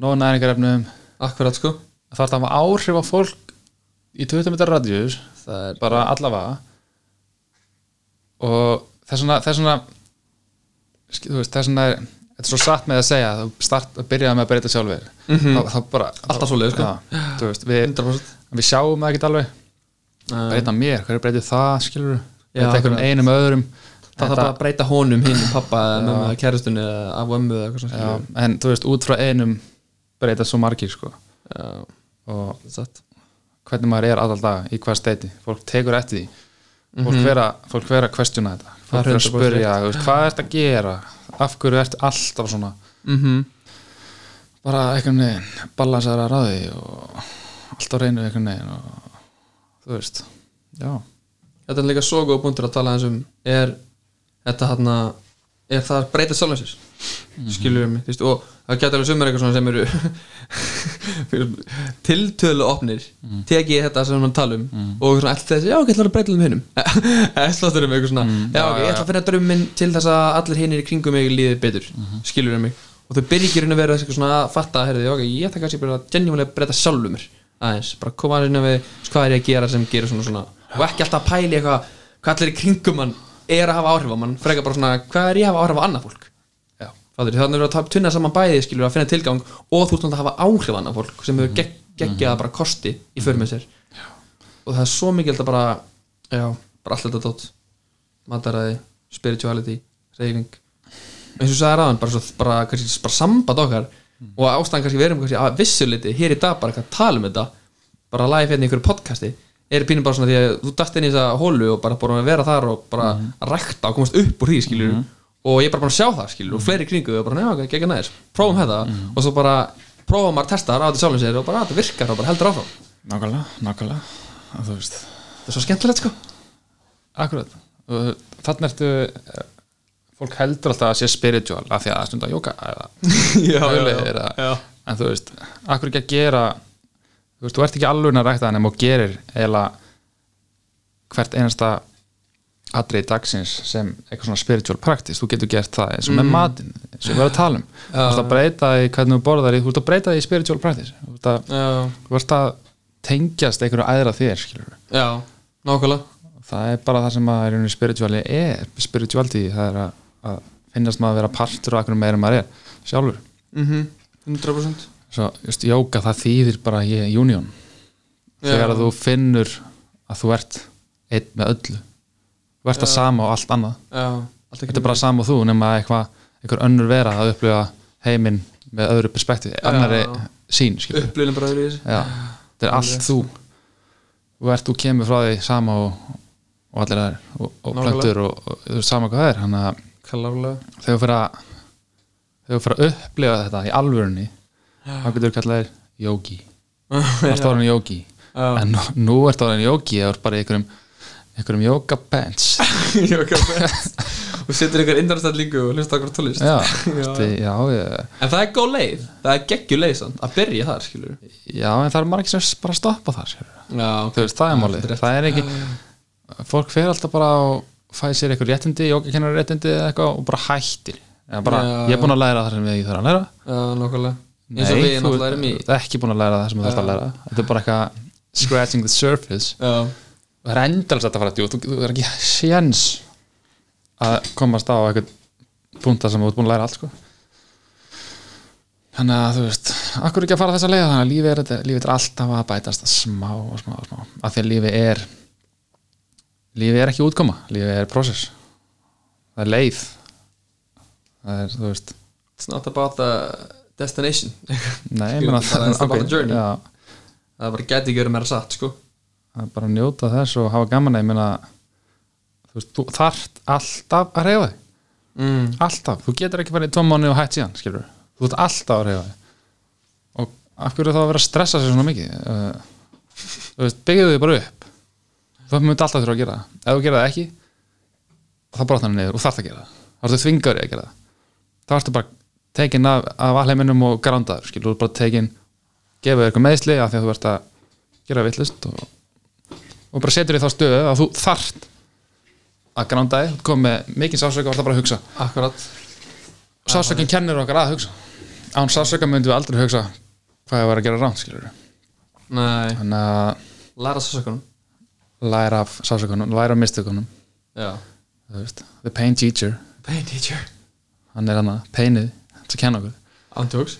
nóg næringarefnum
akkurat sko
það þarf að hafa áhrif á fólk í 20 metra radíus
það er,
bara allavega og þess vegna þess vegna sk- þú veist, þess vegna er þetta er svo satt með að segja að þú start að byrja með að breyta sjálfur þá, þá bara
Mhm. Alltaf svoleiðis, sko.
já, þú veist, við,
100%
við sjáum það ekkert alveg
Já.
breyta mér, hverju breytir það skilur
Já,
breyta einhverjum
akkurat.
einum öðrum
Eh, það þarf bara að breyta honum hinn, pappa, mamma, kærustunni eða af ömmu eða eitthvað svona
já,
skilur.
en þú veist, út frá einum breyta svo margir sko
já,
og
satt
hvernig maður er alltaf dag í hvað steiti fólk tekur eftir því fólk mm -hmm. vera, vera að questiona þetta
Mhm. Það er
fólk vera að
100%
spyrja, þú veist, hvað ert að gera af hverju ert alltaf svona
mm
bara einhvern veginn balansar að ráði og allt á reynu einhvern veginn og þú veist já,
þetta er líka svo góð búndur að tala eins um er þetta hann er það að breyta sjálfinsins mm -hmm. skiljum mig, þú veist, og það getur alveg sumir eitthvað svona sem eru *laughs* tiltölu opnir teki ég þetta sem hann tala um og svona alltaf þessi, já, ok, ég ætla að breyta um hinnum *laughs* eða sláttur um eitthvað svona já, ok, ég ætla að finna drauminn til þess að allir hinnir í kringum mig líði betur, mm mig og þau byrja ekki í raun að vera eitthvað svona að fatta herði, ok, ég ætla kannski bara að genjumlega breyta sjálfur mér aðeins, bara koma aðeins inn á við sko, hvað er ég að gera sem gerir svona svona og ekki alltaf að pæli eitthvað hvað allir í kringum mann er að hafa áhrif á mann frekar bara svona, hvað er ég að hafa áhrif á annað fólk
já,
Fattur, þannig að það tunna saman bæði skilur að finna tilgang og þú ert náttúrulega að hafa áhrif á annað fólk sem hefur gegg, geggjað bara kosti í för með sér já. og það er svo mikilvægt að bara já, bara allt þetta dót mataræði, spirituality, reyfing eins og þú sagði ráðan bara, svo, bara, kannski, bara samband okkar og ástæðan kannski við erum kannski að vissuliti hér í dag bara eitthvað að tala um þetta bara live hérna í einhverju podcasti er pínum bara svona því að þú dætt inn í þessa hólu og bara búin að vera þar og bara
Mhm.
mm rækta og komast upp úr því skilur og ég er bara búin að sjá það skilur og fleiri í kringu og bara nefna ekki ekki næðis, prófum þetta
Mhm.
og svo bara prófa maður að testa það á þetta sjálfum sér og bara "Ah, þetta virkar og bara heldur áfram
nákvæmlega, nákvæmlega að þú veist,
þetta er svo skemmtilegt sko
akkurat og þannig ertu eh, fólk heldur alltaf að sé spiritual af því að það er stundar jóka eða
*laughs* já,
mögulegir
já.
að- en þú veist, akkur ekki að gera þú veist, þú ert ekki alveg að rækta hann en þú gerir eiginlega hvert einasta atrið dagsins sem eitthvað svona spiritual practice, þú getur gert það eins og
Mm.
með matinn, eins og við erum að tala um þú ert að breyta í hvernig þú borðar í, þú ert að breyta í spiritual practice, þú ert að,
já,
þú ert að tengjast einhverju æðra þér, skilur
já, nákvæmlega
það er bara það sem að í rauninni spirituali er, spirituality það er að, að finnast maður að vera partur af einhverju meira en maður er, sjálfur
mm 100%
svo, just, jóka það þýðir bara ég union þegar að þú finnur að þú ert einn með öllu þú ert að sama og allt annað
já, allt ekki
þetta er bara sama og þú nema eitthvað einhver önnur vera að upplifa heiminn með öðru perspektífi, annari sín skilur.
upplýðin bara öðru í þessu
Já, þetta er allt þú þú ert, þú kemur frá því sama og, og allir aðeir og, og
Nákvæmlega.
plöntur og, og, og sama hvað það er þannig að
*laughs* klárlega
þegar þú fyrir að þegar þú fyrir að upplifa þetta í alvörunni þá getur þú kallað þér
*laughs*
jógi varst orðin jógi
Já. *laughs*
en nú, nú ert orðin jógi eða þú ert bara í einhverjum einhverjum jóga
*laughs*
bench
Jóka Benz og setur ykkur innarstællingu og hlusta okkur á tónlist
já,
*laughs* Já.
já. Já, ég,
en það er góð leið, það er geggju leið samt, að byrja þar skilur
já, en það er margir sem bara að stoppa þar sko. sér.
já,
þú veist, það er
þetta
málið
er rétt.
það er ekki, fólk fer alltaf bara og fæ sér einhver réttindi, jógakennar réttindi eða eitthvað og bara hættir Eða bara,
Já.
ég er búin að læra það sem ég þarf að læra
já, nákvæmlega eins og við
þú
náttúrulega erum í
ert ekki búin að læra það sem þú þarf að læra þetta er bara eitthvað scratching the surface
já,
það er endalst að þetta fara djúpt, þú, þú er ekki séns að komast á eitthvað punta sem þú ert búin að læra allt sko. þannig að þú veist akkur ekki að fara þessa leið þannig að lífið er, þetta- lífið er alltaf að bætast smá og smá og smá af því að lífið er lífið er ekki útkoma, lífið er process það er leið það er, þú veist
It's not about the destination *laughs*
nei, ég
Skilur,
meina,
það er
ok,
about the journey.
já,
Það bara gæti ekki verið meira satt sko
það er bara að njóta þess og hafa gaman að ég meina þú veist, þú þarft alltaf að reyfa þig
mm.
alltaf, þú getur ekki farið í tvo mánu og hætt síðan skilur, þú ert alltaf að reyfa þig og af hverju þá að vera að stressa sér svona mikið Eh, þú veist, byggðu þig bara upp þú myndi alltaf þurfa að gera það ef þú gera það ekki þá brotnar það niður og þarft að gera það þá ertu þvingaður í að gera það þá ertu bara tekin af, af alheiminum og grándaður, skilur, þú ert bara tekin gefa þér eitthvað meðsli af því að þú ert að gera vitlust og, og bara setur þig í þá stöðu að þú þarft að gránda þig, þú ert komið með mikið sásöka og ert að bara að hugsa
Akkurat
sásökinn kennir okkar að hugsa án sásöka myndum við aldrei hugsa hvað ég var að gera ránt skilur
Nei,
þannig að
læra svo sökunum
læra af sásökunum, læra af mistökunum
Já
þú veist, the pain teacher
Pain teacher
hann er hann að peinið til að kenna okkur
Antjóks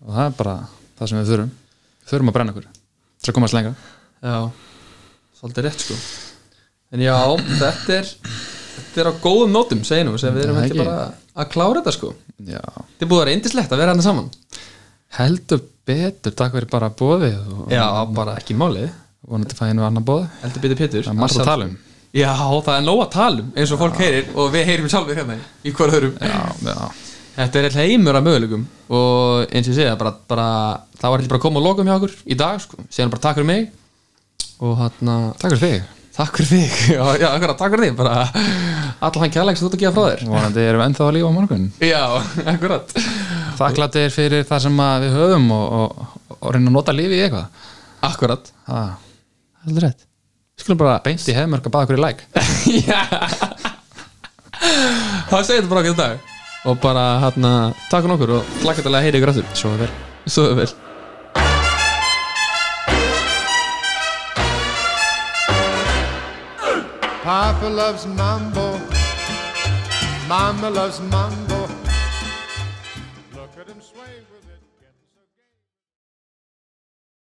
og það er bara það sem við þurfum við þurfum að brenna okkur til að komast lengra
Já Svolítið rétt sko En já, þetta er Þetta er á góðum nótum, segi nú sem við erum
Það
ekki
ekki.
bara að klára þetta sko
já,
Þetta er búið að vera indislegt að vera hann saman
heldur betur takk fyrir bara bóðið og
Já, bara ekki málið
vonandi fæði nú annan bóð
Eldur byrði Pétur
það er margt að tala um
Já, það er nóg að tala um eins og fólk heyrir og við heyrim sjálfur hérna í hverju hörum
já, já,
Þetta er alltaf heimur af möguleikum og eins og ég segja, bara, bara það var alltaf bara að koma og lokum hjá okkur í dag sko. síðan bara takk fyrir mig og hann
takk fyrir þig
takk fyrir þig, *laughs* já, já, akkurat, takk fyrir þig bara allan hann kjærleik sem þú ert að gefa frá þér
vonandi erum við ennþá að lífa á morgun
Já, akkurat
þakkláttir fyrir það sem að við höfum og, og, og reyna að nota lífið í eitthvað
Akkurat
Það er alveg rétt Við skulum bara beint í hefmörk að baða okkur í læk
*laughs* Já Það segir þetta bara okkur í dag og bara hann takk fyrir okkur og flakkatalega heyri ykkur aftur
Svo er vel
Svo er vel
Papa loves mambo. Mama loves mambo. Look at him sway with it.